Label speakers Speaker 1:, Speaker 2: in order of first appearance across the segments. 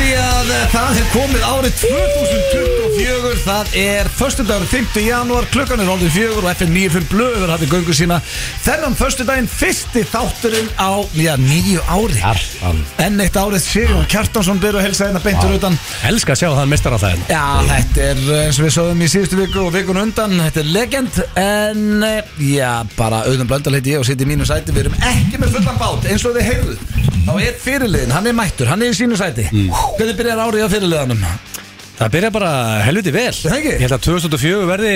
Speaker 1: eh, Það er komið árið 2024 Það er föstudagur 5. janúar Klukkan er orðin fjögur og FN 95 blöður hafði göngu sína Þennan föstudaginn fyrsti þátturinn á já, nýju ári
Speaker 2: Kjartan.
Speaker 1: Enn eitt árið Sigur Kjartansson byrju að helsa hérna beintur utan
Speaker 2: Elskar að sjá það mestar á það en
Speaker 1: Já, þetta er eh, eins og við sögum í síðustu viku og vikun undan, þetta er legend en eh, já, bara auðvitað blöndal heiti ég og sitt í mínu sæti, við erum ekki með fullan bát eins og þið heyrðu, þá er fyrirliðin hann er mættur, hann er í sínu sæti hvernig byrjar árið á fyrirliðanum?
Speaker 2: Það byrja bara helviti vel
Speaker 1: Það ekki?
Speaker 2: Ég held að 2004 verði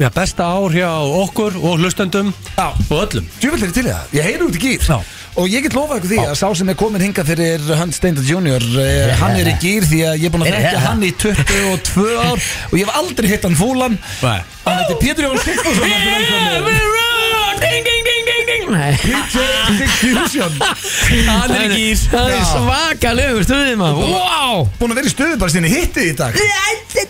Speaker 2: já, besta ár hjá okkur og hlustendum
Speaker 1: Já.
Speaker 2: og öllum
Speaker 1: Djúvill er til í það, ég heyri út í gýr
Speaker 2: Já.
Speaker 1: og ég get lofað ykkur því að sá sem er komin hinga fyrir Hunt Steindl Jr. eh, hann er í gýr því að ég er búin að
Speaker 2: Yeah.
Speaker 1: þekka hann í 22 ár og ég hef aldrei hitt hann fúlan
Speaker 2: Nei.
Speaker 1: hann heitir Pétur Jón Sigfússon aftur velkominn.
Speaker 3: Ding, ding, ding, ding, ding Nei.
Speaker 1: Pétur Sigfússon
Speaker 3: Það er ekki Það er svakalegur stuðið maður Wow
Speaker 1: búin að vera í stöðu bara sinni hitti í dag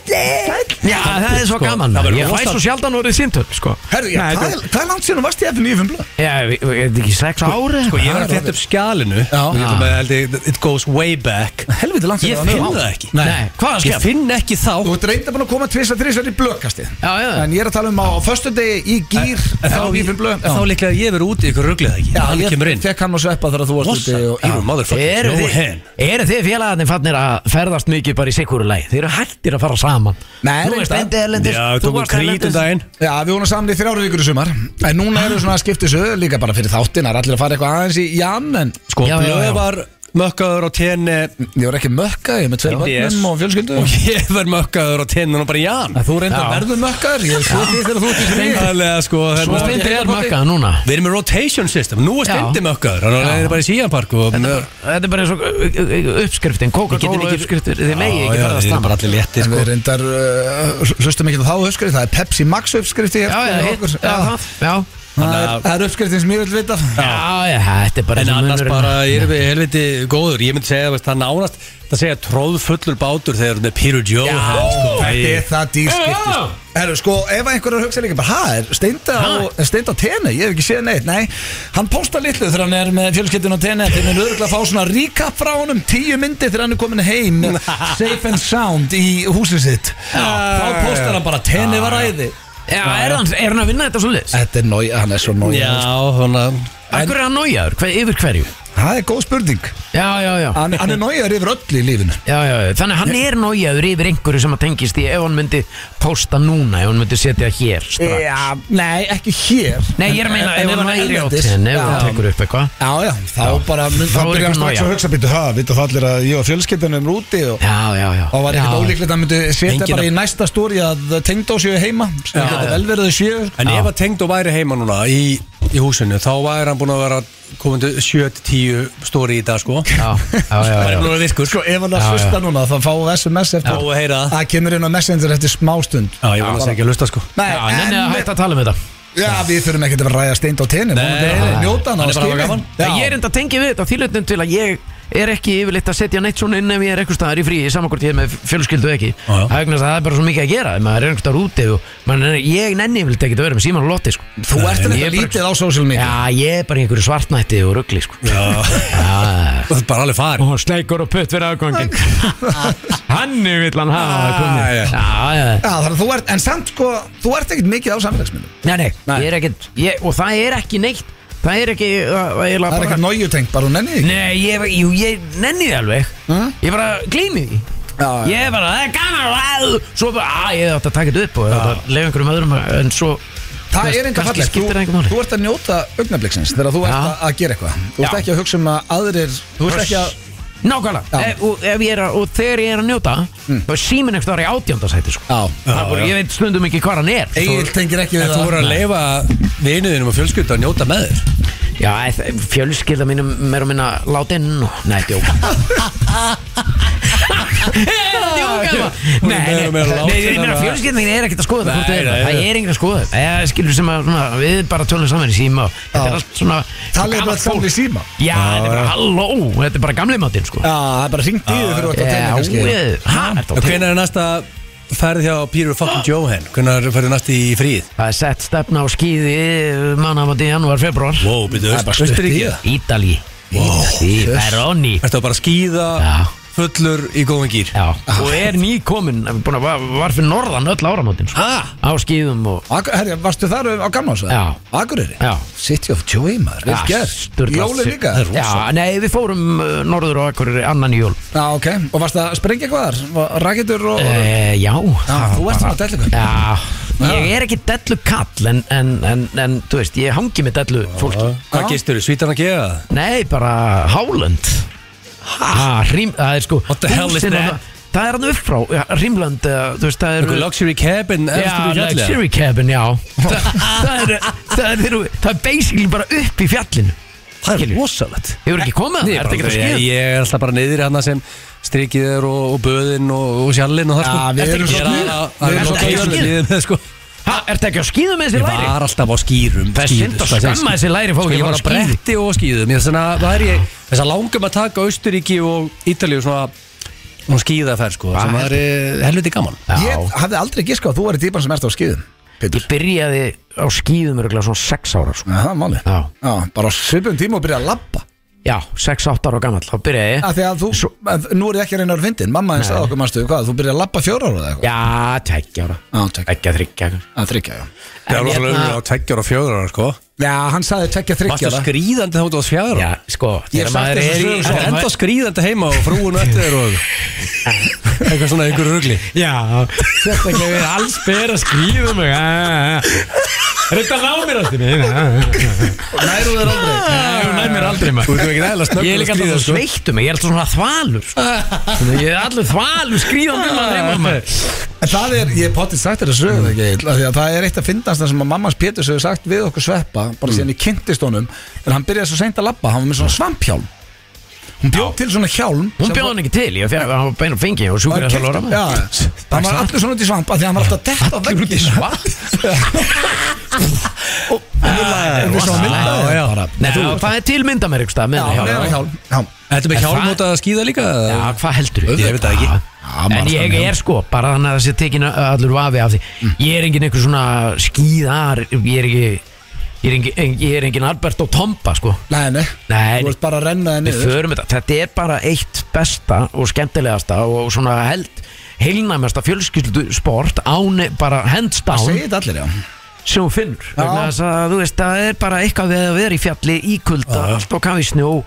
Speaker 3: Já, það er svo
Speaker 2: Sko,
Speaker 3: gaman
Speaker 2: það
Speaker 3: maður.
Speaker 2: verður
Speaker 3: Ég fæ
Speaker 2: rosa-
Speaker 3: svo sjaldan orðið síntur sko.
Speaker 1: Herru, já,
Speaker 3: Nei,
Speaker 1: hvað,
Speaker 3: þetta-
Speaker 1: er- hvað er langt síðan þú varst í F95 blöð?
Speaker 3: Já, ég ég- ég veit ekki, sex ári
Speaker 2: Sko ég
Speaker 1: Það
Speaker 2: var að
Speaker 1: er
Speaker 2: þetta upp skjalinu
Speaker 1: Já.
Speaker 2: og ég ætla með, held ég, It goes way back
Speaker 1: Helviti langt
Speaker 2: Ég
Speaker 1: síðan
Speaker 2: finn
Speaker 1: var.
Speaker 2: það ekki
Speaker 1: Nei.
Speaker 3: Hvað er
Speaker 2: Ég
Speaker 3: skemmt?
Speaker 2: finn ekki þá
Speaker 1: Þú ert reynda búin að koma tvisa þrísar í blöðkastið
Speaker 3: Já, já.
Speaker 1: En ég er að tala um á föstudegi í gýr
Speaker 2: En
Speaker 1: Þá í
Speaker 2: þá,
Speaker 1: blöð
Speaker 2: þá líklega að ég verið úti ykkur ruglið ekki
Speaker 1: Já,
Speaker 2: Hann
Speaker 1: ég
Speaker 2: kemur inn
Speaker 1: fekk hann að sveppa þegar þú varst
Speaker 2: Vossa,
Speaker 1: úti og- Já.
Speaker 2: you motherfucker,
Speaker 3: Eru
Speaker 2: no
Speaker 3: þið,
Speaker 2: hand
Speaker 3: eru þið félagarnir fannir að ferðast mikið bara í sikuru leið? Þið eru hættir að fara saman
Speaker 1: Nei,
Speaker 3: Þú veist,
Speaker 1: reyndar.
Speaker 3: endi erlendis
Speaker 2: Já,
Speaker 3: þú
Speaker 2: tókum
Speaker 3: varst
Speaker 2: krít um
Speaker 3: erlendis.
Speaker 2: daginn
Speaker 1: Já, við vorum saman í þrjáru vikur í sumar En núna eru svona að skipta þessu líka bara fyrir þáttin Það er allir að fara eitthvað aðeins í jam En
Speaker 2: Sko,
Speaker 3: Já, já, já.
Speaker 2: blöð var mökkaður á tenni
Speaker 1: ég var ekki mökka, ég er með tveir
Speaker 2: Yes.
Speaker 1: vögnum og fjölskyldu
Speaker 2: Og ég var mökkaður á tenni og bara ján
Speaker 1: Að Þú reyndar
Speaker 3: Já.
Speaker 1: verður mökkar Ég svo því þegar þú ert í frí
Speaker 2: Þannig að sko
Speaker 3: Svo
Speaker 2: hérna-
Speaker 3: stendur er makkað núna
Speaker 2: Við erum með rotation system, nú er
Speaker 3: Já.
Speaker 2: stendim ökkar Þannig að
Speaker 3: Já.
Speaker 2: það er bara í síjanpark og Við
Speaker 3: Þetta er bara eins og ö- ö- ö- uppskriftin Coca-Cola uppskriftir Þið megi ekki ferðast
Speaker 2: erum bara
Speaker 3: saman
Speaker 2: allir léttir
Speaker 1: En
Speaker 2: sko
Speaker 1: við reyndar uh, hlustum ekki á þá uppskrifti Það er Pepsi Max uppskrifti
Speaker 3: Já, já, hitt- já, það- já
Speaker 1: Það er, það er uppskriftin sem ég vil vita
Speaker 3: Já, já, þetta er bara
Speaker 2: En
Speaker 3: þessi
Speaker 2: annars
Speaker 3: munurinn.
Speaker 2: bara erum við helviti góður Ég myndi segja veist, það nánast Það segja tróðfullur bátur þegar það er Peter Joe
Speaker 3: Já.
Speaker 2: hann, sko.
Speaker 1: Þetta er það dýrskipti
Speaker 3: Já.
Speaker 1: Herru, sko, ef einhverjar hugsa líka bara Hæ, er steinda á, er steinda á tenni? Ég hef ekki séð neitt, nei Hann posta litlu þegar hann er með fjölskyldin á tenni Þegar hann er öðruglega að fá svona recap frá honum Tíu myndi þegar hann er komin heim Safe and sound í húsið sitt Þá postar hann bara tenni var æði
Speaker 3: Já, er hann, er hann að vinna þetta svo liðs?
Speaker 1: Þetta er nója, hann er svo
Speaker 2: Já,
Speaker 1: nója
Speaker 2: þannig að
Speaker 3: Akkur er hann nójaður, hver, yfir hverju?
Speaker 1: Það er góð spurning
Speaker 3: Já, já, já
Speaker 1: Hann, hann er nójaður yfir öll í lífinu
Speaker 3: Já, já, já. þannig að hann er nójaður yfir einhverju sem að tengist í ef hann myndi posta núna, ef hann myndi setja hér strax.
Speaker 1: Já, nei, ekki hér
Speaker 3: Nei, ég er að meina,
Speaker 1: En- en-
Speaker 3: ef
Speaker 1: en
Speaker 3: hann væri á
Speaker 1: erlendis?
Speaker 3: tenni, ef hann
Speaker 1: Já.
Speaker 3: tekur upp eitthvað
Speaker 1: Já, já, þá bara mun,
Speaker 3: Þá
Speaker 1: þá byrjar
Speaker 3: er
Speaker 1: hann
Speaker 3: ekki
Speaker 1: strax
Speaker 3: nóg,
Speaker 1: að
Speaker 3: já.
Speaker 1: hugsa býttu það, vittu það allir að ég og fjölskyldunum erum úti og
Speaker 3: Já, já, já
Speaker 1: þá var ekkert
Speaker 3: Já.
Speaker 1: ólíklegt að hann myndi setja
Speaker 2: Enginn
Speaker 1: bara
Speaker 2: að-
Speaker 1: í næsta stóri að tengdó séu heima sem
Speaker 2: Já,
Speaker 1: getur
Speaker 2: já.
Speaker 1: vel verið þau séu
Speaker 2: En ef að tengd og væri heima núna í, í húsinu Þá væri hann búin að vera komin til 7-10 stóri í dag sko
Speaker 3: Já, já, já,
Speaker 2: Það er
Speaker 3: já.
Speaker 2: búin að vera virkur
Speaker 1: Sko, ef hann
Speaker 3: Já,
Speaker 1: að
Speaker 3: já.
Speaker 1: hlusta núna þá fáum við SMS
Speaker 2: Já,
Speaker 1: eftir
Speaker 2: og heyra það
Speaker 1: Það kemur inn á Messenger eftir smástund
Speaker 2: Já, ég vona að segja að lusta sko
Speaker 1: Nei,
Speaker 3: Já, nenni að
Speaker 1: en
Speaker 3: hætta að tala um þetta
Speaker 1: Já, við þurfum ekkert að vera að ræða steind á tenni
Speaker 2: nei.
Speaker 1: Njóta hann á
Speaker 2: Hann er bara að hafa gaman.
Speaker 3: Ég er
Speaker 1: skilin
Speaker 3: enda að tengja við þetta þýlutin til að ég er ekki yfirleitt að setja neitt svona inn ef ég er eitthvað staðar í frí samakvort ég er með fjölskyldu eða ekki
Speaker 2: Já, já.
Speaker 3: það er vegna þess að það er bara svo mikið að gera ef maður er einhvers staðar úti og maður er- ég nenni yfirleitt ekki að vera með síman og lotti sko.
Speaker 1: Þú ert en
Speaker 3: En ég
Speaker 1: eitthvað
Speaker 3: er bara-
Speaker 1: lítið á social media
Speaker 3: Já, ég er bara í einhverju svartnætti og ruggli sko. Já.
Speaker 2: Það er bara alveg farið
Speaker 3: Og hún sleikur og putt fyrir aðgangin Hann er vill hann hafa
Speaker 2: Já,
Speaker 3: það
Speaker 2: já.
Speaker 3: komið Já, já
Speaker 1: Ah, Já, þannig að þú ert, en samt sko, þú ert ekkert mikið á samfélagsmyndum
Speaker 3: Nei, nei, ég er ekkert ég, Og það er ekki neitt Það er ekki uh, uh,
Speaker 1: Það er ekkert nójutengt, bara hún nenni því ekki.
Speaker 3: Nei, ég, jú, ég nenni því alveg
Speaker 1: Mm.
Speaker 3: Ég bara glými því
Speaker 1: Já, já.
Speaker 3: Ég er bara, það er gaman að Svo bara, að ég átti að taka þetta upp og ja. lefa einhverjum öðrum En svo
Speaker 1: Það er einhver
Speaker 3: kannski
Speaker 1: fallegt,
Speaker 3: skiptir það
Speaker 1: þú,
Speaker 3: einhver máli
Speaker 1: þú ert að njóta augnabliksins þegar þú ert
Speaker 3: Já.
Speaker 1: að, að gera eitthvað Þú ert
Speaker 3: Já.
Speaker 1: ekki að hugsa um að aðrir, þú ert ekki að
Speaker 3: Nákvæmlega,
Speaker 1: Já. Mm.
Speaker 3: ef, og, ef ég er að, og þegar ég er að njóta þá er síminn eftir að vera í átjóndasæti sko.
Speaker 1: Já,
Speaker 3: Það er bara,
Speaker 2: já.
Speaker 3: ég veit stundum ekki hvað hann er
Speaker 1: Egil tengir ekki
Speaker 2: En
Speaker 1: við
Speaker 2: þú
Speaker 1: það
Speaker 2: voru að leifa vinuðinum og fjölskyldu að njóta með þér
Speaker 3: Já, eð- fjölskylda mínum meira og minna látin og... Nei, djók Djók alveg Nei,
Speaker 2: meira
Speaker 3: nei,
Speaker 2: og meira
Speaker 3: nei,
Speaker 2: látin
Speaker 3: ég meina
Speaker 2: alveg.
Speaker 3: fjölskylda mín er ekkert að skoða það hvort
Speaker 2: Nei,
Speaker 3: er
Speaker 2: nei,
Speaker 3: það. Það
Speaker 2: nei.
Speaker 3: er ekkert að skoða það Ég skilur sem að svona, við bara tölum saman í síma og Þetta
Speaker 1: Já.
Speaker 3: er allt svona
Speaker 1: Það er bara saman í síma Já,
Speaker 3: Já, þetta er bara halló Þetta er bara gamli matinn sko
Speaker 1: það er bara hringt í þau fyrir að
Speaker 3: Já,
Speaker 1: tegna kannski
Speaker 3: ég- ha, ertu á
Speaker 2: Og
Speaker 3: tenni?
Speaker 2: hvenær er næsta ferð hjá Peter fucking Johan? Hvenær ferðu næst í fríð?
Speaker 3: Það er sett stefna á skýði mannafandi janúar, februar
Speaker 2: Wow, byrju,
Speaker 1: Það er bara stutt í
Speaker 2: Austurríki
Speaker 1: það.
Speaker 3: Ítali Ítali, Veroni
Speaker 2: Ertu að bara skýða
Speaker 3: Já.
Speaker 2: fullur í góðan gýr
Speaker 3: Já, og er nýkominn, búin að var, var fyrir norðan öll áramótin sko.
Speaker 2: Ha?
Speaker 3: Á skýðum og
Speaker 1: Akur, herri, varstu þar á gamlása?
Speaker 3: Já.
Speaker 1: Akureyri?
Speaker 3: Já.
Speaker 1: City of Joy maður, vel
Speaker 3: Ja,
Speaker 1: gert
Speaker 3: sturlað.
Speaker 1: Jólin líka?
Speaker 3: Ah, Já, nei, við fórum uh, norður og akkur annan í jól
Speaker 1: Já, ok, og varst að sprengja hvað þar? Rakitur og...
Speaker 3: e, Já,
Speaker 1: Já,
Speaker 3: það
Speaker 1: þú
Speaker 3: var
Speaker 1: ert
Speaker 3: bara-
Speaker 1: svona dellukall.
Speaker 3: Já, ég er ekki dellu kall en, en, en, en þú veist, ég hangi með dellu fólki
Speaker 1: Já.
Speaker 2: Hvað gistur þú? Svítan að geða?
Speaker 3: Nei, bara Hálönd Ha, hrím, það er sko
Speaker 2: What the hell is
Speaker 3: húsin
Speaker 2: that?
Speaker 3: þarna- Það er hann upp frá, Rímland, þú veist, það
Speaker 2: Einhver
Speaker 3: er
Speaker 2: luxury cabin eftir
Speaker 3: Já,
Speaker 2: við fjallið?
Speaker 3: luxury cabin, já Þa, það, er, það, er, það er basically bara upp í fjallinu
Speaker 2: Það er
Speaker 3: Skilju.
Speaker 2: rosalegt
Speaker 3: Hefur ekki komið það? Er þetta ekki að
Speaker 2: ég,
Speaker 3: skýða?
Speaker 2: ég er alltaf bara niður hann sem strikið er og, og böðin og, og sjallin og það
Speaker 1: Já,
Speaker 2: sko
Speaker 1: við
Speaker 2: Ertu
Speaker 1: erum
Speaker 2: ekki
Speaker 1: svo
Speaker 2: að
Speaker 1: skýr.
Speaker 2: gera-
Speaker 1: Við
Speaker 2: Það
Speaker 1: erum
Speaker 2: er
Speaker 1: svo
Speaker 2: svo
Speaker 1: skýr.
Speaker 2: skýr liðið með sko
Speaker 3: Ha, er þetta ekki að skýða með þessi
Speaker 2: Ég
Speaker 3: læri?
Speaker 2: var alltaf á skýrum
Speaker 3: Það er
Speaker 2: skýðum,
Speaker 3: synd að
Speaker 2: sko, sem-
Speaker 3: skamma þessi læri fá
Speaker 2: Sko
Speaker 3: ekki
Speaker 2: ég
Speaker 3: að
Speaker 2: var á
Speaker 3: fara á skíði.
Speaker 2: bretti og á skýðum Ég þannig að væri ég Þess að langum að taka Austuríki og Ítalíu svona Svona skýðaferð sko
Speaker 3: Hvað
Speaker 2: Sem
Speaker 3: heldur?
Speaker 2: var helviti gaman
Speaker 3: Já,
Speaker 1: Ég hafði aldrei giskað að þú væri típan sem ert á skýðum Pétur
Speaker 3: ég byrjaði á skýðum örgulega svona 6 ára sko.
Speaker 1: Já, það er máli
Speaker 3: Já.
Speaker 1: Já, bara á svipum tíma og byrja að labba
Speaker 3: Já, 6-8 ára gamall, þá byrjaði ég
Speaker 1: Af því að þú,
Speaker 3: Svo-
Speaker 1: að, nú er ég ekki að reyna að vera fyndin Mamma eins að okkur mannstu, hvað, þú byrja að labba fjóra ára eða eitthvað?
Speaker 3: Já, tveggja ára
Speaker 1: Já, tekja,
Speaker 3: Tveggja, hérna- þryggja
Speaker 1: að þryggja, já
Speaker 3: Það var rosalega umræða
Speaker 2: á tveggjar og fjöðrar sko
Speaker 1: Já, hann sagði tekja
Speaker 2: Varstu
Speaker 1: þryggja það
Speaker 2: skrýðandi þá þú varst fjöðrar
Speaker 3: Já, sko,
Speaker 1: Ég hef
Speaker 3: þegar
Speaker 1: sagt þessa
Speaker 3: maður er í
Speaker 1: sögu
Speaker 2: Það er
Speaker 3: þegar
Speaker 2: enda
Speaker 3: maður-
Speaker 2: skrýðandi heima og frúin öttu þér og eitthvað svona einhver rugli
Speaker 3: Já, þetta ekki við alls ber að skýða mig Þetta ná mér alltaf mér
Speaker 1: Næru þér aldrei
Speaker 3: Þú næ mér aldrei maður
Speaker 2: Þú veitum ekki nægilega snöggur
Speaker 3: Ég er líka alltaf
Speaker 2: sko.
Speaker 3: svo sveittum, ég er alltaf svona þvalur sko. Þannig að Ég er alltaf þvalur skrýðan um að reyma maður
Speaker 1: En það er, ég hef potið sagt þér að sögum ekki Egill, af því að Það er eitt að fyndast það sem að mammas Péturs hefur sagt við okkur sveppa Bara
Speaker 3: Mm.
Speaker 1: síðan ég kynntist honum En hann byrjaði svo seint að labba, hann var með svona svamphjálm Hún bjóð til svona hjálm sem
Speaker 3: Hún bjóð
Speaker 1: var-
Speaker 3: hann ekki til, ég fyrir að beina fengi og
Speaker 1: var
Speaker 3: sjúkur þess að lóra
Speaker 1: keypt-
Speaker 3: maður
Speaker 1: Já, hann var allur svona út í svamp af Því að hann var alltaf dett á
Speaker 3: Allur út í
Speaker 1: veggina.
Speaker 3: svart
Speaker 1: Og við sáum mynd af
Speaker 2: Já, já.
Speaker 1: þeim bara.
Speaker 3: Nei, það er til mynda mér ykkur stað
Speaker 1: Já,
Speaker 3: með það
Speaker 1: með
Speaker 3: hjá-
Speaker 1: hann hjálm Já.
Speaker 2: Ertu með
Speaker 3: Er það-
Speaker 2: hjálm út að skýða líka?
Speaker 3: Já, hvað heldur
Speaker 2: Ég veit það ekki.
Speaker 3: En
Speaker 1: maður
Speaker 3: ég
Speaker 1: skal-
Speaker 3: er sko, bara þannig að það sé tekin allur vafi af því
Speaker 2: Mm.
Speaker 3: Ég er engin einhver svona skýðar Ég er ekki Ég er engin, en- ég er engin Albert og Tomba sko
Speaker 1: Nei, nei,
Speaker 3: Nei,
Speaker 1: þú ert bara að renna þig
Speaker 3: við
Speaker 1: niður
Speaker 3: förum þetta Þetta er bara eitt besta og skemmtilegasta og svona held heilnæmasta fjölskyldu sport án bara
Speaker 1: Það
Speaker 3: hendstán
Speaker 1: segir þetta allir, já
Speaker 3: sem hún finnur
Speaker 1: Já.
Speaker 3: vegna þess að þú veist það er bara eitthvað við að vera í fjalli í kulda, allt og kafi snjó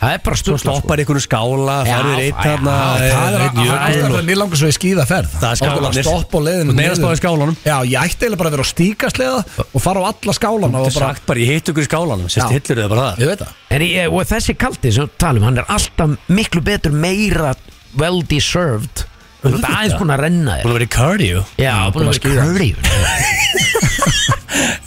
Speaker 3: það er bara sko.
Speaker 2: Þú
Speaker 3: stundla
Speaker 2: stoppar einhverju skála,
Speaker 3: Já,
Speaker 2: farir eitt
Speaker 3: já,
Speaker 2: þarna eh,
Speaker 3: já,
Speaker 1: Það er
Speaker 2: einn
Speaker 1: að- það er
Speaker 2: jökul
Speaker 1: að
Speaker 2: og-
Speaker 1: mér langar svo í skýða ferð
Speaker 2: Það er skálanir.
Speaker 1: Stopp og leiðin
Speaker 2: Þú meira spáð í skálanum.
Speaker 1: Já, ég ætti eiginlega bara að vera á stíkasleða Og fara á alla skálana og
Speaker 2: Þú er
Speaker 1: bara
Speaker 2: sagt bara, ég hitt ykkur í skálanum Sérst
Speaker 1: Já.
Speaker 2: hillur þau bara það
Speaker 1: Ég veit það
Speaker 3: En ég, og þessi kaldi sem við talum, hann er alltaf miklu betur meira well deserved Þú ert
Speaker 2: Auðvitað.
Speaker 3: aðeins búin að renna
Speaker 2: Búin
Speaker 3: þér
Speaker 2: að vera í cardio
Speaker 3: Já, búin að skýra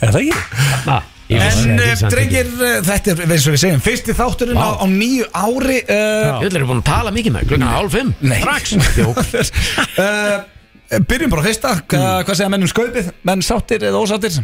Speaker 2: Er það ekki?
Speaker 1: En eh, drengir, eh, þetta er eins og við segjum Fyrsti þátturinn á, á nýju ári uh,
Speaker 3: Jöðlega er búin að tala mikið með klukkan hálf fimm
Speaker 1: Nei.
Speaker 3: Strax Jók.
Speaker 1: uh, Byrjum bara á fyrsta Hva,
Speaker 2: Hmm.
Speaker 1: Hvað segja menn um skaupið? Menn sáttir eða ósáttir?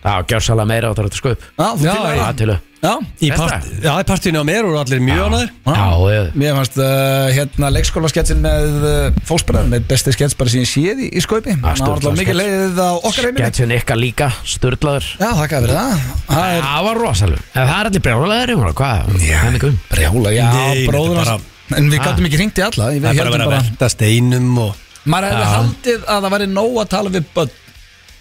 Speaker 3: Já, gjársalega meira á þetta sko. sköp
Speaker 1: Já, þú
Speaker 2: Já,
Speaker 1: fílar
Speaker 2: já.
Speaker 1: það?
Speaker 3: Það til að
Speaker 1: Já,
Speaker 2: Í
Speaker 3: Þetta?
Speaker 2: part- Já, í partíinu á mér og allir mjög ánæður
Speaker 3: Já, ég
Speaker 1: Mér fannst uh, hérna leikskóla sketsin með uh, fósbræðan með besti skets bara síðan séð í, í skaupi Það var
Speaker 3: sturlaður
Speaker 1: alltaf mikið
Speaker 3: skets.
Speaker 1: leiðið á okkar heimili
Speaker 3: Getsin ykkar líka, störtlaður
Speaker 1: Já, þakka fyrir það Það er
Speaker 3: Það var rosalega En það er allir brjálæðir um hana, hvað? Það er mikið um
Speaker 1: brjála, já,
Speaker 2: Nei,
Speaker 1: bróður
Speaker 2: þetta er Ah.
Speaker 1: hans En við gáttum ekki hringt í alla við
Speaker 2: Það er bara að
Speaker 1: héldum
Speaker 2: vera að velta steinum og
Speaker 1: Maður hefði
Speaker 2: Já.
Speaker 1: haldið að það væri nóg að tala við börn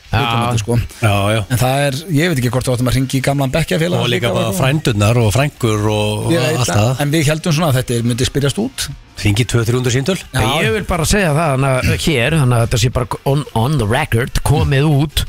Speaker 3: Já.
Speaker 1: utan þetta, sko.
Speaker 2: Já, já
Speaker 1: En það er, ég veit ekki hvort þú áttum að ringi í gamlan bekkjafélag
Speaker 2: Og líka bara frændunar og frængur og og allt það
Speaker 1: En við heldum svona að þetta myndi spyrjast út
Speaker 2: Ringi 200-300 síntöl
Speaker 1: Já.
Speaker 3: Ég vil bara segja það hana, hér, þannig að þetta sé bara on, on the record, komið út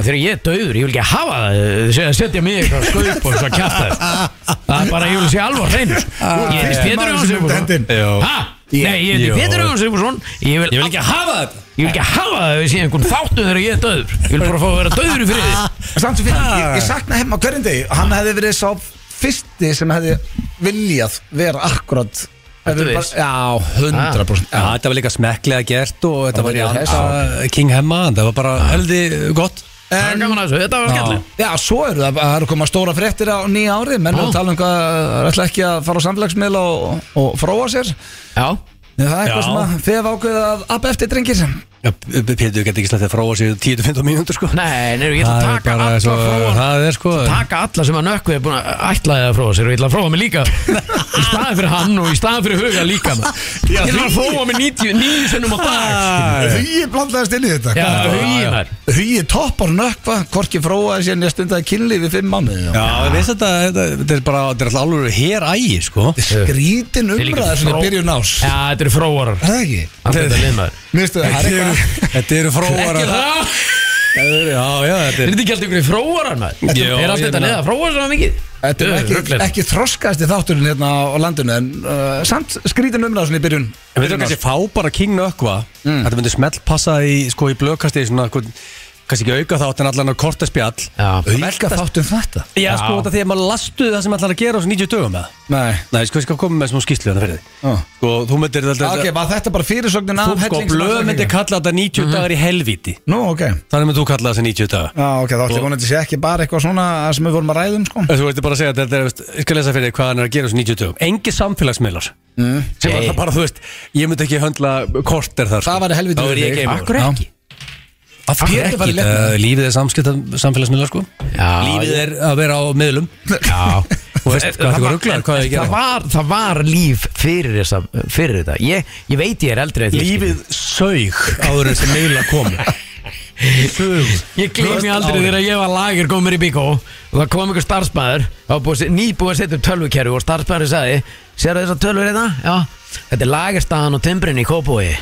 Speaker 3: að þegar ég er döður, ég vil ekki hafa það þið sé- setja mig í eitthvað skaup og svo kjæft það það er bara, ég vil sé alvor hreinu sko. ég er
Speaker 1: fyrsti
Speaker 3: Pétur
Speaker 1: maður sem
Speaker 3: Jóns
Speaker 1: myndi
Speaker 3: Sigurðsson.
Speaker 1: henda
Speaker 2: inn. Já.
Speaker 3: Ha? Nei, ég
Speaker 2: Jó.
Speaker 3: er Pétur Jóns Sigurðsson. ég vil
Speaker 2: Ég vil ekki hafa þetta
Speaker 3: ég vil ekki hafa það að við sé einhvern þáttu þegar ég er döður ég vil bara fá að vera döður í friði
Speaker 1: Samt sem fyrir, ég, ég sakna hefna hverjum degi Hann hefði verið sá fyrsti sem hefði viljað vera akkurat
Speaker 3: Ertu
Speaker 1: Hefði
Speaker 3: viss?
Speaker 1: Já, 100%
Speaker 2: Já, þetta var líka smekklega gert og þetta
Speaker 1: Það
Speaker 2: var í
Speaker 1: var í
Speaker 2: anda King Hemma, það var bara heldi gott
Speaker 3: það er gaman að þessu, þetta var skemmtileg
Speaker 1: Já, svo eru það, það eru koma stóra fréttir á nýja ári Menn eru að tala um hvað, er ætla ekki að fara á samfélagsmiðla og, og fróa sér
Speaker 3: já,
Speaker 1: Nei, Það er eitthvað
Speaker 2: Já.
Speaker 1: sem að þið hafa ákveðið að appa eftir drengir
Speaker 2: Já, Pétur getur ekki slettið frá að séu 10-15 mínútur sko
Speaker 3: Nei, nei, ég ætla að
Speaker 2: Það er
Speaker 3: taka
Speaker 2: bara
Speaker 3: alla
Speaker 2: svo-
Speaker 3: frá hann
Speaker 2: Það er sko
Speaker 3: taka alla sem að nökku er búin að ætlaði að fróa sér og ég ætla að fróa mig líka í staðan fyrir hann og í staðan fyrir huga líka maður. ég ætla að fróa mig 90 nýju sinnum á dag
Speaker 2: Ah,
Speaker 3: skilur.
Speaker 1: Hugi blandaðist inn í þetta
Speaker 3: já,
Speaker 1: hvað er
Speaker 3: hugi
Speaker 2: já.
Speaker 3: maður
Speaker 1: þetta? Hugi toppar nökva, Korki fróaði sér nýja stundaði kynli við fimm mánuði
Speaker 2: Já, ég veist þetta, þetta, þetta er bara, þetta er alltaf alveg hér ægi sko
Speaker 1: Grítin
Speaker 3: Þeir líka
Speaker 1: umræða sem
Speaker 3: fró-
Speaker 1: er byrjun ás
Speaker 3: já, þetta eru fróarar
Speaker 1: Er það ekki?
Speaker 3: Hann getur lið maður.
Speaker 1: Mér stu það, það er eitthvað
Speaker 2: Þetta eru fróar
Speaker 3: ekki það
Speaker 2: Já, já, þetta
Speaker 3: er
Speaker 2: er
Speaker 3: þetta ekki alltaf ykkur í fróarar maður
Speaker 2: Jú,
Speaker 3: er
Speaker 2: ég
Speaker 3: alltaf þetta
Speaker 2: meina-
Speaker 3: lið að fróa svona mikið
Speaker 1: Þetta er ekki, ekki þroskaðist í þátturinn hérna á á landinu en uh, samt skrítin umræða svona í byrjun
Speaker 2: En við þurfum kannski að fá bara King Nökkva Þetta myndi smelt passa í, sko, í blökasti í svona, hvern- kannski ekki auka þátt en allan að korta spjall
Speaker 3: já,
Speaker 1: Velka þáttum þetta
Speaker 2: Já, sko, þetta því að maður lastu það sem allar að gera á þessu 90 dögum með
Speaker 1: Nei
Speaker 2: Nei, sko, ég skal koma með smá skýslu hana fyrir þig
Speaker 1: Ah.
Speaker 2: Sko, þú myndir þetta
Speaker 1: Ok, var þetta bara fyrirsögnin af
Speaker 2: Þú sko,
Speaker 1: helling sem
Speaker 2: blöð
Speaker 1: allar
Speaker 2: myndir
Speaker 1: ekki?
Speaker 2: kalla þetta 90 dagar í helvíti
Speaker 1: Nú, ok
Speaker 2: Þannig myndir þú kalla þetta 90 dagar
Speaker 1: Já, ok, þá ætti vonandi sé ekki bara eitthvað svona sem við vorum að ræðum, sko
Speaker 2: En Þú veist bara að segja að þetta er, veist, ég skal lesa fyrir þig hvað hann er að gera á þessu 90 dögum Engi samfélagsmiðlar mm. Sem
Speaker 3: Nei.
Speaker 2: var það bara, þú veist, ég myndi ekki höndla korter þar
Speaker 1: Það væri helvítið
Speaker 2: Þá er
Speaker 1: fyrir
Speaker 2: ég
Speaker 1: þig.
Speaker 2: game
Speaker 3: akkur
Speaker 2: over.
Speaker 3: ekki
Speaker 2: Af
Speaker 1: Af
Speaker 2: hverju
Speaker 1: hverju
Speaker 2: ekki?
Speaker 1: væri lett með
Speaker 2: Eh, Lífið er samskipta samfélagsmiðlar, sko
Speaker 3: Já.
Speaker 2: Lífið er að vera á miðlum
Speaker 3: Já Eh,
Speaker 2: Þú veist, hvað
Speaker 3: það
Speaker 2: þetta
Speaker 3: var-
Speaker 2: var rugglar, hvað
Speaker 3: en-
Speaker 2: er
Speaker 3: en
Speaker 2: að
Speaker 3: það
Speaker 2: gera
Speaker 3: var, það var líf fyrir, þessa, fyrir þetta ég, ég veit ég er eldri en þið,
Speaker 2: Lífið sög áður en þessi miðla komu Sög
Speaker 3: Ég gleymi aldrei þegar ég var lager góð mér í bíkó og það kom einhver starfsmæður það var búið að se- nýbúið að setja upp tölvukerfi og starfsmæður sagði Sérðu þessar tölvur hérna? Já Þetta er lagerstaðan og timbrin í Kópói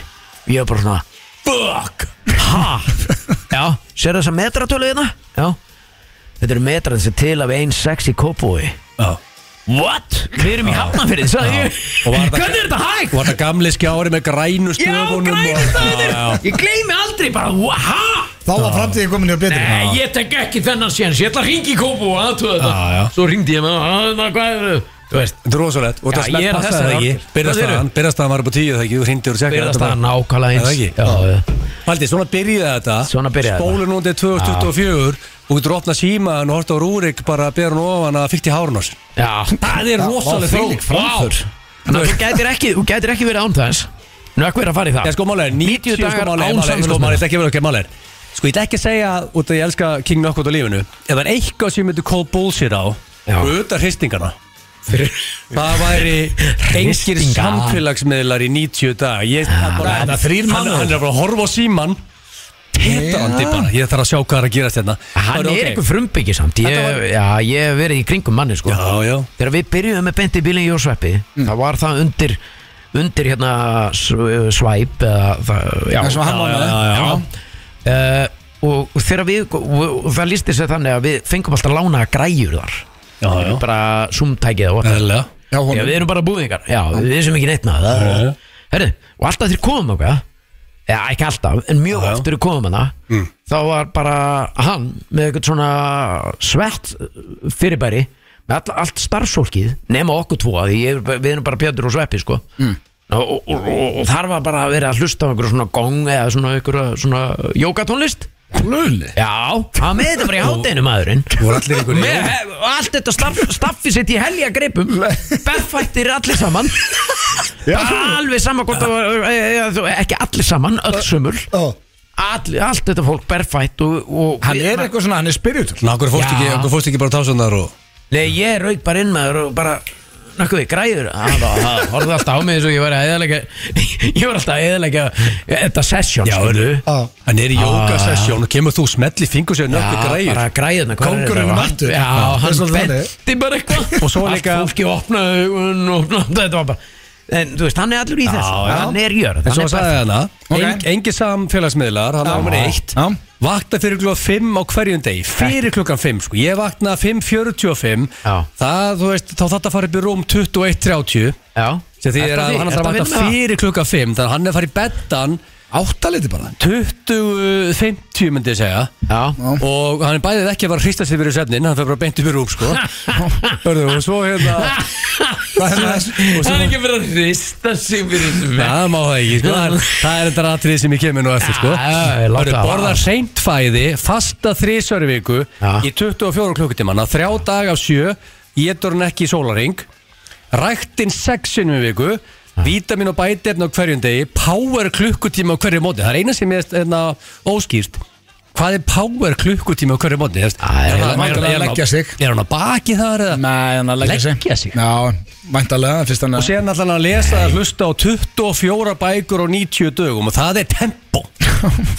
Speaker 3: Ég var bara svona Fuck Ha Já Sérðu þessar metratölu hérna? Já Þetta eru metran sem til af 1.6 í Kópói
Speaker 2: Já
Speaker 3: What? Við erum í hafnafyrði, sagði ég
Speaker 2: Og var þetta-
Speaker 3: Hvernig er þetta hægt?
Speaker 2: Og var það gamli skjári með grænu
Speaker 3: Já,
Speaker 2: stöfunum
Speaker 3: grænstaðir
Speaker 2: Já, já.
Speaker 3: Ég gleymi aldrei bara Hæ?
Speaker 1: Þá var framtíðin komin hjá betri
Speaker 3: Nei, ég tek ekki þennan séns, ég ætla að ringi í kópu og aðtöða
Speaker 2: Já, já.
Speaker 3: þetta Svo ringdi ég með hann, "Ah, hvað er þau? Þú veist,
Speaker 2: Þetta er rosalegt Og
Speaker 3: Já,
Speaker 2: það smelt
Speaker 3: ég er að
Speaker 2: passaði
Speaker 3: þessari
Speaker 2: það ekki
Speaker 3: árgerð. Hvað
Speaker 2: Byrjastaðan, byrjastaðan var upp á tíu það ekki Þú hrindir og tjekkar
Speaker 3: byrjast það
Speaker 2: bara-
Speaker 3: nákvæmlega
Speaker 2: Er það
Speaker 3: eins
Speaker 2: ekki?
Speaker 3: já, já.
Speaker 2: Paldi, svona byrjaði þetta
Speaker 3: Svona byrjaði þetta.
Speaker 2: Spólun núndið 2024 Og getur opnað símaðan og horta á rúrik Bara að bera hún ofan að fyrkt í hárun ás
Speaker 3: já
Speaker 2: Það er rosaleg
Speaker 1: vá,
Speaker 2: þróun
Speaker 1: þvílík framför.
Speaker 2: Vá.
Speaker 3: Þannig að þú gætir ekki, þú gætir ekki verið án þess Nökk verið að fara í það
Speaker 2: Já, sko, málega 90
Speaker 3: dagar
Speaker 2: sko, málega
Speaker 3: án
Speaker 2: Sko,
Speaker 3: samfélagsmiðla.
Speaker 2: málega, ekki verið okkar málega Sko, ég ætla ekki að segja Út að ég elska King Knockout á lífinu Ef það er eitthvað sem ég myndi call bullshit á
Speaker 3: Já.
Speaker 2: Og auðvitað hristingana
Speaker 3: Fyrir-
Speaker 2: Það væri engir
Speaker 3: Hristingar.
Speaker 2: samfélagsmiðlar í 90 dag Ég, ah, bara,
Speaker 1: þetta er þrír
Speaker 2: hann,
Speaker 1: mánuðir.
Speaker 2: hann er bara að horfa á síman Hittandi
Speaker 1: Já.
Speaker 2: bara Ég þarf að sjá hvað er að gerast hérna
Speaker 3: Hann
Speaker 2: Það
Speaker 3: er
Speaker 2: ok.
Speaker 3: einhver frumbyggja samt ég,
Speaker 2: Þetta var-
Speaker 3: Já, ég hef verið í kringum manni sko
Speaker 2: Já, Mm. já
Speaker 3: Þegar við byrjuðum með beint í bílinn í Jósveppi Það var það undir, undir hérna sv- svæp eða það, já,
Speaker 1: Það sem hann var
Speaker 2: já,
Speaker 1: með
Speaker 2: já, já.
Speaker 3: uh, og og þegar við og og það lísti sér þannig að við fengum alltaf lána græjur þar
Speaker 2: Já, já.
Speaker 3: Við bara zoomtækið og whatever.
Speaker 2: Eðlilega
Speaker 1: Já,
Speaker 3: já,
Speaker 1: honum
Speaker 3: við erum bara búðingar já, við erum ekki neitt með það
Speaker 2: Já, já.
Speaker 3: Herru, og alltaf þeir komum okkar Já, ekki alltaf, en mjög
Speaker 2: Já, já.
Speaker 3: oft þeir komum hana mm. Þá var bara hann með eitthvað svona svett uh, fyrirbæri með all, allt starfsólkið nema okkur tvo að því ég, við erum bara Pétur og Sveppi sko mm. og, og, og, og þar var bara að vera að hlusta á einhverju svona gong eða svona einhverju svona jókatónlist
Speaker 1: Lulli
Speaker 3: Já, hann með þetta bara í hátæðinu maðurinn
Speaker 2: voru allir einhverjir-
Speaker 3: Með hef- allt þetta staff, staffi sitt í helja greipum Berfættir allir saman Bara alveg sama hvort það var e, e, þú- Ekki allir saman, öll sumul All, Allt þetta fólk berfætt og, og
Speaker 1: Hann er eitthvað svona, hann er spiritual
Speaker 2: Ná, okkur fórst
Speaker 3: Já.
Speaker 2: ekki, okkur fórst ekki bara tásunar og
Speaker 3: Nei, ég rauk bara inn maður og bara Nákvæðu, græður Hann bara, hann horfði alltaf á mig eins og ég var að eðalega Ég var alltaf að eðalega Þetta session
Speaker 2: Já,
Speaker 3: skilurðu.
Speaker 1: Já.
Speaker 2: Hann er í jókasessjón og kemur þú smelli fingur sér nökkur græjur
Speaker 3: bara græðuna
Speaker 1: Kóngurinn um aftur.
Speaker 3: Já,
Speaker 1: Já, það er
Speaker 3: hann
Speaker 1: svolítið þannig.
Speaker 3: benti bara eitthvað
Speaker 2: Og svo líka-
Speaker 3: Allt fólki opnaði augun og opnaði Þetta var bara En þú veist, hann er allur í þessu
Speaker 2: já.
Speaker 3: Hann er jörð
Speaker 2: En svo sagði hann
Speaker 1: Ok.
Speaker 2: að Engi samfélagsmiðlar, hann ámur eitt
Speaker 1: Já.
Speaker 2: Vakna fyrir klukkan 5 á hverjum degi Fyrir klukkan 5 sko Ég vakna 5.45
Speaker 3: Já.
Speaker 2: Það, þú veist, þá þetta farið upp í rúm 21.30
Speaker 3: Já
Speaker 2: Sem því
Speaker 3: Ertu
Speaker 2: er að hann
Speaker 3: því-
Speaker 2: ætlar
Speaker 3: ertu
Speaker 2: að
Speaker 3: vinna
Speaker 2: vakna
Speaker 3: með það?
Speaker 2: fyrir klukkan 5 Þannig að hann er að fara í beddan
Speaker 1: Áttaliti bara
Speaker 2: 20.50 myndi ég segja
Speaker 3: Já
Speaker 2: Og hann er bæðið ekki að fara að hrista sig fyrir svefnin Hann fer bara beint upp í rúm sko Hörðu, og svo hérna
Speaker 1: Það er
Speaker 2: og svo-
Speaker 3: Hann er ekki verið að rista sig fyrir þessu vegg.
Speaker 2: Það má það ekki, sko Það er- Það er þetta atrið sem ég kemur nú eftir, sko
Speaker 3: Já, já, já, láta
Speaker 2: Hörru,
Speaker 3: það.
Speaker 2: borða reynt fæði, fasta þrísværi viku
Speaker 3: Já.
Speaker 2: Í 24 klukkutímanna, þrjá dag af sjö Étur hann ekki í sólaring Ræktin sexinu viku vítamin og bætirn á hverjum degi Power klukkutíma á hverju móti Það er eina sem er hérna, óskýrt Hvað er power klukkutíma á hverju móti? Er
Speaker 3: er
Speaker 2: hann-
Speaker 1: væntanlega
Speaker 2: er
Speaker 1: að
Speaker 2: hann á-
Speaker 1: leggja sig.
Speaker 2: Er hann á baki þar eða?
Speaker 1: Nei, hann að leggja sig
Speaker 2: Leggja sig?
Speaker 1: Já, væntalega, fyrst hann
Speaker 2: Og
Speaker 1: að
Speaker 2: séðan ætla hann að lesa að hlusta á 24 bækur á 90 dögum og það er tempo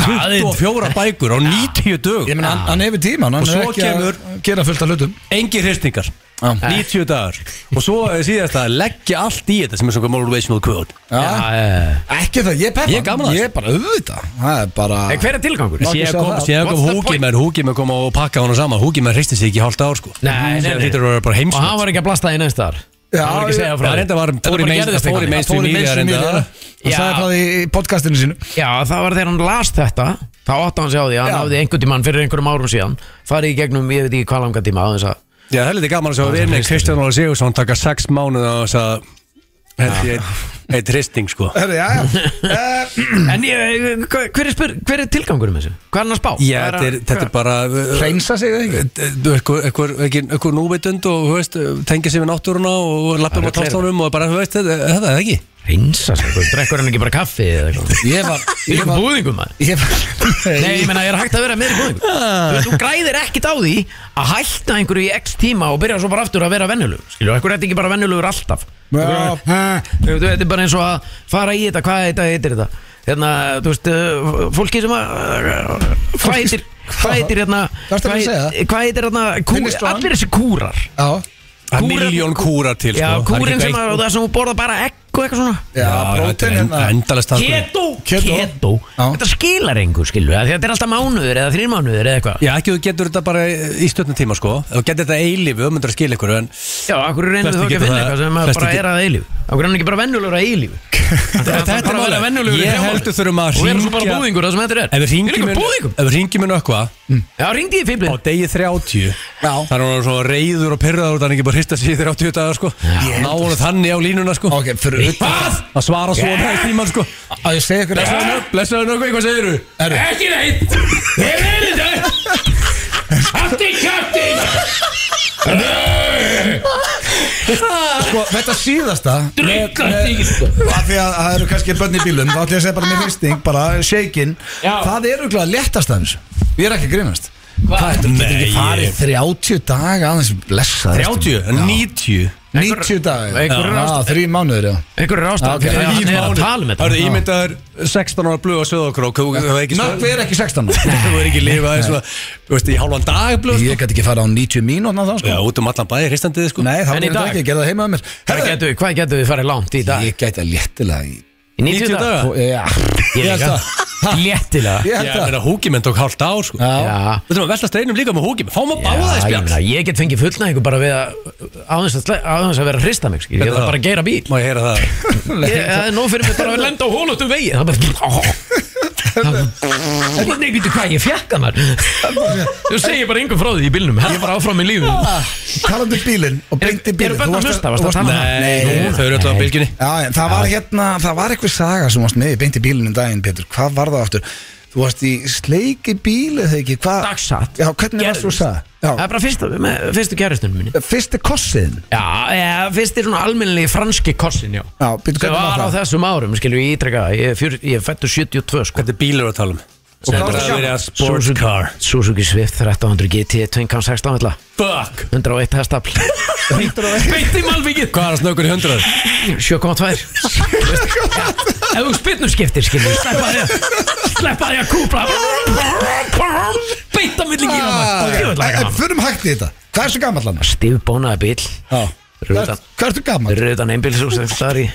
Speaker 2: 24 bækur á 90
Speaker 1: Ég
Speaker 2: dögum
Speaker 1: meina, hann, hann hefur tíma, hann
Speaker 2: Og
Speaker 1: er
Speaker 2: svo
Speaker 1: ekki að gera fullt af hlutum
Speaker 2: Engir hristingar
Speaker 1: Já.
Speaker 2: 90 dagar Og svo síðast að leggja allt í þetta sem er svona motivational quote
Speaker 1: Já, ekki það, ég peppa
Speaker 2: Ég er gaman að
Speaker 1: Ég er bara auðvitað Það er bara
Speaker 3: En hver er tilgangur?
Speaker 1: Má ekki
Speaker 2: Sér
Speaker 1: segja
Speaker 2: kom,
Speaker 1: það.
Speaker 2: sér kom
Speaker 3: What's the
Speaker 2: húkið
Speaker 3: point?
Speaker 2: menn, húkið menn kom og pakka hana saman Húkið menn hristi sig ekki í hálft ár sko
Speaker 3: Nei, nei,
Speaker 2: Síðan
Speaker 3: nei.
Speaker 2: hlýtur að vera bara
Speaker 3: Og hann
Speaker 2: heimsmynd
Speaker 3: var ekki að blasta því næst þar
Speaker 1: Já,
Speaker 3: Hann var ekki að segja frá
Speaker 2: Það reynda var,
Speaker 3: Þetta
Speaker 2: fór í
Speaker 3: bara
Speaker 2: meins-
Speaker 3: gerðist
Speaker 2: það fór í
Speaker 3: einhvern
Speaker 1: Fóri
Speaker 2: mainstream
Speaker 3: veginn.
Speaker 2: media
Speaker 1: meinsum í
Speaker 2: reyndar.
Speaker 1: það Hann
Speaker 3: Já.
Speaker 1: sagði frá því í podcastinu sínu
Speaker 3: Já, það var þegar hann las þetta Þá átti hann sig á því að hann
Speaker 1: Já.
Speaker 3: hafði einhvern tímann fyrir einhverjum árum síðan Farið í gegnum, ég veit ekki hvað langa tíma á þess að
Speaker 2: Já, það er litið gaman að sjá að við með Kristján Óla Sigursson taka sex mánuð á þess að hendi eitt, eitt hristing sko
Speaker 1: Hörru, já, já Eh,
Speaker 3: En ég, hver, hver, er spyr, hver er tilgangurum þessu? Hvað er hann að spá?
Speaker 2: Já,
Speaker 3: Hvað
Speaker 2: þetta er, þetta er bara uh,
Speaker 1: Hreinsa sig það ekki
Speaker 2: þú veist, einhver- einhver einhver- einhver núvitund og þú veist, tengja sig við náttúruna og lappum á
Speaker 3: Ruglar.
Speaker 2: táslanum og bara, þú veist, þetta þetta er það ekki
Speaker 3: að reynsa sig Hvað, sko. Drekkur hann ekki bara kaffi eða eitthvað
Speaker 1: Ég var Ég
Speaker 3: Í einhverjum
Speaker 1: var
Speaker 3: búðingum maður
Speaker 1: Ég var
Speaker 3: Nei, ég meina, er hægt að vera meiri búðingum
Speaker 1: Ah.
Speaker 3: Þú veist, Þú græðir ekkit á því að hætta einhverju í x tíma og byrja svo bara aftur að vera venjulegur Skilju, ekkur er þetta ekki bara venjulegur alltaf
Speaker 1: Já.
Speaker 3: Ha, Þú veist, þetta er bara eins og að fara í þetta, hvað þetta heitir þetta Hérna, þú veist, uh, fólki sem að Hvað heitir, hvað heitir hérna
Speaker 1: Hvað ertu að segja?
Speaker 3: Hvað heitir hérna, kú,
Speaker 1: Vinnustofa?
Speaker 3: allir þessi kúrar
Speaker 1: Já
Speaker 2: Það er
Speaker 3: Kúrar-
Speaker 2: miljón kúrar til
Speaker 3: Já,
Speaker 2: sko. Það er
Speaker 3: kúrin
Speaker 2: ekki
Speaker 3: sem
Speaker 2: eitthvað-
Speaker 3: að, og það sem hún borða bara egg og eitthvað svona
Speaker 1: Já,
Speaker 2: þetta
Speaker 1: brótin
Speaker 2: er
Speaker 1: hérna
Speaker 2: endalast sko.
Speaker 3: Keto,
Speaker 1: Keto.
Speaker 3: keto,
Speaker 1: Já.
Speaker 3: Þetta skilar engu, skilju Þetta er alltaf mánuður eða þrír mánuður eða eitthvað
Speaker 2: Já, ekki þú getur þetta bara í stötnum tíma sko Þú getur þetta eilífu, þú myndir að skila ykkur en
Speaker 3: Já, akkur reynir
Speaker 2: Flestir
Speaker 3: þú ekki
Speaker 2: geta
Speaker 3: að finna
Speaker 2: það-
Speaker 3: eitthvað sem að
Speaker 2: flestir
Speaker 3: bara
Speaker 2: geta-
Speaker 3: er að eilíf Akkur reynir ekki bara vennulegur að eilíf
Speaker 2: Þetta er
Speaker 3: bara að vera
Speaker 2: málið.
Speaker 3: venjulegur í
Speaker 2: Ég
Speaker 3: þrjá
Speaker 2: heldur þurfum að
Speaker 3: mánuði. Og vera svo bara
Speaker 2: hringja-
Speaker 3: búðingur það sem þetta er
Speaker 2: Ef við ringjum
Speaker 3: Þvílíkur
Speaker 2: inn- ef
Speaker 3: búðingur
Speaker 2: við ringjum inn ökva
Speaker 3: Já, ringdi ég
Speaker 2: á
Speaker 3: fýblin
Speaker 2: degi 30
Speaker 1: Já.
Speaker 2: þannig að hann var svona reyður og pyrraður þannig ekki bara hrista sig í 30 dagar sko ná hann þannig á línuna sko
Speaker 1: Ok, fyrir utan
Speaker 2: Hvað? Að svara svona yeah. í tíman sko
Speaker 1: Að ég segi ykkur
Speaker 2: Blessaður nökk, blessaður nökk, hvað segir þú?
Speaker 1: Herru.
Speaker 2: Ekki neitt Ég verði þetta Hatti katti
Speaker 1: Sko, þetta síðasta
Speaker 3: Drullar
Speaker 1: með-
Speaker 3: þig, sko.
Speaker 1: Af því að það eru kannski bönn í bílum Þá ætlum ég að segja bara með hristing, bara shakin
Speaker 3: Já.
Speaker 1: Það er auðvitað lettast aðeins Ég er ekki að grínast
Speaker 3: Hvað?
Speaker 1: Það er þetta ekki
Speaker 2: Nei,
Speaker 1: farið
Speaker 2: ég-
Speaker 1: 30 daga aðeins blessa
Speaker 2: 30, 90
Speaker 1: 90 daga
Speaker 3: einhver-
Speaker 1: Já, þrjú mánuður, já
Speaker 3: Einhver er
Speaker 1: Já, ok.
Speaker 2: Ah,
Speaker 3: ástæðan fyrir
Speaker 1: Það
Speaker 3: að hann er að tala með
Speaker 2: Hörðu,
Speaker 3: þetta
Speaker 2: ímyndaður 16 ára blöð á söðokrók Þú hefur ekki
Speaker 1: Nökkvi er ekki 16 ára.
Speaker 2: Þú hefur ekki lifað í svona Þú veist, í hálfan dag blöð sko.
Speaker 1: Ég gæti ekki farið á 90 mínúna þá,
Speaker 2: Já,
Speaker 1: sko
Speaker 2: út um allan bæði hristandiði sko
Speaker 1: Nei, þá
Speaker 3: En
Speaker 1: er
Speaker 3: í
Speaker 1: þetta
Speaker 3: dag?
Speaker 1: ekki, ég gerði það heima með mér
Speaker 3: Hvað
Speaker 1: Herðu,
Speaker 3: getum við- Hvað getum við farið langt í dag?
Speaker 1: Ég gæti að léttilega í
Speaker 3: Í 90 daga?
Speaker 2: daga?
Speaker 1: og- Já,
Speaker 3: Ég
Speaker 1: held
Speaker 3: líka
Speaker 1: það.
Speaker 3: Léttilega
Speaker 1: Ég
Speaker 2: Ég
Speaker 1: held það
Speaker 2: meina, húkimenn tók hálft ár sko
Speaker 1: Já.
Speaker 3: Já
Speaker 2: Við þurfum að velta steinum líka með húkimenn Fáum að báða í
Speaker 3: Já, ég, meina,
Speaker 2: spjall
Speaker 3: ég get fengið fullnæðingu bara við að aðeins að, sle- aðeins að vera að hrista mig skilur. ég
Speaker 2: Hvernig
Speaker 3: þarf
Speaker 2: þá?
Speaker 3: bara að geira bíl ég,
Speaker 2: Má ég heyra það
Speaker 3: það er nóg fyrir mig bara að lenda á hólutum vegi það er bara Það er bara, nei, veitu hvað, ég fjekka maður Þú segir bara yngum frá því í bílnum Það er bara áfram í lífum
Speaker 1: Talandi um bílinn og beint í
Speaker 3: Eru-
Speaker 1: bílinn
Speaker 3: eru
Speaker 1: Þú
Speaker 3: börn að
Speaker 1: varst
Speaker 3: hlusta? Varstu að
Speaker 1: varst-
Speaker 3: tala um það?
Speaker 1: Nei,
Speaker 2: Nei, Þau eru alltaf á bylginni
Speaker 1: Já, en það var hérna, það var eitthvað saga sem varst með í beint í bílunum daginn, Petur, hvað var það aftur? Þú varst í sleiki bíl eða ekki, hvað?
Speaker 3: Dagsatt
Speaker 1: Já, hvernig varst þú
Speaker 3: Gerðist.
Speaker 1: það?
Speaker 3: Það
Speaker 1: Já,
Speaker 3: er bara fyrsta, með, fyrstu kæristunum minni
Speaker 1: fyrsti kossiðin
Speaker 3: Já, eða, fyrst er svona almennilegi franski kossin, já
Speaker 1: Já, býttu,
Speaker 3: Sem
Speaker 1: hvernig
Speaker 3: var
Speaker 1: var
Speaker 3: á
Speaker 1: það?
Speaker 3: þessum árum, skilju, ég ítreka það. Ég er fjör- ég er fættur 72, sko
Speaker 2: Þetta er bílur að tala um Og
Speaker 1: hvað varstu að sjá?
Speaker 2: sports
Speaker 3: Suzuki-
Speaker 2: car
Speaker 3: Suzuki Swift 1300 GT 2.16 ætla.
Speaker 2: Fuck
Speaker 3: 101 hestafl Beitt í malvikið
Speaker 2: Hvað er að snökur í hundrað?
Speaker 3: 7.2 Ef þú spynnum skiptir skilur Sleppa því að Sleppa því að kúpla Beitt á milli
Speaker 1: Ah, En
Speaker 3: gíla
Speaker 1: förum hægt í þetta, hvað ertu gammal annars?
Speaker 3: Stífbónaði bíl
Speaker 1: Já,
Speaker 3: Fyrir
Speaker 1: hvað
Speaker 3: utan.
Speaker 1: hvað ertu gammal?
Speaker 3: Fyrir utan einbílisús Það er í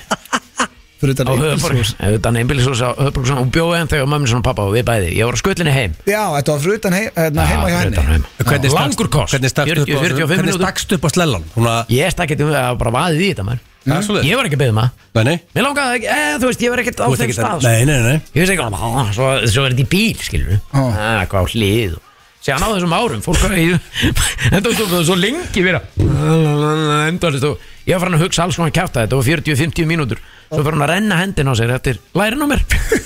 Speaker 1: Fyrir utan
Speaker 3: á
Speaker 1: Eiffelsús.
Speaker 3: höfuborgs Fyrir utan einbílisús á höfuborgs Og bjóði hann þegar mömmin svona pappa og við bæði Ég var á skullinni heim
Speaker 1: Já, þetta var fyrir utan hei- hérna, heima hjá
Speaker 3: Já, Ah, fyrir utan
Speaker 1: henni
Speaker 3: heim. Já,
Speaker 2: stakkst-
Speaker 3: Langur kost
Speaker 2: Hvernig stakkst upp á
Speaker 3: 40, 45
Speaker 2: Hvernig
Speaker 3: mínútur
Speaker 2: stakkst upp á slellan? Hún að
Speaker 3: Ég stakk ekkert um það að bara vaðið í þetta maður
Speaker 2: Það er svoleiðis.
Speaker 3: Ég var ekki að beða maður
Speaker 2: Nei, nei
Speaker 3: Mér langaði ekki, eh, þú veist, ég var ekkert á
Speaker 2: Þú ert
Speaker 3: þeim
Speaker 2: ekki það
Speaker 3: stað
Speaker 2: Nei, nei, nei
Speaker 3: Ég veist ekki, "Ah, svo, svo er þetta í bíl, skilur við
Speaker 1: Já.
Speaker 3: ah, Hvað á hlið og- Síðan á þessum árum, fólk var í Enda þú stóð svo lengi vera Enda þú Ég var farin að hugsa alls konar kæfta þetta og 40-50 mínútur Svo var hann að renna hendin á sér eftir lærin á mér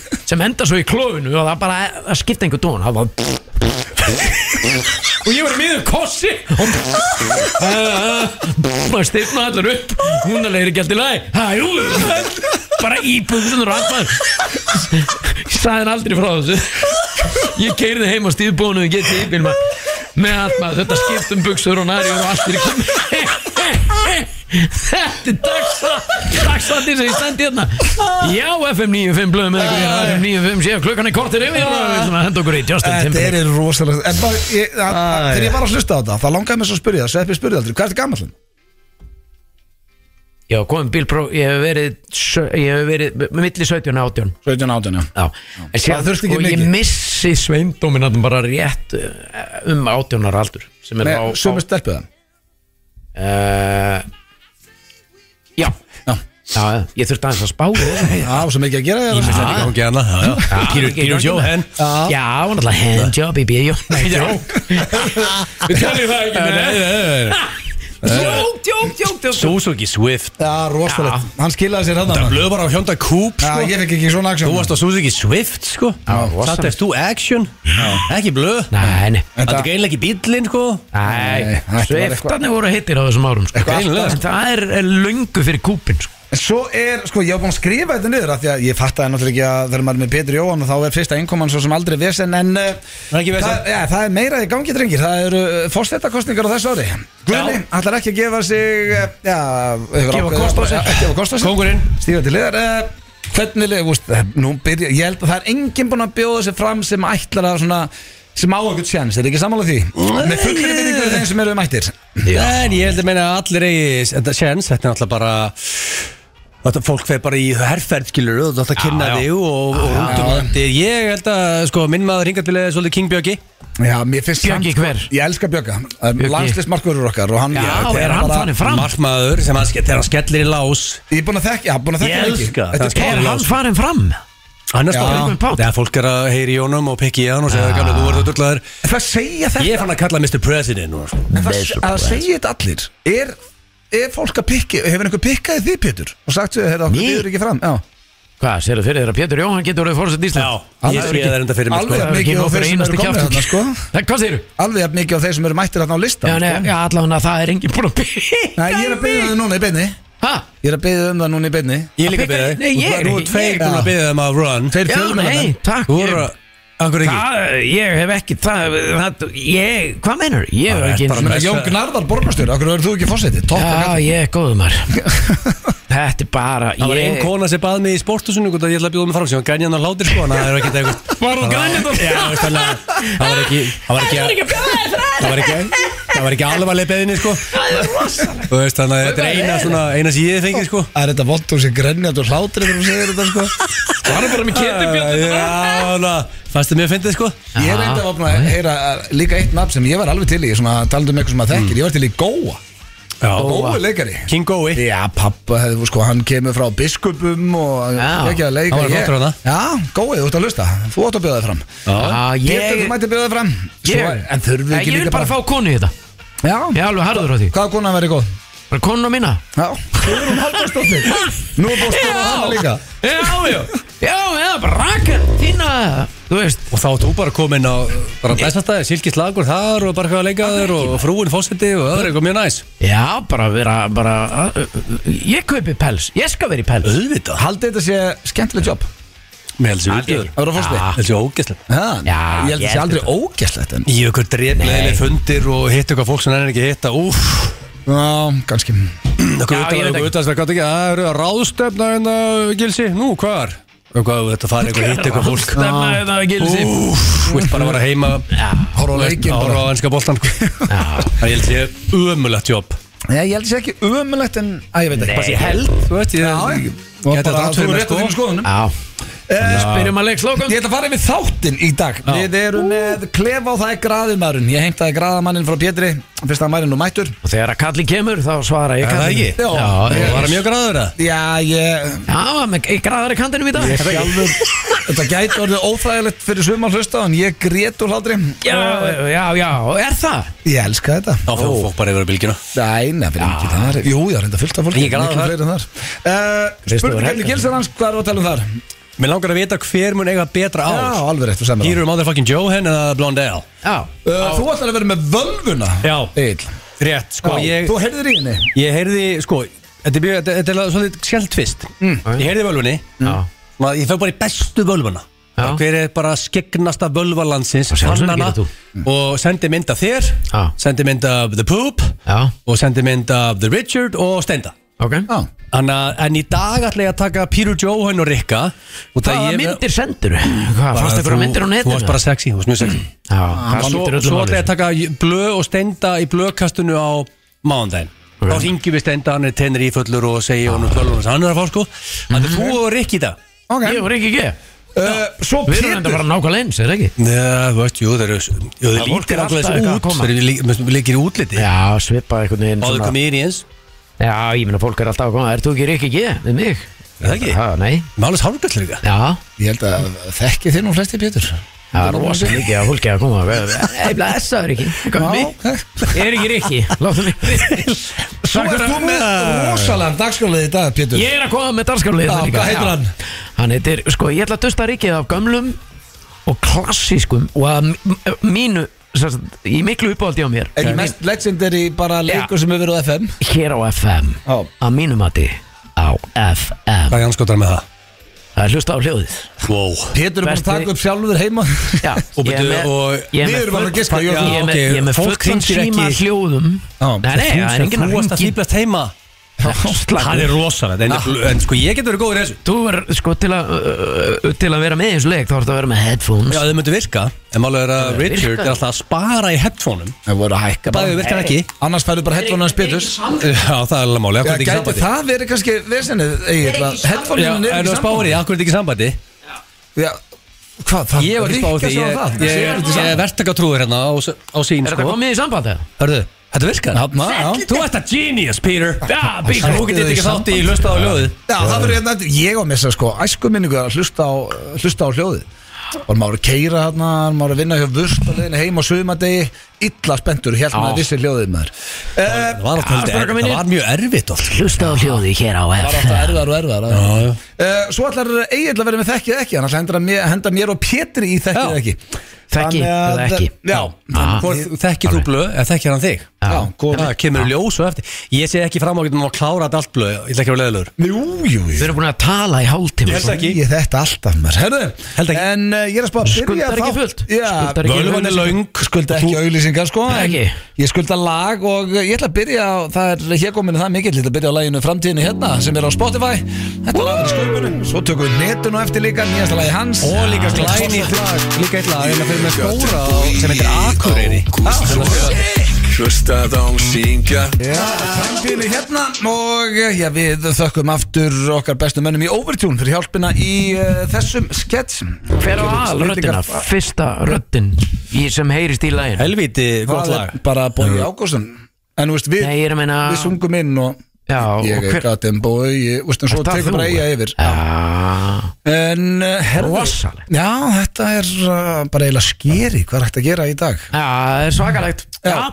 Speaker 3: Sem enda svo í klófinu og það bara, það skipta einhver dón Það var Og ég var í miður kossi Og Maður styrna allar upp Hún alveg er ekki allt í lagi Hæ, jú bara í buksunar og allan Ég sagði hann aldrei frá þessu Ég keirði heim á stíðbónu og getið í bílma með allt maður þetta skipt um buksur og næri og allt er ekki Þetta er dagsa dagsatir sem ég sendi hérna Já, FM 95 blöðum með ykkur hérna, FM 95 séu klukkan er kortir yfir og við ætlum að henda okkur í Justin
Speaker 1: Þetta er
Speaker 3: Timberlake
Speaker 1: rosalega En bara, ég, að, að,
Speaker 3: Æ,
Speaker 1: þegar
Speaker 3: já.
Speaker 1: ég var að hlusta á þetta, þá langaði mér svo að spyrja það Sveppi spurði aldrei, hvað er þetta gammal?
Speaker 3: Já, komum bílpró, ég hef verið sjö- ég hef verið milli 17 og 18
Speaker 1: 17, 18, já
Speaker 3: Já, en
Speaker 1: Það
Speaker 3: síðan,
Speaker 1: þurfti ekki
Speaker 3: og ég
Speaker 1: mikið.
Speaker 3: missi sveindóminanum bara rétt eh, um 18 ára aldur sem er á,
Speaker 1: Með
Speaker 3: á
Speaker 1: sömu stelpu það
Speaker 3: uh, já.
Speaker 1: Já.
Speaker 3: já, ég þurfti aðeins að spá í það.
Speaker 1: Já, og sem ekki að gera
Speaker 2: Það
Speaker 1: þér
Speaker 2: er ekki gangi annað, já, já. Pínu-
Speaker 3: ekki
Speaker 2: Pínu
Speaker 3: gangi
Speaker 2: Jóhann
Speaker 3: Já, það var náttúrulega handjob í bíó Nei, jók Við teljum það ekki með
Speaker 1: Eh.
Speaker 3: Jók, jók, jók, jók
Speaker 2: Suzuki Swift
Speaker 1: Já, rosalegt, hann skilaði sér hann
Speaker 2: Það blöð bara á Hyundai Coupe
Speaker 1: Já,
Speaker 2: sko.
Speaker 1: ég fekk ekki svona aksjón
Speaker 2: Þú varst á Suzuki Swift sko
Speaker 3: rosalegt.
Speaker 2: Satt eftir þú action Ekki blöð
Speaker 3: Nei, nei
Speaker 2: Það er greinlega ekki bíllinn sko
Speaker 1: Nei,
Speaker 3: Nei,
Speaker 1: þetta var
Speaker 3: sveftarnir voru hittir á þessum árum sko.
Speaker 1: Eitthvað
Speaker 2: allt
Speaker 3: En Það er er löngu fyrir kúpin sko.
Speaker 1: En svo er, sko, ég var búin að skrifa þetta niður af Því að ég fattaði náttúrulega ekki að þegar maður er með Petri Jóhann og Þá er fyrsta einkoman svo sem aldrei vesen En eh,
Speaker 2: Það er ekki vesen.
Speaker 1: það, ja, það er meira í gangi, drengir Það eru uh, fórstetakostningar á þessu ári Guðni, ætlar ekki að gefa sig eh, Já,
Speaker 3: Gefa kost á sig.
Speaker 1: Gefa kost á sig
Speaker 2: Kóngurinn.
Speaker 1: Stífa til liðar eh, Hvernig liður, úst, nú byrja Ég held að það er enginn búin að bjóða sig fram sem ætlar að svona sem á ekkert sjans, er ekki sammála því? Með fullri vinningu við þeim sem eru mættir
Speaker 2: En ég held að meina að allir eigi Þetta séns, þetta er náttúrulega bara Þetta fólk fer bara í herrferð skilur og þetta kynna
Speaker 3: já.
Speaker 2: þig og, og rúndum landi Ég held að sko, minn maður hingað til eða svolítið King Björki
Speaker 1: Já, mér finnst samt-
Speaker 3: Björgi
Speaker 1: sko,
Speaker 3: hver?
Speaker 1: Ég elska Björga,
Speaker 3: Björgi.
Speaker 1: landslismarkurur okkar og hann,
Speaker 3: Já,
Speaker 1: þetta
Speaker 3: er hann
Speaker 1: bara-
Speaker 3: farin fram?
Speaker 2: Markmaður sem að, þegar hann skellir í lás
Speaker 1: Ég er búin að þekka, já, búin að þekka
Speaker 2: Ég
Speaker 1: hann ekki
Speaker 2: elska
Speaker 1: Þetta
Speaker 2: það.
Speaker 1: er sko-
Speaker 3: Er
Speaker 1: tónlá
Speaker 3: hann farin fram?
Speaker 2: Hann er
Speaker 1: Já.
Speaker 2: stofnir
Speaker 3: Ringum Páll.
Speaker 2: Þegar fólk er að heyri í honum og pikki í hann og segja gamlega þú voru dörlaður
Speaker 1: Það segja þetta,
Speaker 2: Ég er fann að kalla Mr. President núna sko.
Speaker 1: en það, það segja þetta allir Er, er fólk að pikki, hefur einhver pikkaði þið Pétur? Og sagt þau, heyrðu, okkur
Speaker 3: Mig?
Speaker 1: býður ekki fram Já,
Speaker 3: Hvað, sér fyrir þér að Pétur Jóhann getur orðið fórsett
Speaker 2: Já,
Speaker 3: Ísland?
Speaker 2: ég sé það enda fyrir mig
Speaker 1: alveg
Speaker 2: sko.
Speaker 1: að
Speaker 3: Það er ekki
Speaker 1: mikið á
Speaker 3: nóg
Speaker 1: þeir
Speaker 3: fyrir
Speaker 1: sem
Speaker 3: einasta
Speaker 1: eru komið
Speaker 3: kjafti.
Speaker 1: þarna sko
Speaker 3: Það, hvað segir þú?
Speaker 1: Alveg að mikið á þeir sem eru mættir þarna á
Speaker 3: Já,
Speaker 1: listan
Speaker 3: nei,
Speaker 1: sko.
Speaker 3: já, allavega það er enginn búin að byggja
Speaker 1: Nei, ég er að byrja það núna í beinni
Speaker 3: Hæ?
Speaker 1: Ég er að byrja um það núna í beinni
Speaker 2: Ég er líka
Speaker 3: Að pikka-
Speaker 2: beðið
Speaker 3: Nei, ég er
Speaker 2: Nú
Speaker 3: ekki-
Speaker 2: er tveir
Speaker 3: ég-
Speaker 2: búin að beðið um að run
Speaker 1: Þeir
Speaker 3: Já, nei,
Speaker 1: fjölmjölamenn
Speaker 3: takk
Speaker 2: Þú
Speaker 3: ég-
Speaker 2: voru að Akkur ekki
Speaker 3: Það, ég hef ekki það, það, ég, hvað meinar? Ég hef
Speaker 2: Það er
Speaker 3: ekki
Speaker 2: bara
Speaker 3: einu sinni-
Speaker 2: með-
Speaker 1: Jón Gnarðar borgarstjóri, okkur verður þú ekki fórsetið Topp og
Speaker 3: Já,
Speaker 1: gæti.
Speaker 3: ég er góður maður Þetta er bara
Speaker 2: Það var ein
Speaker 3: ég-
Speaker 2: kona sem baði mig í sportusunum og ég ætla að bjóða mig fram sem var grænjan á hlátir sko en það er ekki eitthvað
Speaker 3: Var hún grenjandi á hlátur?
Speaker 2: Já, veist alveg, það var ekki Það var
Speaker 3: Það er
Speaker 2: ekki
Speaker 3: ekki að bjóða þér fram.
Speaker 2: Það var ekki Það var ekki alvarleg beðinni sko
Speaker 3: Það er rosalega
Speaker 2: Þú veist þannig að þetta er eina svona eina sem ég fengi sko
Speaker 1: Það er þetta vond og sér grennjandi og hlátri þegar þú segir þetta sko
Speaker 3: Það er bara með ketubjörn
Speaker 2: Já, na, fannstu mér að fyndið sko
Speaker 1: Ég reyndi að opna að heyra uh, líka eitt nafn sem ég var alveg til í svona talandum um eitthvað sem maður
Speaker 3: Mm.
Speaker 1: þekkir, ég var til í Góa Góa er leikari
Speaker 2: King Gói
Speaker 1: Já, pappa, hefði, sko, hann kemur frá biskupum og
Speaker 3: Já.
Speaker 1: ekki að leika
Speaker 2: Hann var
Speaker 1: Ég-
Speaker 2: flottur á það.
Speaker 1: Já, Gói, þú ert að hlusta, þú átt að bjóða þig fram
Speaker 3: Já,
Speaker 1: Pétur, þú
Speaker 3: ég
Speaker 1: mætti bjóða þig fram Svo
Speaker 3: Ég-
Speaker 1: er- En þurfum við
Speaker 3: Nei,
Speaker 1: ekki
Speaker 3: Ég vil
Speaker 1: líka
Speaker 3: bara fá konu í þetta
Speaker 1: Já,
Speaker 3: Ég er alveg harður á því
Speaker 1: hvaða konan verið góð?
Speaker 3: Bara konu á minna
Speaker 1: Já, Guðrún Halldórsdóttir Nú er búin að stóra hana líka
Speaker 3: Já, já Já, eða bara rakar Þína Þú veist
Speaker 2: Og þá ert þú bara komin á bara bestastæði, silkislagur þar og bara hvað að leika þér og frúin fósetti og öðru eitthvað mjög næs
Speaker 3: Já, bara vera bara, uh, Ég kaupi pels Ég skal vera í pels
Speaker 2: Auðvitað
Speaker 1: Haldið þetta sé skemmtileg jobb
Speaker 2: Með Ah. helsi
Speaker 3: Algjör.
Speaker 2: auðvitað
Speaker 1: að vera fórstið
Speaker 2: Helsi ógæslega
Speaker 1: Já, ég held að
Speaker 3: ég
Speaker 1: það sé
Speaker 3: held
Speaker 1: aldrei ógæslegt en
Speaker 2: Í okkur dreflegileg fundir og hitt eitthvað fólk sem hann er ekki að hitta Úf,
Speaker 1: Já, kannski
Speaker 2: okkur
Speaker 3: Já,
Speaker 2: utan, okkur
Speaker 3: ég veit ekki.
Speaker 2: utan sem gæti ekki Það eru að ráðstefna en að gilsi Nú, hvar? Hvað, þetta farið eitthvað hitt eitthvað fólk Ah.
Speaker 3: Stemma þetta að gilsi
Speaker 2: Úf, vilt bara vera heima
Speaker 1: Horfa á leikinn
Speaker 2: bara Horfa
Speaker 1: bara.
Speaker 2: á ennska boltan Það ég held ég umulagt jobb
Speaker 1: Já, ég held að það sé ekki ömulegt en Æ, ég veit ekki
Speaker 3: Nei.
Speaker 1: Bara sé-
Speaker 2: held, þú veist, ég
Speaker 1: Já,
Speaker 2: gæti
Speaker 1: ég- Og
Speaker 2: þetta
Speaker 1: bara-
Speaker 2: rátt fyrir
Speaker 1: þú
Speaker 2: mér
Speaker 1: rétt á þínum
Speaker 2: sko
Speaker 1: skoðunum.
Speaker 3: Já
Speaker 1: Eh,
Speaker 3: Byrjum að leik slókan
Speaker 1: Ég ætla að fara yfir þáttinn í dag Við erum með klefa og það er graðumæðurinn Ég heimtaði graðamanninn frá Pétri Fyrst að hann væri nú mættur
Speaker 3: Og þegar að kallin kemur þá svara ég
Speaker 2: Er það
Speaker 3: kallinu
Speaker 2: ekki?
Speaker 1: Já.
Speaker 2: Þú var
Speaker 3: Já,
Speaker 2: að mjög gráður að
Speaker 1: Já, ég,
Speaker 3: Já, með graðar í kantinum í dag
Speaker 1: ég sjálfur Þetta gæti orðið óþægilegt fyrir sumar hlusta En ég grét úr hlátri
Speaker 3: Já, já, já, er það?
Speaker 1: Ég elska þetta
Speaker 2: Þá fyrir fólk bara yfir að bylgina
Speaker 1: Nei, nefnir ekki þar Jú, ég reynda fullt af fólki
Speaker 2: Ég er glaður
Speaker 1: miklu
Speaker 2: þar.
Speaker 1: fleiri en þar. Eh,
Speaker 3: Veistu,
Speaker 1: Spurning
Speaker 3: það er
Speaker 1: hvernig
Speaker 3: helgar.
Speaker 1: gilsar hans Hvað er að tala um þar?
Speaker 2: Mér langar að vita hver mun eiga betra
Speaker 1: Já,
Speaker 2: ár
Speaker 1: alveg rétt, þú semur
Speaker 2: Hýru um motherfucking Johan eða Blondell
Speaker 3: Já
Speaker 1: Uh, þú ætlar að vera með völvuna
Speaker 2: Já.
Speaker 1: Egill.
Speaker 2: Rétt, sko,
Speaker 1: Já,
Speaker 2: ég,
Speaker 1: Þú heyrðir í henni
Speaker 2: ég heyrði, sko Þetta er mjög, þetta- þetta er svolítið skemmt tvist
Speaker 3: Mm.
Speaker 2: Ég heyrði völvunni
Speaker 3: Já.
Speaker 2: maður- Ég fæ bara í bestu völvuna
Speaker 3: Já.
Speaker 2: Bara Hver er bara skegnasta völvalandsins
Speaker 3: Það sjálfsögðu
Speaker 2: hannana,
Speaker 3: gerir þú.
Speaker 2: Og sendi mynd af þér
Speaker 3: Já.
Speaker 2: Sendi mynd af The Poop
Speaker 3: Já.
Speaker 2: Og sendi mynd af The Richard og Stenda
Speaker 3: Ok
Speaker 1: Já,
Speaker 2: Anna, En í dag ætla ég að taka Peter Joe hann og Rikka og það
Speaker 3: Hvaða
Speaker 2: ég-
Speaker 3: myndir sendur? Hvað, fannst
Speaker 2: Bara
Speaker 3: ykkur
Speaker 2: þú-
Speaker 3: myndir á
Speaker 2: Þú
Speaker 3: netinu?
Speaker 2: varst bara Ah, sexy, þú varst mjög sexy
Speaker 3: Já,
Speaker 2: Svo,
Speaker 3: það skiptir öllu
Speaker 2: svo ætla
Speaker 3: máli sko.
Speaker 2: ég að taka blöð og stenda í blöðkastinu á mánudaginn
Speaker 3: Ok.
Speaker 2: Þá ringjum við stenda, hann er tenur ífullur og segja honum tölunum sem hann er að fá sko Þannig þú og Rikki í dag
Speaker 1: ok
Speaker 3: Ég voru ekki ekki
Speaker 1: uh, Svo
Speaker 3: Við erum enda
Speaker 1: Pétur
Speaker 3: bara nákvæmlega eins, er það ekki?
Speaker 2: Já, þú veist, jú, það eru Jú, það
Speaker 3: Það
Speaker 2: lítir
Speaker 3: fólk er
Speaker 2: alltaf
Speaker 3: alltaf eitthvað að
Speaker 2: út
Speaker 3: koma.
Speaker 2: Það eru lí- við líkir í útliti
Speaker 3: Já, svipað einhvern veginn
Speaker 2: Áður
Speaker 3: svona-
Speaker 2: komið inn í eins
Speaker 3: Já, ég meina fólk er alltaf að koma Er þú ekki Rikki G? Við mig?
Speaker 2: Er það ekki?
Speaker 3: Já, nei
Speaker 2: Málus hálfgöld líka
Speaker 3: Já,
Speaker 1: Ég held að þekki þið nú flesti Pétur
Speaker 3: það er rosa mikið að fólki að koma Ég bleið þess að Rikki
Speaker 1: Já,
Speaker 3: Hvað, mig?
Speaker 1: ok.
Speaker 3: Ég er ekki Rikki Láttu mig
Speaker 1: Svo
Speaker 3: Svo
Speaker 1: ert þú með rosalega dagskalið í dag Pétur
Speaker 3: Ég er að koma með danskarlið
Speaker 1: Já, hvað heitir hann?
Speaker 3: Hann heitir, sko, ég ætla að dusta rikið af gömlum og klassískum og að m- m- mínu, sem sagt, í miklu uppáhaldi á mér
Speaker 1: Ekki mest legendary bara leikur sem hefur verið á FM
Speaker 3: Hér á FM
Speaker 1: Já.
Speaker 3: Að mínu mati á FM
Speaker 2: Hvað er anskotar með það?
Speaker 3: Það er hlusta á hljóðið
Speaker 2: Wow
Speaker 1: Pétur er bara að
Speaker 3: Besti-
Speaker 1: taka upp sjálfur heima
Speaker 3: Já,
Speaker 2: Og
Speaker 3: ég er
Speaker 2: byrju,
Speaker 3: með-
Speaker 2: og-
Speaker 3: ég er
Speaker 1: Við
Speaker 3: með
Speaker 1: erum alveg að
Speaker 3: full-
Speaker 1: giska, já,
Speaker 3: Ég er með-
Speaker 2: ok,
Speaker 3: ég er með
Speaker 2: fólk
Speaker 3: fullan
Speaker 2: hringir ekki-
Speaker 3: síma
Speaker 1: Já,
Speaker 3: hljóðum Nei, nei, það er enginn að
Speaker 2: Þú varst að
Speaker 3: ringi
Speaker 2: fýblast heima Hann er rosalega En, en sko, ég getur verið góður í þessu
Speaker 3: Þú er, sko, til að uh, til að vera með í þessu leik þá ertu að vera með headphones
Speaker 2: Já, þau myndu virka En málega er að Richard er alltaf að spara í headphoneum
Speaker 1: Það voru að hækka
Speaker 2: Bæði virkar ekki
Speaker 1: Annars færðu bara headphone hans Pétur
Speaker 2: Já, það er alveg máli
Speaker 1: Já,
Speaker 2: Akkur er ekki
Speaker 1: gæti
Speaker 2: í sambandi
Speaker 1: það verið kannski vesenið
Speaker 2: Já,
Speaker 1: Headphone-in
Speaker 2: en
Speaker 1: er
Speaker 2: þú
Speaker 1: ekki
Speaker 2: spáir í, akkur er þetta ekki í sambandi
Speaker 1: Já, Hvað, það
Speaker 2: Ég var ekki spáð því
Speaker 1: Rikka sá
Speaker 2: Ég,
Speaker 1: það.
Speaker 2: ég, ég, ég verðtaka trúður hérna á, s- á sín
Speaker 3: Er
Speaker 2: sko.
Speaker 3: þetta komið í samband eða?
Speaker 2: Hörðu, þetta virkar
Speaker 1: Þarna, já.
Speaker 2: Þú ert að genius, Peter
Speaker 3: Já,
Speaker 2: Bíkar, þú getur ekki þátt í hlusta á ljóðið
Speaker 1: Já, það verður hérna eftir Ég var með þess að sko æsku minningu að hlusta á, hlusta á hljóði Og maður að keira hérna, maður að vinna hjá vurst og leiðinu heim á sumadegi Illa spendur, hérna maður vissi hljóðið maður Eh,
Speaker 2: Það var alltaf
Speaker 3: Já,
Speaker 2: heldur erfitt,
Speaker 3: strákar mínir.
Speaker 2: Það var mjög erfitt oft
Speaker 3: Hlusta á hljóði hér á
Speaker 1: Það var
Speaker 3: F
Speaker 1: alltaf erðar og erðar
Speaker 2: Já, já.
Speaker 1: uh, Svo ætlar Egil að vera með þekkið ekki Hann ætlar að henda mér, henda mér og Pétri í þekkið
Speaker 2: Já.
Speaker 1: ekki
Speaker 3: Þekki
Speaker 1: Þannig að-
Speaker 3: eða ekki?
Speaker 1: Já,
Speaker 3: Ah.
Speaker 2: Hvor- Þekkir þú blöð, eða þekkir hann þig?
Speaker 1: já, góð
Speaker 2: Það kemur í ljós og eftir Ég sé ekki fram á að geta að klára þetta allt blöð Ég ætla ekki að vera leðilegur
Speaker 1: Jú, jú, jú
Speaker 3: Við erum búin að tala í hálftíma sko.
Speaker 2: Held ekki.
Speaker 1: Ég þetta alltaf maður Herðu,
Speaker 2: Held ekki.
Speaker 1: en uh, ég er að spá að byrja
Speaker 3: Skuldar ekki
Speaker 1: þátt-
Speaker 3: fullt?
Speaker 1: Já,
Speaker 3: Skuldar ekki
Speaker 2: Völvan er
Speaker 3: auglýsingar?
Speaker 2: laung
Speaker 1: skulda ekki auðlýsingar sko
Speaker 3: Nei,
Speaker 1: en
Speaker 3: ekki.
Speaker 1: Ég skulda lag og ég ætla að byrja á, Það er hér kominu það mikill Ég ætla að byrja á laginu Framtíðinu hérna sem er á Spotify Þetta lag er í sköpunum Svo tökum við netun og eftir líka Nýjasta lagi hans
Speaker 2: Og líka glænýtt lag Líka eitt lag En það fyrir með stóra á- sem heitir Akureyri
Speaker 4: Hlustað á syngja
Speaker 1: Já, Framtíðinu hérna Og eh, já, við þökkum aftur okkar bestu mönnum í Overtune Fyrir hjálpina í uh, þessum skets
Speaker 3: Hver á alröddina? Fyrsta röddin Í sem heyrist í lægin
Speaker 2: Helvíti gott
Speaker 1: Hvað
Speaker 2: lag
Speaker 1: er bara Bói Ágústsson En þú veist við
Speaker 3: Nei, ég er að meina
Speaker 1: við sungum inn og
Speaker 3: Ah. Já,
Speaker 1: ég
Speaker 3: og
Speaker 1: er
Speaker 3: hver-
Speaker 1: gæti en bói og svo
Speaker 3: Ert það
Speaker 1: tekur
Speaker 3: þú?
Speaker 1: bara eiga yfir
Speaker 3: Já
Speaker 1: en uh, herðu
Speaker 3: Rosalegt.
Speaker 1: já, þetta er uh, bara eiginlega skeri hvað er hægt að gera í dag
Speaker 3: Já, það er svakalegt Já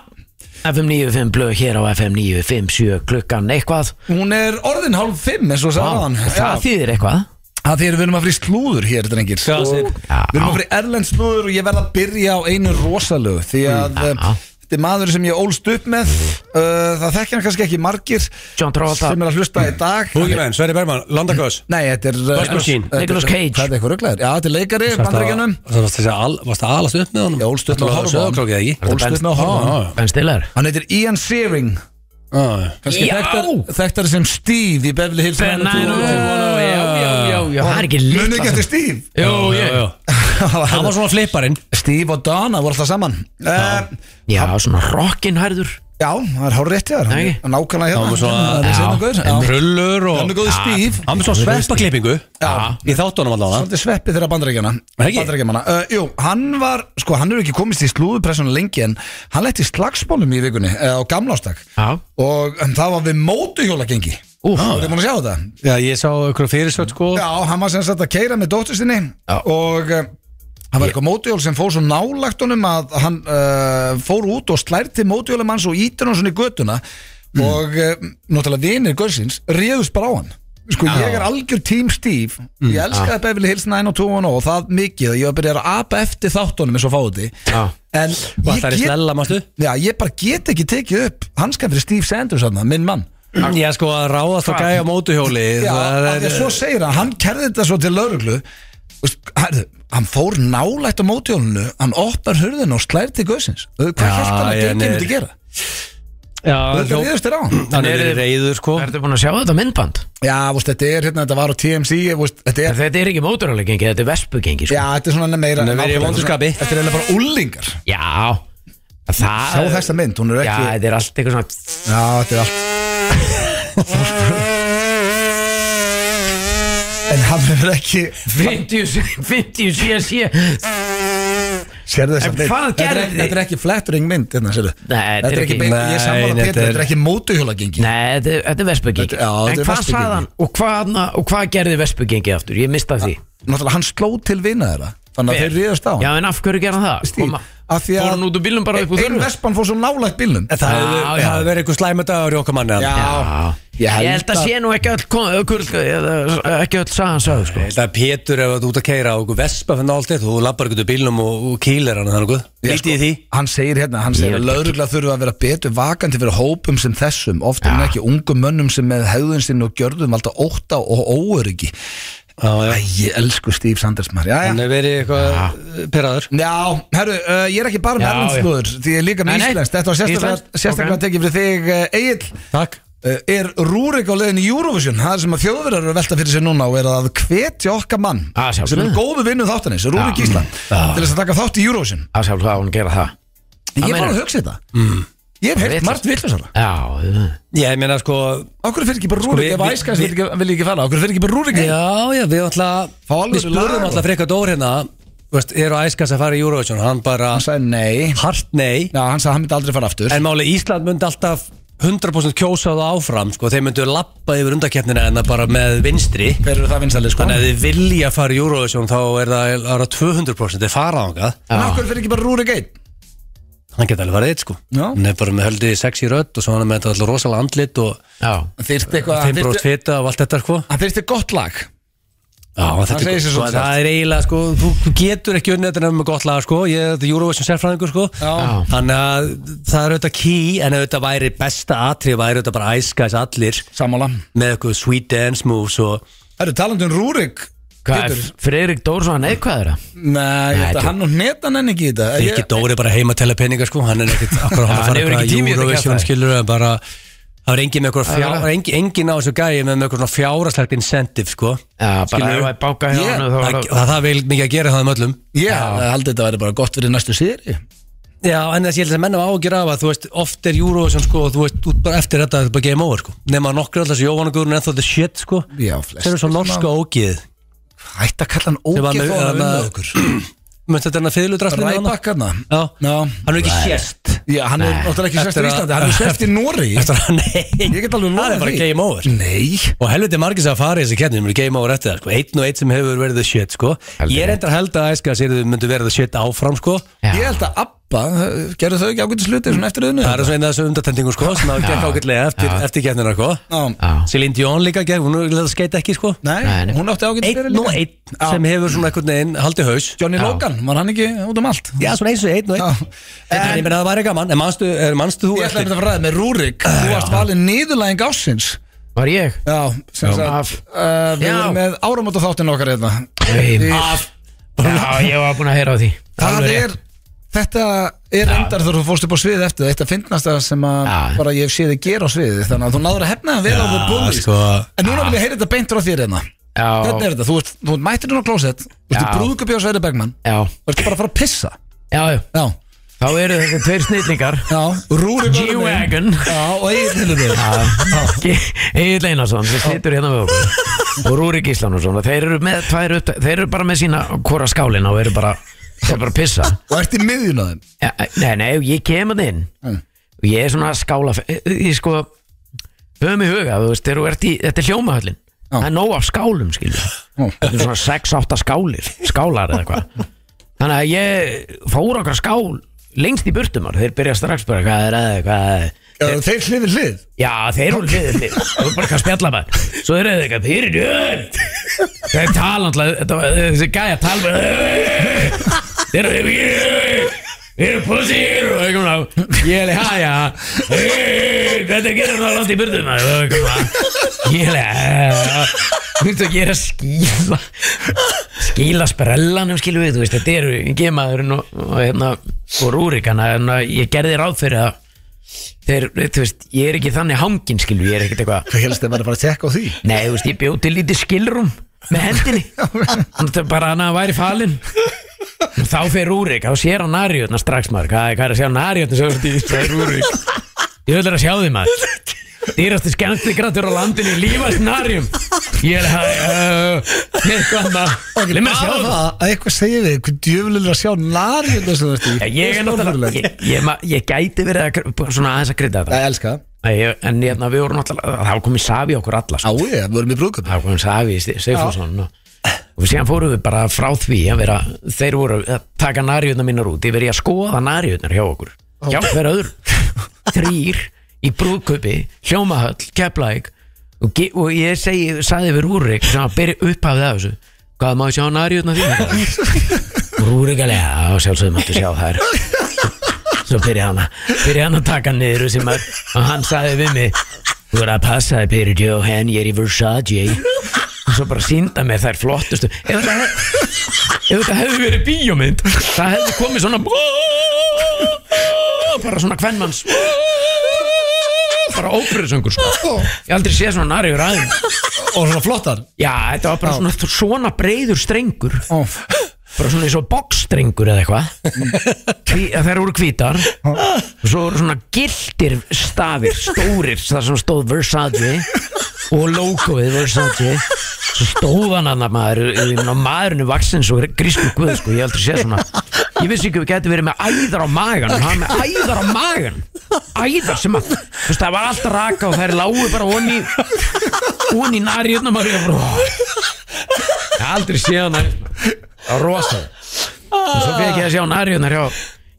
Speaker 3: FM 95 blöð hér á FM 957 klukkan eitthvað
Speaker 1: hún er orðin hálf fimm eins og sagðan
Speaker 3: Það þýðir eitthvað
Speaker 1: það þýðir við erum að fyrir slúður hér drengir
Speaker 2: Já,
Speaker 1: Og
Speaker 2: Sif.
Speaker 1: við erum að fyrir erlend slúður og ég verð að byrja á einu rosalögu því að
Speaker 3: Mm.
Speaker 1: uh, þetta er maður sem ég ólst upp með uh, það þekkja hann kannski ekki margir
Speaker 3: John Travolta.
Speaker 1: sem er að hlusta í dag
Speaker 2: Búgimenn, Sverri Bergman, Landakos
Speaker 1: Nei, þetta er uh,
Speaker 2: Bush Machine.
Speaker 1: þetta er-
Speaker 3: Nicolas Cage.
Speaker 1: Þetta er eitthvað rugglegar Já, þetta er leikari í bandaríkjanum
Speaker 2: Varst það alast upp með honum?
Speaker 1: Já, ólst upp með að horfa á hann.
Speaker 2: Söðokrókið ekki?
Speaker 1: Ólst upp með að horfa á hann.
Speaker 2: Já, já.
Speaker 3: Ben Stiller
Speaker 1: Hann heitir Ian Searing
Speaker 2: Já, já.
Speaker 1: Kannski
Speaker 3: Já!
Speaker 1: þekktar, þekktar sem Steve í Beverly Hills
Speaker 3: Ben
Speaker 1: 90210.
Speaker 3: Já, já, já, já Það er ekki
Speaker 1: Munið
Speaker 3: líkt
Speaker 1: ekki eftir Steve?
Speaker 3: Jú,
Speaker 2: Já,
Speaker 3: ég
Speaker 2: já. Hann var svona flipparinn
Speaker 1: Steve og Donna voru alltaf saman uh,
Speaker 3: Já, svona rockinhærður
Speaker 1: Já, það er hár rétti þar Hann
Speaker 3: Nei.
Speaker 1: er Nákvæmlega hérna
Speaker 2: Hann var svona-
Speaker 1: Hann er seinna gaur. Já.
Speaker 2: Rullur og Ah,
Speaker 1: Hann er góður Steve
Speaker 2: Hann var svona sveppaklippingu
Speaker 1: Já.
Speaker 2: Ég þátt honum allavega
Speaker 1: Svolítið sveppið þeirra bandaríkjana
Speaker 2: Ekki?
Speaker 1: Bandaríkjamanna uh, Jú, hann var Sko, hann er ekki komist í slúðupressuna lengi En hann lett í slagsmálum í vikunni uh, Á gamlástag
Speaker 3: Já.
Speaker 1: Og um, það var við mótuhjólagengi
Speaker 3: Úf
Speaker 1: Þú erum búin að sjá þetta?
Speaker 2: Já, ég sá ykkur fyrirsöld sko
Speaker 1: Já, hann var sem sagt að keira með dóttur sinni og uh, hann var eitthvað mótjól sem fór svo nálagt honum að hann uh, fór út og slærti mótjólum hans og ítir hann svona í götuna og uh, náttúrulega vinir Gursins réðust bara á hann Sko ég er algjör tím stíf Ég elskaði Beverly Hills 90210 og það mikið að ég var að byrja að apa eftir þáttunum eins og fáði
Speaker 3: Já.
Speaker 1: En
Speaker 2: Hvað
Speaker 1: ég
Speaker 2: það er
Speaker 1: get,
Speaker 2: slella, mástu?
Speaker 1: já, ég bara get ekki tekið upp hanskan fyrir Steve Sanders hann, minn mann
Speaker 2: Já sko að ráðast að gæja á mótuhjóli
Speaker 1: Ah. Já,
Speaker 2: það eh,
Speaker 1: af því að svo segir hann, hann kerði þetta svo til lauruglu hann, hann fór nálægt á mótjólinu hann opnar hurðin og slær til gausins hvað
Speaker 2: Já,
Speaker 1: held hann að
Speaker 2: ég,
Speaker 1: gengið
Speaker 2: nei.
Speaker 1: myndi gera?
Speaker 2: Já,
Speaker 1: Þetta
Speaker 2: hljóp-
Speaker 1: reyðust er á hann
Speaker 2: hann er reyður sko
Speaker 3: Ertu búin að sjá þetta myndband?
Speaker 1: Já, veist, þetta er hérna, þetta var á TMC veist, þetta er,
Speaker 3: Þetta er ekki mótorhjólagengi, þetta er vespugengi sko.
Speaker 1: já, þetta er svona meira
Speaker 2: Hann er meira í
Speaker 1: nákvæmlega,
Speaker 2: vonduskapi.
Speaker 1: svona- Þetta er eiginlega bara úlingar
Speaker 3: Já Það
Speaker 1: Sjá þessa mynd, hún er
Speaker 3: Já,
Speaker 1: ekki
Speaker 3: þetta er allt eitthvað svona
Speaker 1: Já, þetta er allt En hann verður ekki
Speaker 3: 50, 50 CSC
Speaker 1: Sérðu þess að
Speaker 3: En
Speaker 1: mynd
Speaker 3: hvað
Speaker 1: Þetta er
Speaker 3: gerði?
Speaker 1: ekki- Þetta er ekki flattering mynd hérna, sérðu.
Speaker 3: þetta er
Speaker 1: Þetta er ekki
Speaker 3: ekki-
Speaker 1: beint Ég er
Speaker 2: Nei,
Speaker 1: sammála
Speaker 2: þetta
Speaker 1: Pétur,
Speaker 2: er-
Speaker 1: þetta er ekki mótuhjólagengi
Speaker 3: Nei, þetta er- þetta er vespugengi
Speaker 1: Þetta- já, þetta
Speaker 3: En
Speaker 1: er
Speaker 3: hvað
Speaker 1: vespugengi.
Speaker 3: sagði hann og hvað, og hvað gerði vespugengi aftur? Ég mista því
Speaker 1: Náttúrulega hann sló til vina þeirra Þannig að
Speaker 3: Hver?
Speaker 1: þeir ríðast á hann.
Speaker 3: Já, en af hverju gerði hann það?
Speaker 1: Stíl,
Speaker 3: Kom að-
Speaker 1: af því að- e-
Speaker 3: Fór hann út úr bílum bara upp úr
Speaker 1: Einn
Speaker 3: þurru?
Speaker 1: vespan fór svo nálægt bílnum
Speaker 2: En það
Speaker 3: Já,
Speaker 2: hefði
Speaker 3: já.
Speaker 2: það hefði verið eitthvað slæmi dagur í okkar manni þarna.
Speaker 3: Já,
Speaker 1: Ég held
Speaker 3: ég held að
Speaker 1: að-
Speaker 3: sé nú ekki öll sko, kom- öll- öll- ekki öll sagan sagði sko
Speaker 2: Ég held að Pétur ef þú ert út að keira og vespa fyrir nált eitt, þú lappar ekkert úr bílnum og, og kýlir hann þannig
Speaker 1: Já,
Speaker 2: Lítið
Speaker 1: sko,
Speaker 2: í því
Speaker 1: Hann segir hérna, hann segir að laurugla þurfa að vera betur vakandi fyrir hópum sem þessum oft en ekki ungum mönnum sem með hegðun sinn og gjörðum alltaf óta og óöryggi
Speaker 2: já,
Speaker 1: Æ, ég elsku Steve Sanders maður Já,
Speaker 2: Hann
Speaker 1: já,
Speaker 2: hefur verið eitthvað eh, pyrraður
Speaker 1: já herru, uh, ég er ekki bara með
Speaker 3: Já, já.
Speaker 1: erlendslúður því ég er líka
Speaker 3: Nei,
Speaker 1: með
Speaker 3: nei.
Speaker 1: Íslands Þetta var sérstaklega,
Speaker 3: Íslenskt,
Speaker 1: sérstaklega
Speaker 3: ok.
Speaker 1: tekið fyrir þig uh, Egil
Speaker 2: Takk
Speaker 1: Uh, Er Rúrik á leiðin í Eurovision Það er sem að þjóðverðar eru að velta fyrir sér núna og er að hvetja okkar mann
Speaker 3: Ah, sjálfsögðu. Ah, mm.
Speaker 1: sem er góðu vinnu þáttanis, Rúrik
Speaker 3: Já.
Speaker 1: Ísland
Speaker 3: Já.
Speaker 1: til þess að taka þátt í Eurovision
Speaker 3: Það sjálf hvað hún gera það
Speaker 1: Ég
Speaker 3: Hvað
Speaker 1: var
Speaker 3: meinarðu?
Speaker 1: að hugsa þetta mm. Ég hef heilt
Speaker 3: Vitlaust.
Speaker 1: margt villisara
Speaker 3: Já,
Speaker 2: Ég meina sko
Speaker 1: Okkur fyrir ekki
Speaker 3: Sko,
Speaker 1: bara Rúrik,
Speaker 2: við-
Speaker 1: ef
Speaker 2: við-
Speaker 1: æskans vil ekki, vil ekki fara Okkur fyrir ekki bara Rúrik
Speaker 2: Já, já, við alltaf
Speaker 1: Fá alveg
Speaker 2: Við spurðum
Speaker 1: lag og-
Speaker 2: alltaf frekar dór hérna þú veist, Er á æskans að fara í Eurovision Hann bara
Speaker 1: Hann sagði nei
Speaker 2: hart nei
Speaker 1: Já, hann sagði hann myndi aldrei fara aftur
Speaker 2: En máli Ísland myndi alltaf 100% kjósa það áfram sko. Þeir myndu lappa yfir undakeppnina en það bara með vinstri
Speaker 1: Hver eru það vinsalið sko?
Speaker 2: Þannig að þið vilja fara í Eurovision þá er það, er það 200% þeir fara ángað
Speaker 3: Ah.
Speaker 1: En okkur fyrir ekki bara Rúrik einn
Speaker 2: Hann geta alveg farið eitt sko
Speaker 1: Já.
Speaker 2: Hann er bara með höldið í sexy rödd og svo hann er með þetta alltaf rosalega andlit og
Speaker 3: já
Speaker 1: Þyrst eitthvað hann
Speaker 2: 5%
Speaker 1: þyrfti-
Speaker 2: fita og allt þetta sko
Speaker 1: Hann þyrfti gott lag
Speaker 2: Já, þetta
Speaker 1: segir
Speaker 2: er,
Speaker 1: sig
Speaker 2: sko,
Speaker 1: svolítið
Speaker 2: það er eiginlega sko þú, þú getur ekki unnið þetta nefnum með gott lag sko Ég er þetta Eurovision sérfræðingur sko
Speaker 1: Já.
Speaker 2: Þannig að það er auðvitað key en ef þetta væri besta atrið væri auðvitað bara æskæs allir
Speaker 1: Sammála
Speaker 2: með eitthvað sweet dance moves og
Speaker 1: Það eru talandi um Rúrik
Speaker 3: Hvað er
Speaker 1: Pétur.
Speaker 3: Freirik Dórsson neikvæður það?
Speaker 1: Nei, ég held að
Speaker 3: þetta-
Speaker 1: hann og netan enn ekki í þetta Ég-
Speaker 2: Rikki Dóri er bara heima að tella peninga sko hann er ekkert akkur hann að
Speaker 3: Já, hann
Speaker 2: fara
Speaker 3: hefur ekki
Speaker 2: eitthvað
Speaker 3: tíma í þetta
Speaker 2: Eurovision
Speaker 3: kjaftæði.
Speaker 2: skilur en bara það er engin með eitthvað
Speaker 3: Já,
Speaker 2: fjár
Speaker 3: já.
Speaker 2: engin, engin á þessu gæi með með eitthvað svona fjáraslægt incentive sko
Speaker 3: Já, bara
Speaker 2: Skilurðu?
Speaker 3: ef að báka hjá
Speaker 1: Ég-
Speaker 3: hann
Speaker 2: það,
Speaker 3: þá
Speaker 2: það,
Speaker 3: var
Speaker 2: það, það vil mikið að gera það um öllum
Speaker 1: Já, ég held að þetta væri bara gott fyrir næstu sýri
Speaker 2: Já, en þessi ég held að menna ágjör af að þú veist oft er Eurovision sko og þú veist út bara eftir þetta er bara game over sko nema nokkru alltaf þessu Jóhann og Guðrun ennþá the shit sko
Speaker 1: Já,
Speaker 2: sem eru svo norska ógið
Speaker 1: Hætt að kalla hann
Speaker 2: Sem var
Speaker 1: ógeð
Speaker 2: með-
Speaker 1: þó að vinna
Speaker 2: þarna-
Speaker 1: okkur
Speaker 2: Mennst þetta er hennar fiðludrastin
Speaker 1: Ræbakkarna
Speaker 2: Já,
Speaker 1: Já.
Speaker 2: hann er ekki sérst
Speaker 1: Já, hann er náttúrulega ekki sérst
Speaker 2: Eftir
Speaker 1: í
Speaker 2: að-
Speaker 1: Íslandi, hann er sérst í Nóri
Speaker 2: Eftir að nei
Speaker 1: Ég get alveg
Speaker 2: Það
Speaker 1: lofað
Speaker 2: er bara
Speaker 1: því.
Speaker 2: game over
Speaker 1: Nei
Speaker 2: Og helviti margir sem að fara í þessi keppni, mér er game over eftir það, sko, einn og einn sem hefur verið the shit, sko.
Speaker 3: Heldur
Speaker 2: Ég er endur að held að æska að sér þau myndu verið the shit áfram, sko.
Speaker 1: Ég held að Abba, uh, gerðu þau ekki ágæti sluti svona eftir auðnu
Speaker 2: Það er svona eina af þessu undatendingu, sko, sem það gekk ágætlega eftir, eftir keppnina, sko.
Speaker 1: Já,
Speaker 3: Já,
Speaker 2: Celine Dion líka gekk, hún er að skeita ekki, sko.
Speaker 1: nei,
Speaker 3: Nei, nei.
Speaker 1: hún átti ágæti
Speaker 2: Einn og einn sem hefur svona einhvern veginn haldið haus.
Speaker 1: Johnny
Speaker 3: Já.
Speaker 1: Logan, var hann ekki út um allt?
Speaker 2: Já, svona eins og einn og einn. En ég meina það væri gaman, en manstu, er, manstu þú
Speaker 1: Ég ætlaði að fara ræða með Rúrik Þú varst valin nýðulæðing ásins
Speaker 3: var ég
Speaker 1: Já, sem sagt
Speaker 3: Af-
Speaker 1: uh, Við
Speaker 3: Já.
Speaker 1: erum með áramóta þáttin okkar hérna
Speaker 3: Nei,
Speaker 1: Í-
Speaker 3: Já, ég var búin að heyra á því
Speaker 1: Það
Speaker 3: Alveg
Speaker 1: er,
Speaker 3: rétt.
Speaker 1: þetta er endar þegar þú fórst upp á sviðið eftir þetta finnast það sem að
Speaker 3: Já.
Speaker 1: bara ég sé þið gera á sviðið þannig að þú náður að hefna það vel á því búið
Speaker 2: sko.
Speaker 1: en núna vil ég heyra þetta beint frá þér hérna hvernig
Speaker 3: Já,
Speaker 1: er þetta, þú ert, þú ert mættir hún á klósett þú ert
Speaker 3: Já.
Speaker 1: brúðkupi á Sverri Bergmann
Speaker 3: já,
Speaker 1: og ert bara að fara að pissa
Speaker 3: já, já
Speaker 1: já,
Speaker 3: Þá eru þetta tveir snillingar
Speaker 1: já, rúri
Speaker 3: G-Wagon
Speaker 1: já, og eigin til þetta
Speaker 3: Egil Einarsson sem situr hérna með okkur og Rúrik Íslanursson og þeir eru, með, tvær, upp- þeir eru bara með sína hvora skálina og eru bara, þeir eru bara að pissa
Speaker 1: og ert í miðjun á þeim
Speaker 3: ja, Nei, nei, ég kemur inn
Speaker 1: Mm.
Speaker 3: og ég er svona að skála ég sko, höfum í huga þú veist, þegar þú ert í, þetta er hljómahöllin
Speaker 1: Já.
Speaker 3: það er nóg af skálum, skilur
Speaker 1: Já.
Speaker 3: þetta er svona 6-8 skálir skálar eða eitthvað þannig að ég fór okkar skál lengst í burtumar, þeir byrja strax bara hvað er að, hvað er
Speaker 1: Já, þeir hlið við hlið
Speaker 3: Já, þeir eru hliðið þig Þú er bara eitthvað að spjalla með Svo eru þeir eitthvað, þeir eru jörn Þeir eh, tala alltaf, þetta var- þessi gæja tala með Þeir eru Ég er pussy hero og eitthvað svona. Ég er leið, hæja Hey, Þetta gerir það langt í burðum maður, og eitthvað svona. Ég er leið Þú veist að ég er að skýla Skýla sprellanum skilur við Þú veist, þetta eru gemaðurinn og, og, hérna, og rúrikana En að ég gerði ráð fyrir að Þeir, þú veist, ég er ekki þannig hangin skilur Ég er ekkert eitthvað
Speaker 1: Hvað helst þeim að bara að tekka á því?
Speaker 3: Nei, þú veist, ég bjóti lítið skilrúm með hendinni Þannig að bara hann að væri falinn og þá fer Rúrik, þá sér hann Ariðna strax maður, hvað, hvað er að sjá Ariðna svo stíð, það er Rúrik ég vil vera að sjá því maður dýrasti skemmtigrættur á landinu í lífast Ariðum ég er að uh, eitthvað annað,
Speaker 1: Ok,
Speaker 3: leið mér að sjá
Speaker 1: bara
Speaker 3: það
Speaker 1: það að eitthvað segir við Hvað djöfulir að sjá nari hérna sem þú veist í
Speaker 3: Já, ég er náttúrulega, ég, ég, ma- ég gæti verið að, kr- svona aðeins að krydda þetta
Speaker 1: Ég elska það
Speaker 3: Nei, ég- en hérna, við vorum náttúrulega, þá komið Savi okkur alla sko.
Speaker 1: Á ég, við vorum í brúðköp
Speaker 3: þá komum Savi Seifursson og, og síðan fórum við bara frá því að vera, þeir voru að taka nariðunar mínar út yfir í að skoða nariðunar hjá okkur hjá hver öðru þrýr í brúðköpi, hljómahöll, keplæk og, ge- og ég segi, sagði við Rúrik sem að byrja upphafið af þessu hvað má ég sjá nariðunar þín Rúrik alveg, já sjálfsögum máttu sjá þær Svo byrjaði hann, að- byrjaði hann að taka hann niður sem að, og hann sagði við mig Þú verður að passa þig Peter Johan, ég er í Versace og svo bara sínda mér þær flottustu ef þetta, hef, ef þetta hefði verið bíómynd það hefði komið svona bara svona kvennmanns bara óperusöngur sko ég aldrei sé svona nariður aðeins
Speaker 1: Og svona flottar
Speaker 3: já, þetta var bara svona, svona breiður strengur bara svona eins og boksstrengur eða eitthvað Hví- að þær voru hvítar og svo voru svona gildir stafir stórir, þar sem stóð Versace og logoið Versace svo stóð hann að maður ég meina, maðurinn er vaksinn svo grísku guð sko, ég hef aldrei sé svona ég vissi ekki að við getum verið með æðar á magan og hann með æðar á magan æðar sem að, þú veist það var allt raka og þær lágu bara onni onni nari hérna maður ég bara, ó. Ég hef aldrei sé hann það var rosa og svo fyrir ekki að sjá nari hérna hjá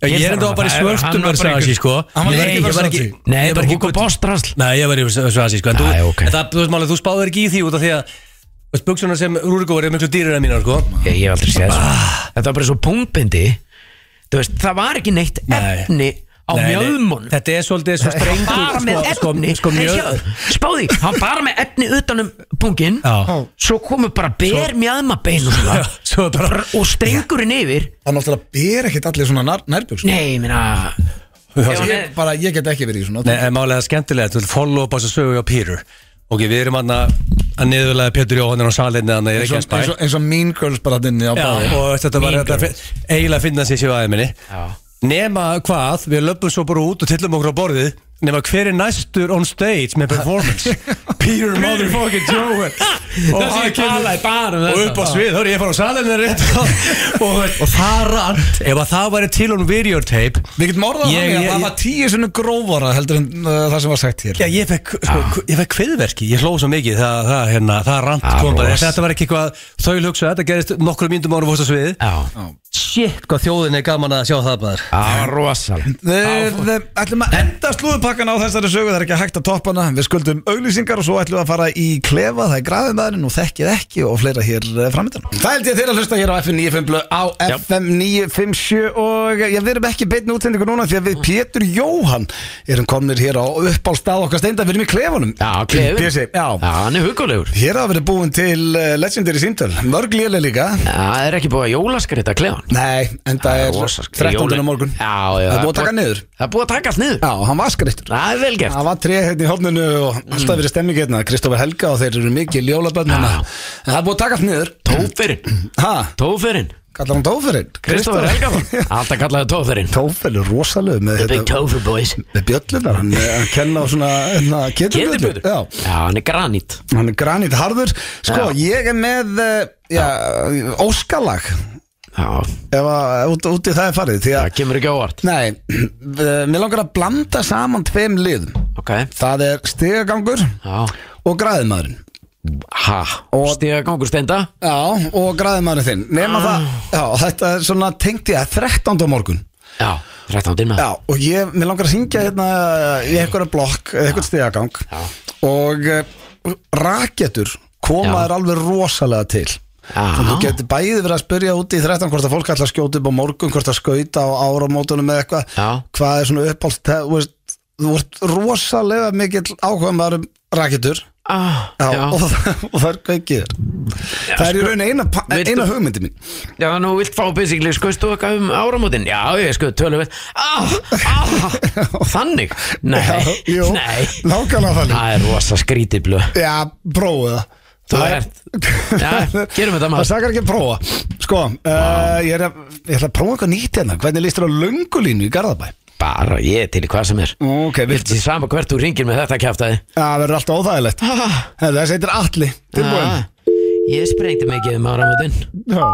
Speaker 2: Ég er enda bara í
Speaker 3: Það er- hann
Speaker 2: svörtum
Speaker 3: var bara
Speaker 2: Versace
Speaker 3: einhver-
Speaker 2: sko
Speaker 1: Hann var
Speaker 2: Nei,
Speaker 1: bara ekki
Speaker 2: ég var
Speaker 1: Versace.
Speaker 2: ekki-
Speaker 3: Nei,
Speaker 2: ég
Speaker 3: þetta
Speaker 2: var
Speaker 3: var
Speaker 2: ekki
Speaker 3: Hugo Boss drasl
Speaker 2: Nei, ég var í Svasi sko, en þú,
Speaker 3: Æ, ok.
Speaker 2: en það, þú veist málega, þú spáður ekki í því út af því að þú veist, Buxurnar sem Rúrikó er miklu dýrir en mínar sko
Speaker 3: Ég, ég hef aldrei séð þessu Þetta var bara svo pungbindi Þú veist, það var ekki neitt
Speaker 2: Nei.
Speaker 3: efni á
Speaker 2: Nei, nei,
Speaker 3: mjöðmun
Speaker 2: Þetta er svolítið svo strengur
Speaker 3: bara
Speaker 2: sko-
Speaker 3: með
Speaker 2: sko-
Speaker 3: efni
Speaker 2: sko,
Speaker 3: Nei,
Speaker 2: mjöð-
Speaker 3: sjáðu, Spáði, hann bara með efni utanum pungin
Speaker 2: Já.
Speaker 3: Svo komu bara ber mjöðma bein og, svona.
Speaker 2: Svo bara
Speaker 3: og strengurinn yfir
Speaker 1: Það náttúrulega ber ekkert allir svona nær, nærbjöks
Speaker 3: Nei, ég meina ef hann
Speaker 1: ég,
Speaker 3: er-
Speaker 1: bara, ég get ekki verið í svona
Speaker 2: Nei, en málega skemmtilega, þú vil follow up á þessu sögu á Pírur Ok, við erum hann að niðurlega Pétur Jóhann á salinni þannig að ég er
Speaker 1: eins
Speaker 2: ekki
Speaker 1: og,
Speaker 2: að spæ
Speaker 1: eins, og, eins og Mean Girls bara dinni á
Speaker 2: Já,
Speaker 1: báði
Speaker 2: og þetta var
Speaker 3: Mean
Speaker 2: þetta
Speaker 3: girls.
Speaker 2: fi- eiginlega að finna sér sér aðeins minni
Speaker 3: Já.
Speaker 2: Nema hvað, við löpum svo bara út og tillum okkur á borðið Nema hver er næstur on stage með performance Peter motherfucking Joe Og
Speaker 3: Það sé
Speaker 2: hann
Speaker 3: ég
Speaker 2: kemur
Speaker 3: talaði bara um
Speaker 2: og
Speaker 3: þetta.
Speaker 2: upp á svið, hörru ég fara á salinni rétt og, og, og það rann Ef að það væri til on videotape
Speaker 1: Við getum orðað
Speaker 2: Ég-
Speaker 1: þannig að
Speaker 2: ég-
Speaker 1: það
Speaker 2: ég-
Speaker 1: var tíu svona grófara heldur en uh, það sem var sagt hér
Speaker 2: Já, ég fekk, sko, ég fekk kviðverki, ég hlóð svo mikið, það, það, hérna, það rand
Speaker 3: Ah,
Speaker 2: kom bara,
Speaker 3: ros.
Speaker 2: þetta var ekki eitthvað þaul hugsa, þetta gerist nokkru myndum ára fórst á sviði.
Speaker 3: Já,
Speaker 2: Shit, hvað þjóðin er gaman að sjá það maður.
Speaker 3: það var rosalegt
Speaker 1: Við við ætlum að enda slúðupakkan á þessari sögu Það er ekki hægt að toppa hana Við skuldum auglýsingar og svo ætlum við að fara í klefa Það er grafið maðurinn og þekkið ekki og fleira hér framöndan Það held ég þeir að hlusta hér á FM 957 á FM 957 og já, við erum ekki beitni útsendingu núna því að við Pétur Jóhann erum komnir hér á uppálstað okkar steinda við erum í klefanum
Speaker 3: Já, klefur
Speaker 1: Pési, já.
Speaker 3: Já, hann er hugulegur
Speaker 1: Hér hafa verið búin til eh, Legendary Sýndal Mörg léle líka
Speaker 3: Það er ekki búið að jólaskrita klefan
Speaker 1: Nei, en það er
Speaker 3: rosa
Speaker 1: 13.
Speaker 3: skrýt.
Speaker 1: á
Speaker 3: Jólin.
Speaker 1: morgun
Speaker 3: Já, já,
Speaker 1: Það er búið að taka niður
Speaker 3: Það er búið að takast niður
Speaker 1: Já, hann var skreittur
Speaker 3: Það er vel gert
Speaker 1: Það var tré hérna í horninu og alltaf verið stemmingi hérna Kristófur Helga og þeir eru mikið ljólabönn
Speaker 3: Já.
Speaker 1: hérna En það er búið að taka allt niður
Speaker 3: Tóferinn
Speaker 1: Ha,
Speaker 3: Tóferinn
Speaker 1: kallar hann Tóferinn?
Speaker 3: Kristofur Helgason Alltaf kallaði Tóferinn
Speaker 1: Tóferinn er rosalegu með
Speaker 3: The Big
Speaker 1: þetta
Speaker 3: Tófer Boys
Speaker 1: Með bjöllunar, hann er að kenna á svona hérna,
Speaker 3: Getur
Speaker 1: Ketilbjöllur Já,
Speaker 3: Já, hann er granít
Speaker 1: hann er granít harður Sko, ég er með eh, já, óskalag
Speaker 3: Já,
Speaker 1: Ef að út, út í það er farið Því að,
Speaker 3: það kemur ekki ávart
Speaker 1: nei, eh, mér langar að blanda saman tveim liðum
Speaker 3: Ok
Speaker 1: Það er stegagangur
Speaker 3: Já
Speaker 1: og græðimaðurinn
Speaker 3: Ha
Speaker 1: Og-
Speaker 3: Stiga gangur steinda
Speaker 1: Já, og græðimæri þinn Nefna
Speaker 3: Ah.
Speaker 1: það, já, þetta er svona tengt ég að 13. á morgun
Speaker 3: Já 13 dýrna
Speaker 1: Já, og ég, mér langar að syngja hérna í einhverja blokk, einhvern stegagang
Speaker 3: Já.
Speaker 1: og uh, rakettur
Speaker 3: Já.
Speaker 1: komaður alveg rosalega til Þannig að þú getur bæði verið að spyrja út í 13 hvort að fólk ætla að skjóta upp á morgun hvort að skauta á áramótunum eða eitthvað
Speaker 3: Já.
Speaker 1: hvað er svona uppált þú veist, þú ert rosalega mikill áhugaðum um rakitur
Speaker 3: ah,
Speaker 1: já,
Speaker 3: já. sko,
Speaker 1: og, og það er kveikið þér. það er í raun eina, pa-
Speaker 3: Viltu-
Speaker 1: eina hugmyndi mín
Speaker 3: já, nú vilt fá basically skoðst þú eitthvað um áramótin Já, ég skoði tölum við ah, ah, Þannig? Nei,
Speaker 1: já, jú,
Speaker 3: nei
Speaker 1: nákvæmlega þannig
Speaker 3: Það er rosa skrítið blöð
Speaker 1: já, prófið það
Speaker 3: Þú
Speaker 1: Það er-
Speaker 3: ert- Já, gerum þetta, maður.
Speaker 1: Það sakar ekki að prófa Sko, uh, ég, er að, ég ætla að prófa eitthvað nýtt hérna Hvernig líst þér á löngulínu í Garðabæ?
Speaker 3: Bara ég er til í hvað sem er
Speaker 1: Ok,
Speaker 3: Viltu
Speaker 1: viltu
Speaker 3: því sama hvert þú ringir með þetta kjaftaði
Speaker 1: Það verður alltaf óþægilegt Herðu, Þessi heitir Atli, tilbúin
Speaker 3: Ah, Ég sprengdi mikið um áramótin
Speaker 1: Já.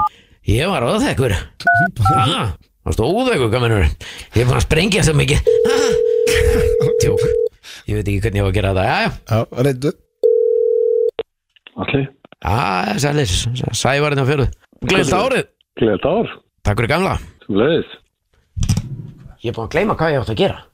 Speaker 3: Ég var óþekkur ah, Varst óþekkur kaminur Ég er búin að sprengja svo mikið ah, Tjók Ég veit ekki hvernig ég var að gera þetta Jæja,
Speaker 1: Já, reyndu
Speaker 4: Allir,
Speaker 3: ah, sælis, sævarinn hérna á fjöruð Gleilt árið,
Speaker 4: gleðið ár,
Speaker 3: takk fyrir gamla
Speaker 4: sem leiðis.
Speaker 3: Ég er búin að gleyma hvað ég átt að gera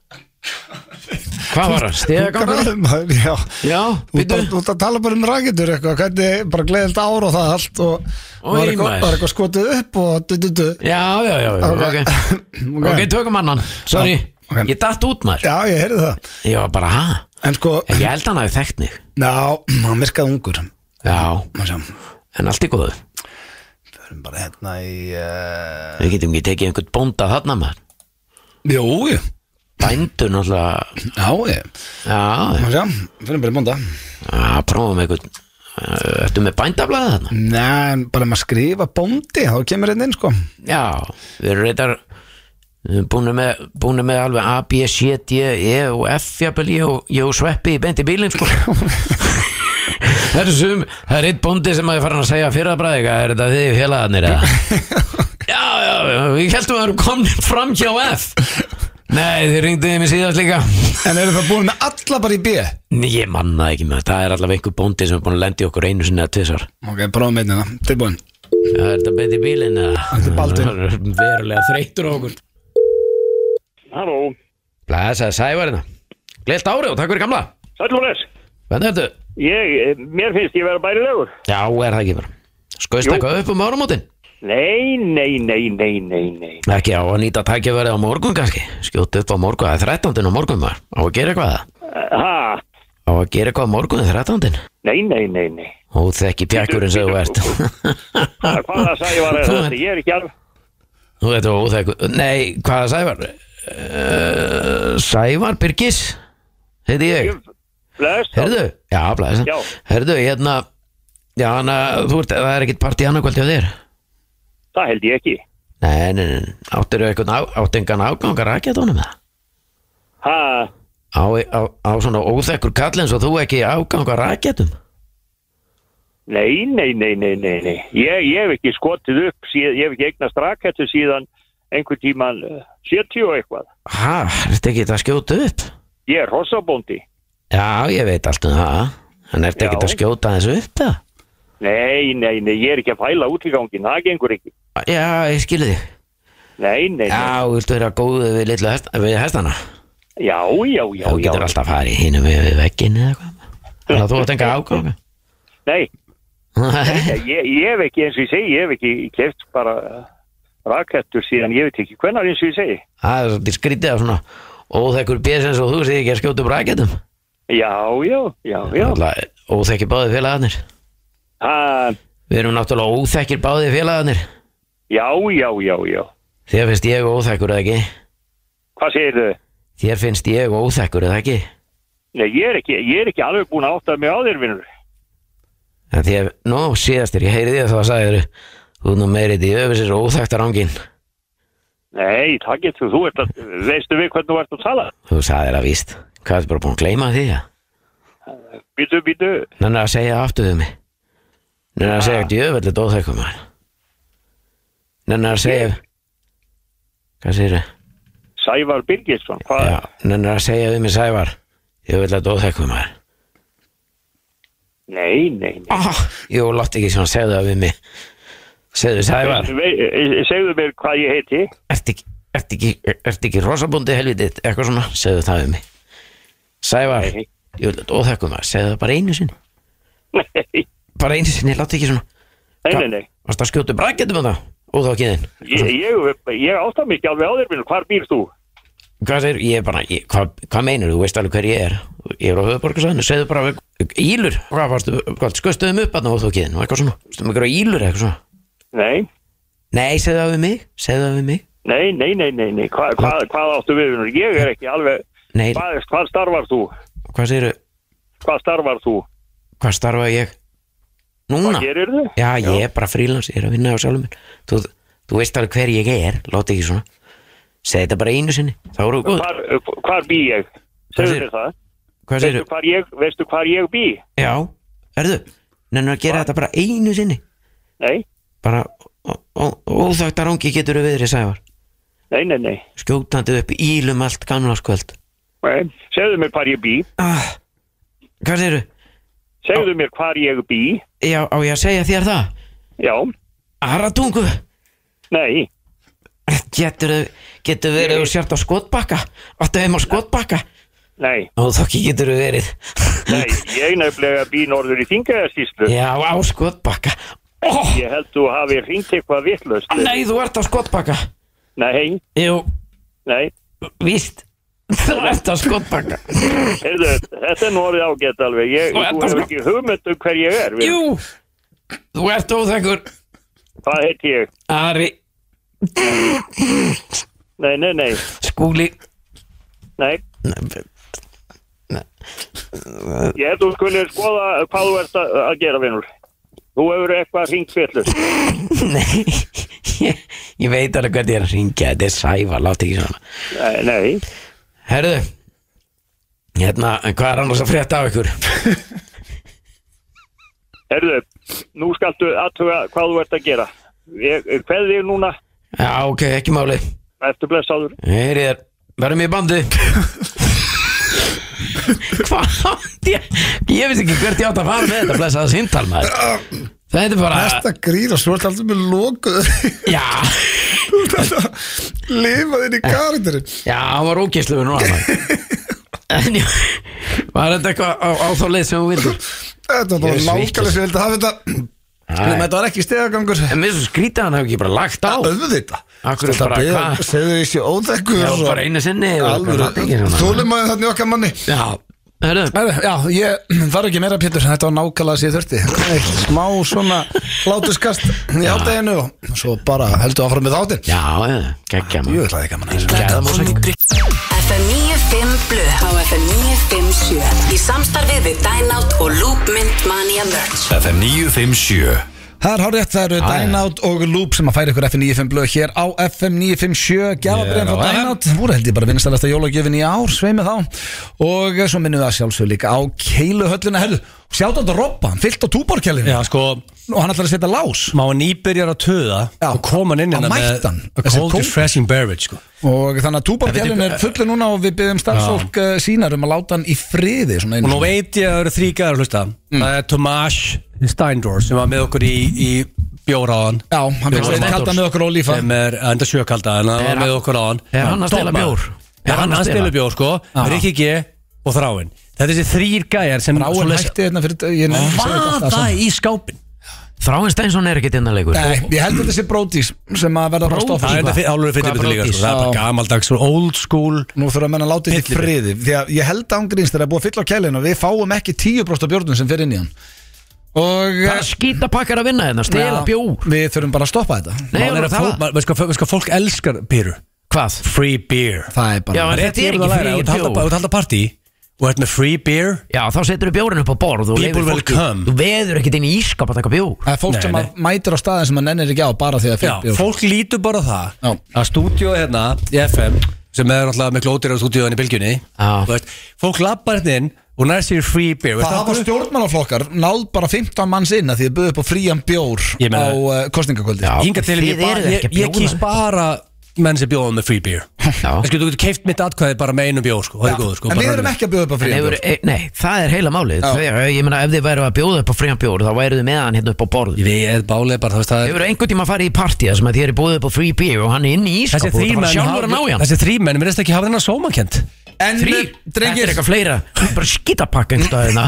Speaker 3: Hvað var það? Stiga gangur?
Speaker 1: Maður, Já,
Speaker 3: Já,
Speaker 1: þú ert
Speaker 3: býttu
Speaker 1: bara- þú ert að tala bara um rækjendur eitthvað Hvernig, bara gleðilt ár og það allt Og
Speaker 3: Oj,
Speaker 1: var eitthvað,
Speaker 3: maður.
Speaker 1: var eitthvað skotið upp og du, du, du.
Speaker 3: Já, já, já, já,
Speaker 1: Ok.
Speaker 3: ok
Speaker 1: Ok.
Speaker 3: Ok, tökum annan, sorry
Speaker 1: Já, ok.
Speaker 3: Ég datt út maður
Speaker 1: Já, ég heyrði það
Speaker 3: Ég var bara, ha?
Speaker 1: En sko,
Speaker 3: En ég held hann hafi þekkt mig
Speaker 1: ná, hann virkaði ungur
Speaker 3: Já,
Speaker 1: Má sjá, við
Speaker 3: en allt í góðu
Speaker 1: erum bara hérna í uh...
Speaker 3: Við getum ekki tekið einhvern bónda þarna maður
Speaker 1: Jú, jú.
Speaker 3: Bændur náttúrulega
Speaker 1: já, ég
Speaker 3: Já,
Speaker 1: Má sjá, við erum bara í bónda
Speaker 3: já prófum einhvern Eh, Ertu með bændablaðið þarna?
Speaker 1: Nei, en bara maður skrifa bóndi Þá kemur hérna inn, sko
Speaker 3: Já, við erum reyndar búinu með, búinu með alveg A, B, C, D, E og F jafnvel ég og, ég og sveppi í beint í bílinn sko. það er sum það er eitt bóndi sem að ég farin að segja fyrra bræði hvað er þetta þið félagarnir eða já, já, já, við heldum að við erum komin fram hjá F nei, þið ringduði mér síðast líka
Speaker 1: En eru það búin með alla bara í B
Speaker 3: Nei, ég manna ekki með það er allavega einhver bóndi sem er búin að lendi okkur einu sinni eða tvisar
Speaker 1: Ok, prófum einnig það, tilbúin
Speaker 3: er þetta beint í bílinn eða
Speaker 1: Þetta er Baldvin.
Speaker 3: Hann er verulega þreytur á okkur
Speaker 4: Halló,
Speaker 3: Blæsaði sævarina hérna. Gleilt ári og takk fyrir gamla
Speaker 4: Sætlúres,
Speaker 3: Hvernig ertu?
Speaker 4: ég, eh, mér finnst ég vera bærilegur.
Speaker 3: Já, er það ekki bara Skoist
Speaker 4: Jú.
Speaker 3: eitthvað upp um áramótin?
Speaker 4: Nei, nei, nei, nei, nei, nei.
Speaker 3: Ekki á að nýta tækjaverið á morgun kannski Skjótt upp á morgun, það er 13. á morgun maður Á að gera eitthvað það?
Speaker 4: Ha,
Speaker 3: Á að gera eitthvað á morgun, 13.
Speaker 4: nei, nei, nei, nei.
Speaker 3: Ó, þekki pjakkurinn sem þú ert
Speaker 4: Ha, Hvaða sævar er þetta? Ég er ekki alveg.
Speaker 3: Þú veit þú, óþekku Nei, hvaða sævar? Uh, sævar Birgis Heiti ég
Speaker 4: Bless.
Speaker 3: Herðu, já, blæðis
Speaker 4: Já.
Speaker 3: Herðu, hérna Já, hana, þú ert, það er ekkit partí annarkvöld hjá þér
Speaker 4: Það held ég ekki.
Speaker 3: Nei, nei, nei, áttirðu eitthvað á, áttingan ágangar að geta honum það?
Speaker 4: Ha,
Speaker 3: Á, á, á svona óþekkur kall eins og þú ekki ágangar að getum?
Speaker 4: nei, nei, nei, nei, nei, nei. Ég, ég hef ekki skotið upp, síð, ég hef ekki eignast rakettu síðan einhver tíman uh, 70 og eitthvað.
Speaker 3: Hæ, ertu ekki að skjóta upp?
Speaker 4: Ég er hossabóndi.
Speaker 3: Já, ég veit allt um það. En ertu ekki
Speaker 4: Já.
Speaker 3: að skjóta þessu upp það?
Speaker 4: Nei, nei, nei, ég er ekki að fæla út í gangin, það gengur ekki.
Speaker 3: Já, ég skilði þig.
Speaker 4: Nei, nei, nei.
Speaker 3: Já, viltu vera góðu við litlu hest, við hestana?
Speaker 4: Já, já,
Speaker 3: Já,
Speaker 4: já,
Speaker 3: þú
Speaker 4: já.
Speaker 3: getur alltaf að fara í hinum við, við vegginn eða eitthvað. Þannig að þú átt enga áganga.
Speaker 4: Nei,
Speaker 3: Nei,
Speaker 4: ég, ég hef ekki eins og ég segi, ég hef ekki keft bara uh, rakettur síðan, ég veit ekki hvenar eins og ég segi.
Speaker 3: það er svolítið skrítið af svona óþekkur björs eins og þú sé ekki að skjóta upp rækjætum.
Speaker 4: Já, já, já, já.
Speaker 3: Óþekki báði félagarnir.
Speaker 4: Ha,
Speaker 3: Við erum náttúrulega óþekkir báði félagarnir
Speaker 4: já, já, já, já.
Speaker 3: Þér finnst ég óþekkur eða ekki
Speaker 4: Hvað segir þau?
Speaker 3: Þér finnst ég óþekkur eða ekki
Speaker 4: Nei, ég er ekki, ég er ekki alveg búin að áttaða mig á þér, vinnur.
Speaker 3: En þér, nú síðastir, ég heyri þér þá að sagði þér Þú er nú meirið í öfisir óþekktar ángin
Speaker 4: Nei, það getur, þú ert að, veistu við hvernig þú ert að tala?
Speaker 3: Þú sagði þér að víst Hvað er bara búin að gleyma því að
Speaker 4: Býtu, býtu,
Speaker 3: Nennar að segja aftur við mig Nennar að segja að djöfellit óþekkum maður Nennar að segja Hvað segir þau?
Speaker 4: Sævar Birgisson, hvað?
Speaker 3: Já, nennar að segja við mig sævar Djöfellit óþekkum maður
Speaker 4: Nei, nei, nei.
Speaker 3: Ah, jú, látt ekki svona, segðu það við mig Segðu Sævar,
Speaker 4: Vei, eh, segðu mér hvað ég heiti.
Speaker 3: ert ekki, ert ekki, ert ekki rosabundi helvitið, eitthvað svona, segðu það við mig Sævar,
Speaker 4: Nei.
Speaker 3: jú, óþekkum það, segðu það bara einu sinni
Speaker 4: Nei,
Speaker 3: Bara einu sinni, látt ekki svona
Speaker 4: Nei, nei, nei.
Speaker 3: Varst að skjóta brækjandi með það? Og þá ekki þinn
Speaker 4: Ég, ég, ég átta mig ekki alveg á þér minn, hvar býrst þú?
Speaker 3: Hvað segir, ég er bara, ég, hvað hva meinar þú, veist alveg hver ég er Ég er á höfuborgarsæðinu, segðu bara Ílur, hvað varstu, hvað, skustuðum upp að það og þú ekki þinn, eitthvað svona, stum ykkur á ílur eða eitthvað svona
Speaker 4: Nei,
Speaker 3: Nei, segðu það við mig, segðu það við mig
Speaker 4: nei, nei, nei, nei, nei. Hva, hvað, hvað áttu við? vinur? Ég er ekki alveg,
Speaker 3: Nei,
Speaker 4: hvað, hvað starfar þú?
Speaker 3: hvað segir,
Speaker 4: Hvað starfar þú?
Speaker 3: hvað starfa ég Núna,
Speaker 4: Hvað gerir þau?
Speaker 3: já, ég er bara frílans Ég er að vinna á sjálfum minn þú, þú veist alveg hver ég er, láti ekki svona Segðu þetta bara einu sinni, þá eru góð
Speaker 4: Hvar, hvar bý ég? Segðu
Speaker 3: segirðu?
Speaker 4: mér það.
Speaker 3: Hvað
Speaker 4: Veistu
Speaker 3: segir,
Speaker 4: hvar ég, veistu hvar ég bý?
Speaker 3: já, erðu Nennar að gera þetta bara einu sinni
Speaker 4: Nei,
Speaker 3: Bara ó- ó- óþægtar angi getur við viðri, sævar
Speaker 4: nei, nei, nei.
Speaker 3: skjótandi upp ílum allt gamlarskvöld
Speaker 4: nei. Segðu mér hvar ég bý.
Speaker 3: ah, Hvað segirðu?
Speaker 4: Segðu mér hvar ég bý.
Speaker 3: Já, á ég að segja þér það?
Speaker 4: Já,
Speaker 3: Aratungu,
Speaker 4: nei,
Speaker 3: getur, getur verið og sért á skotbakka Áttu heim á skotbakka
Speaker 4: nei,
Speaker 3: Ó, þá ekki getur verið
Speaker 4: nei. Ég nefnilega bý norður í Þingæðarsýslu.
Speaker 3: Já, á skotbakka Ó,
Speaker 4: Ég held þú hafi ringt eitthvað vittlust.
Speaker 3: nei, þú ert á skotbakka
Speaker 4: Nei,
Speaker 3: Jú,
Speaker 4: nei.
Speaker 3: víst Þú ert á skotbakka
Speaker 4: Heyrðu, þetta er nú orðið ágætt alveg. Ég,
Speaker 3: Þú ert að
Speaker 4: þú hefur
Speaker 3: skapa-
Speaker 4: ekki hugmynd um hver ég er.
Speaker 3: Jú, þú ert óþægur
Speaker 4: Hvað heiti ég?
Speaker 3: Ari,
Speaker 4: Nei, nei, nei,
Speaker 3: skúli
Speaker 4: nei. Ég held þú skulir skoða hvað þú ert að, að gera, vinnur. Þú hefur eitthvað ringt fjöllur.
Speaker 3: Nei, ég, ég veit alveg hvernig ég er að ringja Þetta er sæfa, láti ekki svona
Speaker 4: Nei, nei.
Speaker 3: Herðu Hérna, en hvað er annars að frétta af ykkur?
Speaker 4: Heyrðu, nú skaltu aðtuga hvað þú ert að gera. Ég, hvað þig núna?
Speaker 3: Já, ok, ekki máli
Speaker 4: Eftir blessaður.
Speaker 3: Heyrið er, verðum í bandi Hvað átti ég? Ég vissi ekki hvert ég átt að fara með þetta Blessaða síntal maður Þetta er bara
Speaker 1: Þetta grína, svo ertu alltaf með lokuð
Speaker 3: Já,
Speaker 1: Þú ert alltaf lifaðin í karakterin
Speaker 3: já, hann var ógislu við núna En ég Var þetta eitthvað á, á þá leið sem hún vildur?
Speaker 1: Þetta var bara
Speaker 3: Ég er
Speaker 1: nákvæmlega sem ég vildi hafa þetta Nei,
Speaker 3: En
Speaker 1: Þetta var ekki stegagangur
Speaker 3: mér er svo skrítið að hann hef ekki bara lagt á
Speaker 1: Öðvita
Speaker 3: Akkur er bara, hvað?
Speaker 1: Segðu því sé óþekkur
Speaker 3: Já, bara einu sinni og bara hérna. láta ekki
Speaker 1: Alvöru,
Speaker 3: svona.
Speaker 1: þólimaði þarna í okkar manni
Speaker 3: Já, herðu
Speaker 1: Herru, Já, ég þarf ekki meira Pétur Þetta var nákvæmlega sem ég þurfti Eitt Smá svona hlátuskast í átæginu og svo bara heldur áfram með þáttinn
Speaker 3: Já, já, geggja maður
Speaker 1: Jú, ætlaði gaman að þessu
Speaker 3: Geggjaður málsækir.
Speaker 5: FM 95 Blu á FM 957 í samstarfið við Dynout og Loop Mint Mania Merch
Speaker 6: FM 957
Speaker 1: Það er hárétt, það eru Dynout og Loop sem að færa ykkur FM 95 blöð hér á FM 957 Gjafabriðan frá
Speaker 2: Ég er á
Speaker 1: Dynout Þú held ég bara vinstalæsta jólagjöfin í ár, sveimi þá Og svo minnum við að sjálfsög líka á keiluhöllina Herru, sjátt átt að robba, hann fyllt á túborkjælinu
Speaker 2: Já, sko,
Speaker 1: Og hann ætlar að setja lás
Speaker 2: má hann íbyrjar að töða
Speaker 1: Já.
Speaker 2: og kom hann inn
Speaker 1: Á
Speaker 2: hérna
Speaker 1: mættan,
Speaker 2: a
Speaker 1: þessi
Speaker 2: cold
Speaker 1: kóngur.
Speaker 2: refreshing beverage sko.
Speaker 1: Og þannig að túborkjælinu
Speaker 2: eh,
Speaker 1: er fullu núna og við byggjum starfsfólk uh, sínar um að láta hann í friði svona
Speaker 2: og
Speaker 1: einu
Speaker 2: nú
Speaker 1: sinni.
Speaker 2: veit ég að það eru þrý gæðar hlusta það er Tomas Steindor sem var með okkur í, í bjóra á hann
Speaker 1: Já, hann
Speaker 2: Bjór
Speaker 1: byrjaði að
Speaker 2: Steindors.
Speaker 1: kalda með okkur ólífa
Speaker 2: sem er enda sjökalda en hann
Speaker 3: Er
Speaker 2: var með
Speaker 3: hann-
Speaker 2: okkur á hann
Speaker 3: er hann að stela
Speaker 2: Dogma.
Speaker 3: bjór?
Speaker 2: Já, hann að stela bjór sko
Speaker 1: Já.
Speaker 2: Rikki G og Þráin þetta er þessi þrýr gæjar sem
Speaker 1: Ráin
Speaker 2: svoleiðis-
Speaker 1: hætti hérna fyrir ég nefndi að segja þetta allt
Speaker 2: vaða
Speaker 1: saman.
Speaker 2: í skápin
Speaker 3: Þráin Steinsson er ekkert innanlegur
Speaker 1: Nei, ég held þetta sé brótís sem að verða bara að stoppa
Speaker 2: það er
Speaker 1: sig.
Speaker 2: þetta fi- álfur fyrir
Speaker 3: Hvað
Speaker 2: bitur líka
Speaker 3: brókis?
Speaker 2: sko. það er bara
Speaker 1: Já.
Speaker 2: gamaldags og old school
Speaker 1: Nú þurfa að menna að láta þetta í
Speaker 2: Fyllir.
Speaker 1: friði Því að ég held ángríns þegar að búa fyll á kælinu Við fáum ekki 10% af björnum sem fer inn í hann Og eh,
Speaker 3: Það er skítapakkar að vinna hérna, stela
Speaker 1: Já,
Speaker 3: bjór
Speaker 1: Við þurfum bara að stoppa þetta
Speaker 3: Nei,
Speaker 2: Mál er
Speaker 3: alveg
Speaker 2: að
Speaker 3: það.
Speaker 2: fólk- maður- veist hvað- veist hvað fólk elskar pýru
Speaker 3: Hvað?
Speaker 2: free beer
Speaker 1: Það er
Speaker 3: Já,
Speaker 1: bara
Speaker 3: en þetta er
Speaker 2: Þú
Speaker 3: ekki frí
Speaker 2: ert halda-
Speaker 3: bjór
Speaker 2: ert halda partí og ert með free beer
Speaker 3: Já, þá setur þú bjórin upp á borð og
Speaker 2: People
Speaker 3: leyfir
Speaker 2: will
Speaker 3: fólki-
Speaker 2: come.
Speaker 3: Þú veður ekkert inn í ískap að taka bjór
Speaker 1: Það er fólk
Speaker 2: Nei,
Speaker 1: sem
Speaker 2: nei.
Speaker 1: að mætir á staðin sem að nennir ekki á bara því að
Speaker 2: Já,
Speaker 1: fyrir björn
Speaker 2: fólk lítur bara á það
Speaker 1: Já.
Speaker 2: að stúdíó hérna í FM sem er alltaf miklu ódýra stúdíóin í bylgjunni
Speaker 3: Já.
Speaker 2: Þú veist, fólk lappar hérna inn og nær sér free beer
Speaker 1: Það hafa
Speaker 2: stjórn
Speaker 1: stjórnmálaflokkar náð bara 15 manns inn að því að buðu upp á frían bjór
Speaker 2: Ég meina-
Speaker 1: á uh, kostningakvöldi
Speaker 3: Já.
Speaker 2: Hinga til
Speaker 3: Þið
Speaker 2: ég, bara-
Speaker 3: eruð
Speaker 2: ég,
Speaker 3: ekki að
Speaker 2: ég
Speaker 3: bjóða.
Speaker 2: kýs bara menn sem bjóða með free beer
Speaker 3: Já.
Speaker 2: Þessi, Þú getur keift mitt atkvæði bara með einu bjór sko, það er góður sko,
Speaker 1: En
Speaker 2: bara
Speaker 1: við erum
Speaker 2: rannir.
Speaker 1: ekki að buða upp á
Speaker 3: En
Speaker 1: frían
Speaker 3: hefur,
Speaker 1: bjór
Speaker 3: e,
Speaker 2: sko.
Speaker 3: nei, það er heila málið
Speaker 1: Já.
Speaker 3: Þegar, Ég meina, ef þið væru að bjóða upp á frían bjór þá væruð þið með hann hérna upp á borð
Speaker 2: Ég veit, bálið bara, þú veist, það er
Speaker 3: Hefur einhvern tíma farið í partíða sem að þið eru búið upp á free beer og hann er inn í ískap
Speaker 2: Þessi
Speaker 3: og Sko, þú ert að
Speaker 2: þrý
Speaker 3: fara
Speaker 2: menn
Speaker 3: sjálfur að ná í
Speaker 2: hafa-
Speaker 3: hann
Speaker 2: þessi þrír menn, mér veist ekki hafa þennan sómakent
Speaker 1: En,
Speaker 3: Þrý,
Speaker 1: eh, drengir-
Speaker 3: þetta er eitthvað fleira Þetta er Bara skítapakka einstæðina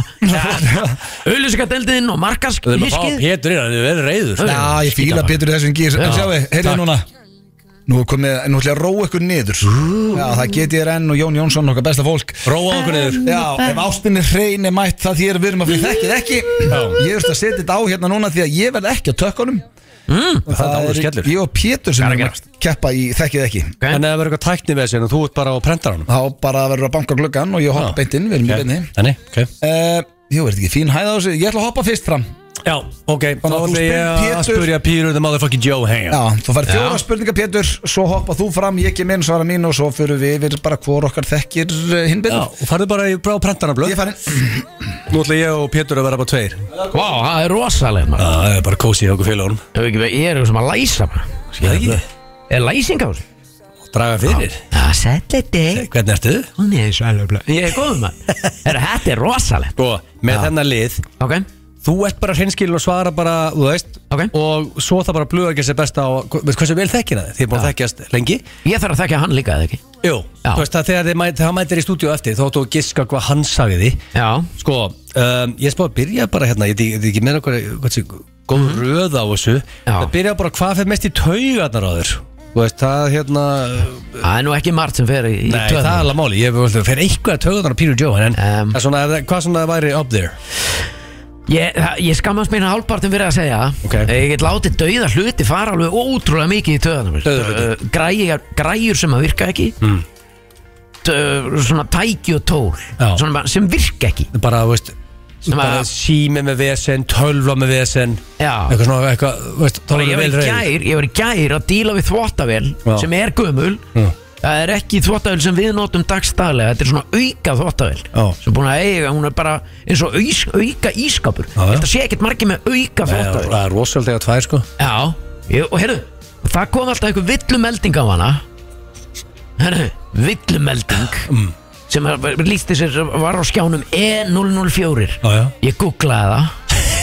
Speaker 3: Öllusegadeldin og markask
Speaker 2: Við erum að fá Pétur inn, hann er verið reyður
Speaker 1: Já, ég fíla Pétur í þessum gýr En
Speaker 3: Já,
Speaker 1: sjáu, heyrðu
Speaker 3: takk.
Speaker 1: núna Nú er komið, nú ætla ég að róa ykkur niður Já, það geti ég enn og Jón Jónsson okkar besta fólk
Speaker 2: Róa okkur niður
Speaker 1: Já, ef ástinni hrein er mætt það þér við erum að fyrir þekkið ekki Ég veist að setja þetta á hérna núna því að ég verð ekki á tökkunum mm,
Speaker 2: alveg skellur.
Speaker 1: Ég og Pétur sem
Speaker 3: Hvað er að
Speaker 1: erum að keppa í þekkið ekki
Speaker 3: Ok.
Speaker 2: En ef það verður eitthvað tækni við þessu, þú ert bara á prentaranum
Speaker 1: Þá bara verður að banka gluggan og ég hoppa
Speaker 2: Já.
Speaker 1: beint inn, við erum í beinni
Speaker 2: Nei, ok
Speaker 1: uh, Jú, er þetta ekki fín hæða á þessu? Ég ætla að hoppa fyrst fram
Speaker 2: Já, ok, þá
Speaker 1: að þú
Speaker 2: ætla
Speaker 1: spyr
Speaker 2: ég að
Speaker 1: Pétur-
Speaker 2: spyrja Pírur the motherfucking Joe Hanger
Speaker 1: Já, þú fær fjóra spurningar Pétur Svo hoppa þú fram, ég ekki minn svara mín Og svo fyrir við yfir bara hvor okkar þekkir eh, hinn
Speaker 2: Já,
Speaker 1: betur
Speaker 2: og farðu bara í brá prentaranblöð
Speaker 1: Ég fær inn
Speaker 2: Nú ætla ég og Pétur að vera bara tveir Já,
Speaker 3: Vá, það er rosalega maður.
Speaker 2: það er bara kósið okkur félagunum
Speaker 3: Ef ekki- Ég er eitthvað sem að læsa maður.
Speaker 2: Skilja ekki
Speaker 3: Er læsing á þessu?
Speaker 2: Draga fyrir Eh,
Speaker 3: Það sætla þig
Speaker 2: Hvernig ertu?
Speaker 3: Hún er sælubla Ég er góð maður Herra, Þetta er rosalegt
Speaker 2: Sko, með þennan lið
Speaker 3: Ok
Speaker 2: Þú ert bara hreinskilin og svara bara, þú veist
Speaker 3: Ok.
Speaker 2: Og svo það bara blöða ekki sér besta á Veist hversu vel þekkina þið? Þið er búin að þekkjast lengi
Speaker 3: Ég þarf að þekka hann líka eða ekki
Speaker 2: Jú
Speaker 3: Já.
Speaker 2: Þú veist það þegar þið mæ, þegar hann mætir í stúdíu eftir Þá áttu að giska hvað hann sagði því
Speaker 3: Já
Speaker 2: Sko, um, ég spá að byrja bara hérna Ég veit ekki- ég veit ekki meina hvað hversu góð röð á þessu
Speaker 3: Mhm. Já.
Speaker 2: Það byrja bara hvað fyrir mest í taugarnar á þér Þú veist það hérna
Speaker 3: Það er nú ekki margt sem fer í, í
Speaker 2: Nei, það er
Speaker 3: töðunar.
Speaker 2: alveg máli Ég veit, fer eitthvað taugarnar á Peter Joe En
Speaker 3: Em.
Speaker 2: um. svona, ef það- hvað svona væri up there
Speaker 3: Ég, það- ég skammast mín að hálfpartin fyrir að segja það.
Speaker 2: Ok.
Speaker 3: Ég get látið dauða hluti fara alveg ótrúlega mikið í töðanum
Speaker 2: Dauða hluti.
Speaker 3: græjur, græjur sem að virka ekki mm. Svona tæki og tól
Speaker 2: Já.
Speaker 3: svona, bara- sem virka ekki
Speaker 2: Bara, þú veist
Speaker 3: Sem
Speaker 2: bara
Speaker 3: að-
Speaker 2: sími með vesen, tölva með vesen
Speaker 3: Já.
Speaker 2: eitthvað svona, eitthvað, þú veist, þá
Speaker 3: Bara
Speaker 2: erum
Speaker 3: ég,
Speaker 2: vel
Speaker 3: var í
Speaker 2: reyður
Speaker 3: gær, ég var í gær að díla við þvottavél
Speaker 2: Já.
Speaker 3: sem er gömul
Speaker 2: Já.
Speaker 3: Það er ekki þvottavél sem við notum dagstaglega Þetta er svona auka þvottavél
Speaker 2: Já.
Speaker 3: sem er búin að eiga, hún er bara eins og aus, auka ískapur
Speaker 2: já.
Speaker 3: Þetta sé ekkert margir með auka þvottavél
Speaker 2: Það er rosalega þegar tvær sko
Speaker 3: Já, ég, og heyrðu Það kom alltaf einhver villumelding á hana Heyrðu, villumelding sem er- lýsti sér var á skjánum E E004
Speaker 2: Já, já.
Speaker 3: Ég googlaði það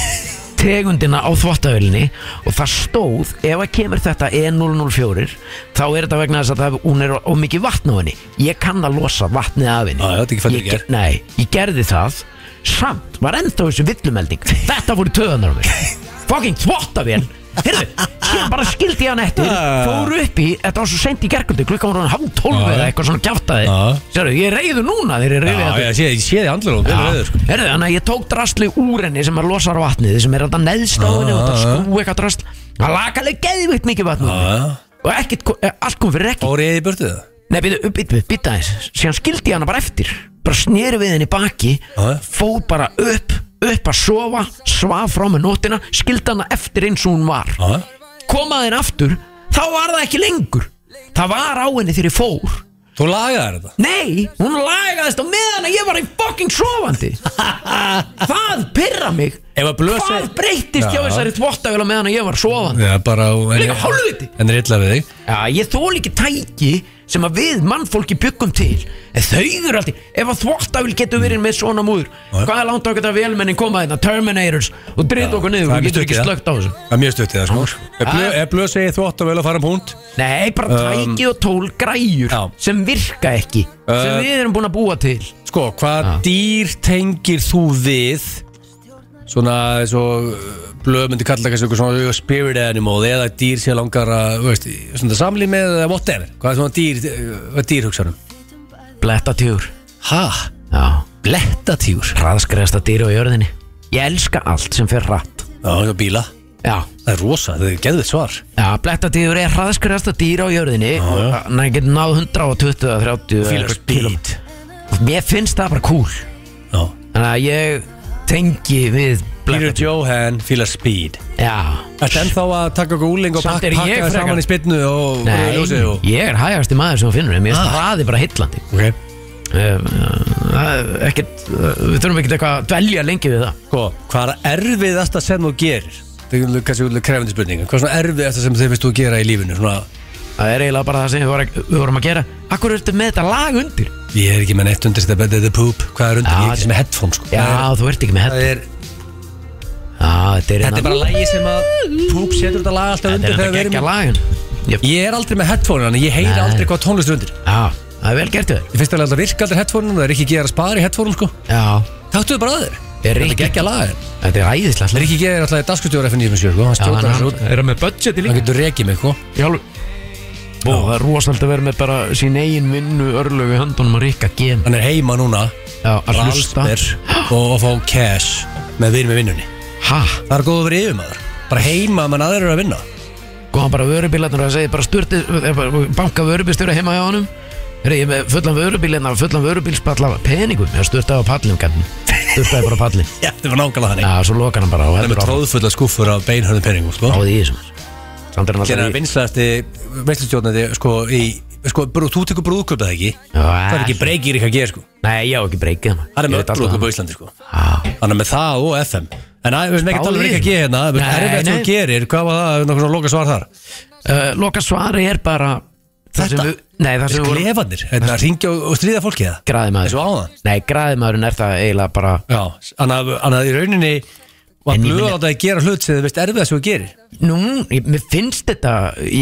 Speaker 3: tegundina á þvottavélinni og það stóð, ef að kemur þetta E E004, þá er þetta vegna þess að það, hún er of mikið vatn á henni ég kann að losa vatnið af henni
Speaker 2: Já, já, þetta er ekki fæddur í
Speaker 3: ég, ge- Nei, ég gerði það samt, var enda þessu villumelding þetta voru töðanar á mér fucking þvottavél Heyrðu, síðan bara skildi ég hann eftir fór upp í, þetta var svo sent í gerkuldu klukkan var hann hálf tólf
Speaker 2: Já, já.
Speaker 3: eða eitthvað svona kjáftaði
Speaker 2: Já.
Speaker 3: Sérðu, ég er reyður núna þegar ég
Speaker 2: Já,
Speaker 3: reyði þetta
Speaker 2: já, ég sé, ég sé þið andlur og vel reyður sko
Speaker 3: Herðu, þannig að ég tók drastli úr henni sem er losar á vatnið sem er þetta neðst á henni
Speaker 2: Ah,
Speaker 3: sko, og þetta skú eitthvað drastl Það laka alveg geðvikt mikið vatn úr henni. og ekkit, ko- eh, allt kom fyrir ekki
Speaker 2: Og reyði í burtu það
Speaker 3: Nei, býta, býta, býta aðeins síðan skildi ég hana bara eftir bara sneri við henni í baki
Speaker 2: Já.
Speaker 3: fór bara upp, upp að sofa svaf frá með nótina, skildi hana eftir eins og hún var
Speaker 2: Já,
Speaker 3: komaði henni aftur, þá var það ekki lengur það var á henni þegar ég fór
Speaker 2: þú lagaði þetta
Speaker 3: Nei, hún lagaðist á meðan að ég var í fucking sofandi Það pyrra mig
Speaker 2: Ef að blöð
Speaker 3: Hvað
Speaker 2: seg-
Speaker 3: breytist hjá
Speaker 2: Já.
Speaker 3: þessari þvottavél á meðan að ég var sofandi
Speaker 2: Já, bara en-
Speaker 3: Líka hálfviti.
Speaker 2: En er illa við þig
Speaker 3: Já, ég þól ekki tæki sem að við mannfólki byggum til En þau eru alltaf Ef að þvottavél getur verið með svona múður
Speaker 2: Já.
Speaker 3: Hvað er langt okkur að velmennin koma þarna Terminators og drita okkur niður
Speaker 2: það er
Speaker 3: Hún
Speaker 2: mjög
Speaker 3: getur
Speaker 2: stutt
Speaker 3: ekki
Speaker 2: í það.
Speaker 3: slögt á þessu
Speaker 2: Það er mjög stuttið það sko Ef
Speaker 3: Ah.
Speaker 2: blöð- Ef blöð segir þú átt að vel að fara um húnt
Speaker 3: Nei, bara tæki og tól
Speaker 2: Um,
Speaker 3: græjur
Speaker 2: Já.
Speaker 3: sem virka ekki sem
Speaker 2: Uh,
Speaker 3: við erum búin að búa til
Speaker 2: Sko, hvað
Speaker 3: Já.
Speaker 2: dýr tengir þú við svona eins og blöð myndi kalla kannski eitthvað svona spirit animal eða dýr sem langar að, þú veist, svona samlíf með eða whatever, hvað er svona dýr uh, hvað er dýr hugsanum?
Speaker 3: Blettatíður
Speaker 2: Ha?
Speaker 3: Já
Speaker 2: Blettatígur?
Speaker 3: hraðskreðasta dýri á jörðinni Ég elska allt sem fer hratt
Speaker 2: Já, það er bíla
Speaker 3: Já,
Speaker 2: Það er rosa, það er geðvitt svar
Speaker 3: já blettadýr er hraðskreðasta dýri á jörðinni Þannig að getur náð 120 eða 30
Speaker 2: Fílar
Speaker 3: eitthvað
Speaker 2: speed.
Speaker 3: kílómetra. Og Mér finnst það bara cool
Speaker 2: Já
Speaker 3: Þannig að ég tengi við
Speaker 2: Peter
Speaker 3: blettadýr
Speaker 2: Johan fílar speed
Speaker 3: Já,
Speaker 2: Þetta ennþá að taka okkur úling og
Speaker 3: Samt
Speaker 2: pakka
Speaker 3: er ég
Speaker 2: pakka það
Speaker 3: frekar-
Speaker 2: saman í spilnu og og
Speaker 3: nei,
Speaker 2: ljósið og
Speaker 3: ég er hægasti maður sem þú finnur Mér finnst hraði bara heillandi
Speaker 2: Ok
Speaker 3: Eh, það er ekkert, eh, Við þurfum ekkert eitthvað að dvelja lengi við það
Speaker 2: Sko, hvað er það erfiðasta sem þú gerir? Það er kannski úrlega krefandi spurning en Hvað er svona erfiðasta sem þið finnst þú að gera í lífinu? Svona,
Speaker 3: Það er eiginlega bara það sem við var- við vorum að gera Akkur ertu með þetta lag undir?
Speaker 2: ég er ekki með neitt undir þetta Þetta er poop Hvað er undir?
Speaker 3: Já,
Speaker 2: ég er ekki með headphone sko
Speaker 3: Já, þú ert ekki með
Speaker 2: Það
Speaker 3: þetta
Speaker 2: er,
Speaker 3: Já, Þetta er
Speaker 2: Þetta
Speaker 3: hérna-
Speaker 2: er bara lagi sem að poop setur þetta lag alltaf
Speaker 3: Þetta
Speaker 2: undir
Speaker 3: er
Speaker 2: þegar
Speaker 3: þetta
Speaker 2: við erum
Speaker 3: geggja
Speaker 2: í-
Speaker 3: lagun Jöp.
Speaker 2: Ég er aldrei með headphone Þannig ég heyri
Speaker 3: Nei.
Speaker 2: aldrei hvað tónlist er undir
Speaker 3: Já, það er vel gert þér
Speaker 2: Ég finnst alveg að þetta virka aldrei headphone-um, það er ekki geðar að spara í headphone-um sko
Speaker 3: Já,
Speaker 2: Taktu þau bara að þér
Speaker 3: Er
Speaker 2: Þetta er
Speaker 3: Rikki-
Speaker 2: ekki að laga þér
Speaker 3: þetta er æðislega
Speaker 2: Það er ekki geðar alltaf í dagskustjóra FN97 sko, hann
Speaker 3: Já,
Speaker 2: stjóta þessu
Speaker 3: hann
Speaker 2: út
Speaker 3: er með budgeti
Speaker 2: Hann
Speaker 3: líka
Speaker 2: getur rekið mig sko
Speaker 3: Jálf Bó, það er rosalega að vera með bara sín eigin vinnu örlög í höndunum að ríka gen
Speaker 2: Hann er heima núna,
Speaker 3: Já, að hlusta
Speaker 2: ralsper og að fá cash með vinum í vinnunni
Speaker 3: Ha,
Speaker 2: Það er góð að vera yfirmaður Bara heima meðan aðrir eru að vinna
Speaker 3: góðan bara vörubilarnir og það segir bara sturti eh, bara banka vörubilstjóra heima hjá honum Heri, ég er með fullan vörubilina fullan vörubilspalla af peningum ég sturtaði á pallin gætin sturtaði bara á pallin
Speaker 2: Já, þetta var nákvæmlega þannig
Speaker 3: Já, svo lokar hann bara og
Speaker 2: Það er með
Speaker 3: heldur áfram.
Speaker 2: tróðfulla skúfur af beinhörðum peningum sko.
Speaker 3: náði í þessum samt er
Speaker 2: Hérna
Speaker 3: hann
Speaker 2: er
Speaker 3: alltaf í
Speaker 2: vinstlæðasti veistlustjórnandi sko, í, sko, brú, þú tekur brúðköpað ekki
Speaker 3: Já,
Speaker 2: Það er ekki breykir ekki að gera sko
Speaker 3: Nei, ég á ekki breykið hann
Speaker 2: Hann er með
Speaker 3: Ég veit
Speaker 2: öll
Speaker 3: alltaf
Speaker 2: okkur
Speaker 3: það.
Speaker 2: á Íslandi sko
Speaker 3: Já,
Speaker 2: Hann er með það og FM En að- við veistum ekki að tala um
Speaker 3: Báðir.
Speaker 2: ekki að gera hérna Það
Speaker 3: Nei,
Speaker 2: er erfitt að
Speaker 3: nei.
Speaker 2: þú gerir, hvað var það, nokkuð svona loka svar þar
Speaker 3: Uh, Loka svari er bara það sem
Speaker 2: Þetta?
Speaker 3: við, Nei, það sem við vorum
Speaker 2: Glefanir, hérna ringja og, og stríða fólki það
Speaker 3: Græði
Speaker 2: Þessu
Speaker 3: maður
Speaker 2: áðan
Speaker 3: Nei, græði maðurinn er það eiginlega bara
Speaker 2: Já, hann að- hann að í rauninni var
Speaker 3: En ég
Speaker 2: blöð á
Speaker 3: meina-
Speaker 2: þetta að gera hlut sem þið veist erfið að svo gerir
Speaker 3: Nú, ég, mér finnst þetta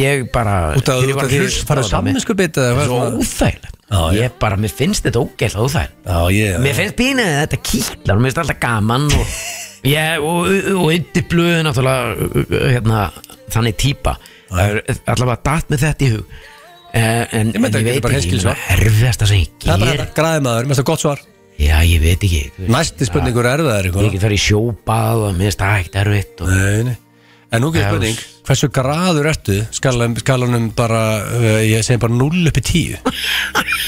Speaker 3: Ég bara
Speaker 2: Út af
Speaker 3: þegar ég
Speaker 2: út af
Speaker 3: var að
Speaker 2: því
Speaker 3: hlusta á
Speaker 2: farið
Speaker 3: þetta, mér-
Speaker 2: samminsku bitið eða hvað
Speaker 3: Svo
Speaker 2: svona?
Speaker 3: óþægilegt
Speaker 2: Já, já.
Speaker 3: Ég bara, mér finnst þetta ógælt óþægilegt
Speaker 2: Já, ég
Speaker 3: Mér finnst pínu að þetta kýtlar Mér finnst alltaf gaman og, ég, og, og yndi blöðu náttúrulega hérna, Þannig típa Það er allavega datt með þetta í hug Eh, En,
Speaker 2: Ég meina,
Speaker 3: en
Speaker 2: þetta
Speaker 3: ég
Speaker 2: er
Speaker 3: veit
Speaker 2: bara
Speaker 3: ekki,
Speaker 2: hreinskilin
Speaker 3: ég meina, erfiðasta sem ég
Speaker 2: Það er
Speaker 3: ger
Speaker 2: bara græði maður, mér finnst það gott svar
Speaker 3: Já, ég veit ekki þú veist,
Speaker 2: Næsti spurningur er erfiðar
Speaker 3: Ég
Speaker 2: ykkur
Speaker 3: get farið í sjóbað og mér finnst það ekkert erfitt og...
Speaker 2: Nei, nei En nú getur
Speaker 3: Já,
Speaker 2: spurning, hversu graður ertu skalan, skalanum bara, uh, ég segi bara 0 uppi 10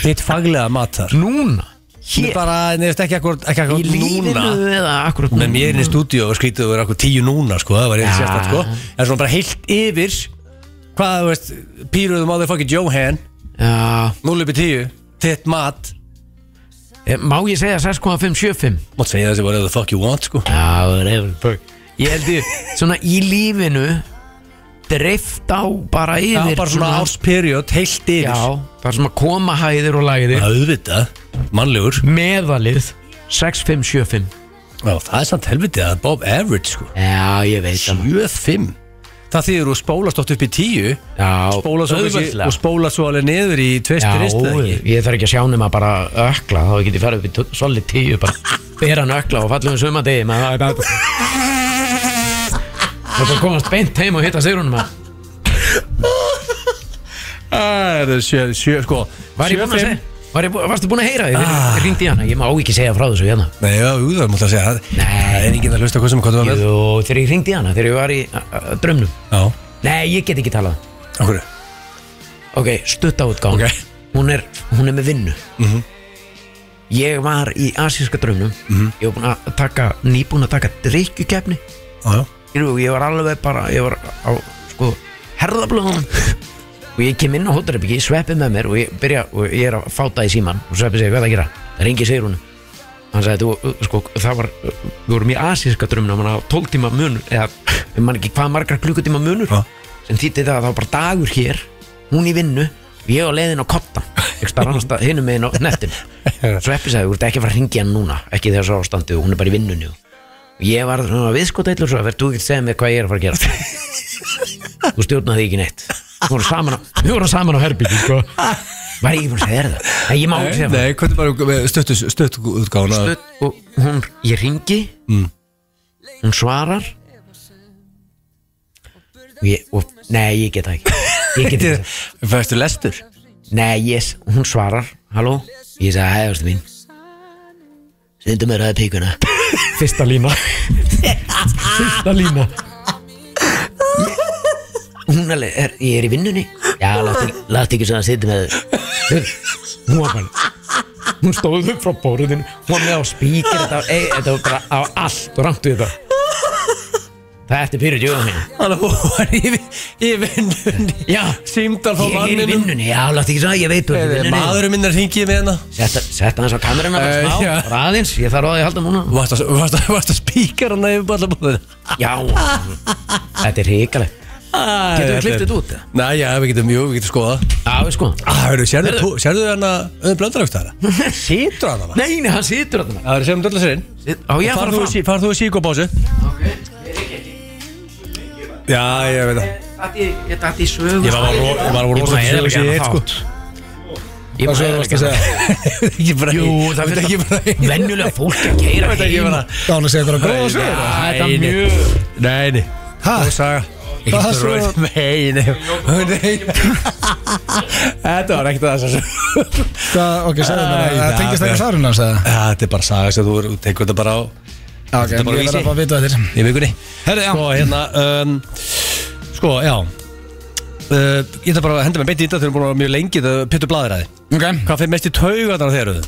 Speaker 2: Þitt faglega mat þar
Speaker 3: Núna
Speaker 2: Mér
Speaker 3: Hér
Speaker 2: bara, nefnist ekki akkur, ekki
Speaker 3: Í
Speaker 2: akkur
Speaker 3: lífinu
Speaker 2: núna
Speaker 3: eða akkurat
Speaker 2: Menn ég er inn í stúdíu og skrítið og vera akkur 10 núna, sko, það var eitthvað
Speaker 3: Já.
Speaker 2: sérstætt, sko En svona bara heilt yfir, hvað, þú veist, pýruðu máður fokkið Johan,
Speaker 3: Já
Speaker 2: 0 uppi 10 Þitt mat,
Speaker 3: Eh, Má ég segja 6,575?
Speaker 2: mátt segja þessi bara eða fuck you want, sko
Speaker 3: Já, whatever Ég held ég Svona í lífinu Dreift á bara
Speaker 2: Já,
Speaker 3: yfir
Speaker 2: bara svona ásperiod, heilt yfir
Speaker 3: Já, það er svona koma hæðir og læðir
Speaker 2: Það er auðvitað, mannlegur
Speaker 3: Meðalið 6575
Speaker 2: Já, það er samt helviti að Bob Average sko
Speaker 3: Já, ég veit það
Speaker 2: 7-5 Það þýður og spólast oft upp í 10
Speaker 3: Já,
Speaker 2: spólast svo kannski-
Speaker 3: auðveldlega.
Speaker 2: og spólast svo alveg niður í
Speaker 3: Já,
Speaker 2: tveistir
Speaker 3: ég þarf ekki að sjá nema bara ökla þá get ég farið upp í t- solid tíu bara bera hann ökla og falla um sumadegi maður það er bara það er bara komast beint heim og hitta sigrunum maður.
Speaker 2: Það er 7 sko
Speaker 3: var ég búin
Speaker 2: 7-5.
Speaker 3: að segja var ég, bú- varstu búin að heyra því ah. ég ringdi í hana ég má ekki segja frá þessu hérna
Speaker 2: Nei, já, jú, það mútt að segja það
Speaker 3: Nei.
Speaker 2: Það er enginn að hlusta hvað sem hvað þú var með
Speaker 3: og þegar ég ringdi í hana þegar ég var í a- a- draumnum
Speaker 2: Já,
Speaker 3: nei ég get ekki talað
Speaker 2: okkur
Speaker 3: ok stutt á útgáð
Speaker 2: Ok. Mhm.
Speaker 3: hún, er, hún er með vinnu ég var í asíska draumnum
Speaker 2: Mhm.
Speaker 3: ég var búin að taka nýbúin að taka drikkjukefni
Speaker 2: Já, já
Speaker 3: Jú, ég var alveg bara, ég var á, sko, herðablóðum og ég kem inn á hóttarherbyggi, sveppi með mér og ég byrja, og ég er að fáta í síman og sveppi segir, hvað er það að gera? Það ringi segir hún hann sagði, þú, sko, það var við vorum í asíska drömmunum, hann á 12 tíma munur eða, við mann ekki hvað margar klukkutíma munur
Speaker 2: Já.
Speaker 3: sem þýtti það að það var bara dagur hér hún í vinnu, ég á leiðin á kotta ekki starf annars stað, hinum megin á nettin sveppi sagði, þú ert ekki að fara að ringi hann núna ekki þegar svo ástandi og hún er bara í vinnunni og Ég var svona viðskotætlur svo, verður þú ekki að segja mér hvað ég er að fara að gera? þú stjórnaði ekki neitt. Við vorum saman á, við vorum saman á herbyggi, sko. Var ég ekki búin að segja þér það? Nei, ég má ekki segja það.
Speaker 2: Nei, hvernig bara stöttu útgána
Speaker 3: Stutt, og hún, ég ringi, hún svarar, og ég, og, nei, ég geta ekki. Ég geta ekki.
Speaker 2: Fæstu lestur
Speaker 3: Nei, yes, hún svarar Halló, ég sagði hæ, ástu mín Sundum er aðeins píkuna Fyrsta lína Fyrsta lína Hún alveg, er, ég er í vinnunni Já, láttu látt ekki svona að sitja með þér. Hún var bara Hún stóð upp frá bóruðinu Hún var með á spíkir Þetta, var- ei, þetta var bara á allt og rangt við þetta Það ertu pyrrið jú á mér
Speaker 2: Þannig að hún var í í vinnunni
Speaker 3: Já,
Speaker 2: Símdal frá
Speaker 3: ég er í
Speaker 2: manninum
Speaker 3: vinnunni Já, láttu ekki svona, ég veit þú ert í
Speaker 2: Eh,
Speaker 3: vinnunni.
Speaker 2: Maðurinn minn er hringið með hérna. hana
Speaker 3: Setta, setta hans á kameruna
Speaker 2: Eh,
Speaker 3: bara smá,
Speaker 2: já.
Speaker 3: bara aðeins, ég þarf á því að halda núna
Speaker 2: Varst að- varst að- varst að spíkar hann að yfir bara búið
Speaker 3: Já, þetta er hrikalegt Getum við klippt þetta út? eða?
Speaker 2: Nei, já, við getum, jú, við getum skoða
Speaker 3: Já, við sko
Speaker 2: ah, hörru, Sérðu tú- sérðu hann að auðvitað blöndaröfst það? Sýtur hann það?
Speaker 3: Nei, nei, hann situr að það
Speaker 2: Það er sem döllar sérinn
Speaker 3: Á, ég að fara fram
Speaker 2: Far þú í síkobásu Já, ég veit það
Speaker 3: Þetta er í sögu
Speaker 2: Ég var- var- var- var- var- rosa
Speaker 3: Ég er búin að
Speaker 2: sögu
Speaker 3: eyðileggja
Speaker 2: sér,
Speaker 3: þennan
Speaker 2: sko.
Speaker 3: þátt. Ég
Speaker 1: Hvað
Speaker 3: bara-
Speaker 1: svo þú varst að segja?
Speaker 2: Ekki bara
Speaker 3: Jú, það
Speaker 2: veit ekki bara
Speaker 3: verður venjulega fólk að
Speaker 2: Ég
Speaker 3: keira
Speaker 2: veit ekki bara
Speaker 1: Gáðan að segja eitthvað gróða
Speaker 2: Nei,
Speaker 1: sögur
Speaker 3: Já, þetta
Speaker 2: nei.
Speaker 3: er mjög
Speaker 2: Nei, nei
Speaker 1: Ha?
Speaker 2: Góð saga Ekki
Speaker 1: Hvað svo-
Speaker 2: rauð Nei, nei Nei Þetta var ekkert að þess að
Speaker 1: Hvað, ok, segðu mér
Speaker 2: Æ,
Speaker 1: það Það tengist ekki
Speaker 2: það-
Speaker 1: svarun hans eða?
Speaker 2: Þetta er bara saga sem þú þú tekur þetta bara á
Speaker 1: Já, ok,
Speaker 2: Þetta er
Speaker 1: ég
Speaker 2: bara
Speaker 1: verð
Speaker 2: vísi.
Speaker 1: að fá að vita þetta
Speaker 2: í vikunni
Speaker 1: Herri, já.
Speaker 2: Sko, hérna um, Sko, já uh, Ég ætla bara að henda mig beint í þetta Þeir eru búin að vera mjög lengi Það pittu blaðiræði
Speaker 1: Ok,
Speaker 2: Hvað fyrir mest í taugarnar þeir eru þau?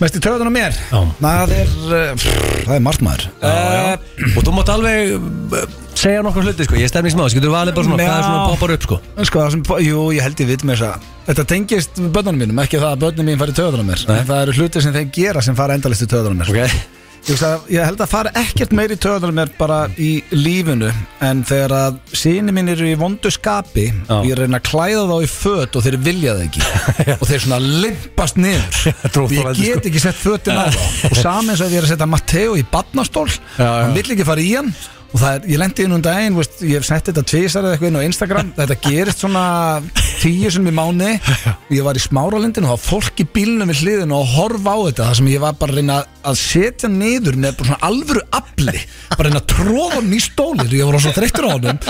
Speaker 1: mest í töðan á mér
Speaker 2: Já.
Speaker 1: Það er, uh, pff, það er margt maður
Speaker 2: Uh, og þú mátt alveg uh, segja nokkur hluti sko, ég er stemningsmáð, getur valið bara svona
Speaker 1: Já.
Speaker 2: hvað er svona poppar upp sko
Speaker 1: Sko, það sem, jú, ég held ég vit með þess að Þetta tengist börnunum mínum, ekki það að börnunum mín fari í töðan á mér
Speaker 2: Nei.
Speaker 1: En það eru hlutir sem þeir gera sem fara endalist í töðan á mér
Speaker 2: okay.
Speaker 1: ég, veist að, ég held að fara ekkert meiri í töðan á mér bara í lífinu En þegar að síni mín eru í vondu skapi
Speaker 2: Já.
Speaker 1: Og ég reyna að klæða þá í föt og þeir vilja það ekki Og þeir svona limpast niður Og ég
Speaker 2: Trúfalandi, sko.
Speaker 1: get ekki sett fötin á þá Og sami eins og ef ég er að setja Matteo í badnastól
Speaker 2: Já, já.
Speaker 1: Hann vill ekki fara í hann Og það er, ég lendi inn um daginn, veist, ég hef sett þetta tvisar eða eitthvað inn á Instagram Þetta gerist svona tíu sem í mánu Ég var í smáralindin og það var fólk í bílnum við hliðin og að horfa á þetta Það sem ég var bara að reyna að setja niður með bara svona alvöru afli Bara að reyna að tróða hann í stólið og ég var svo þreyttur á honum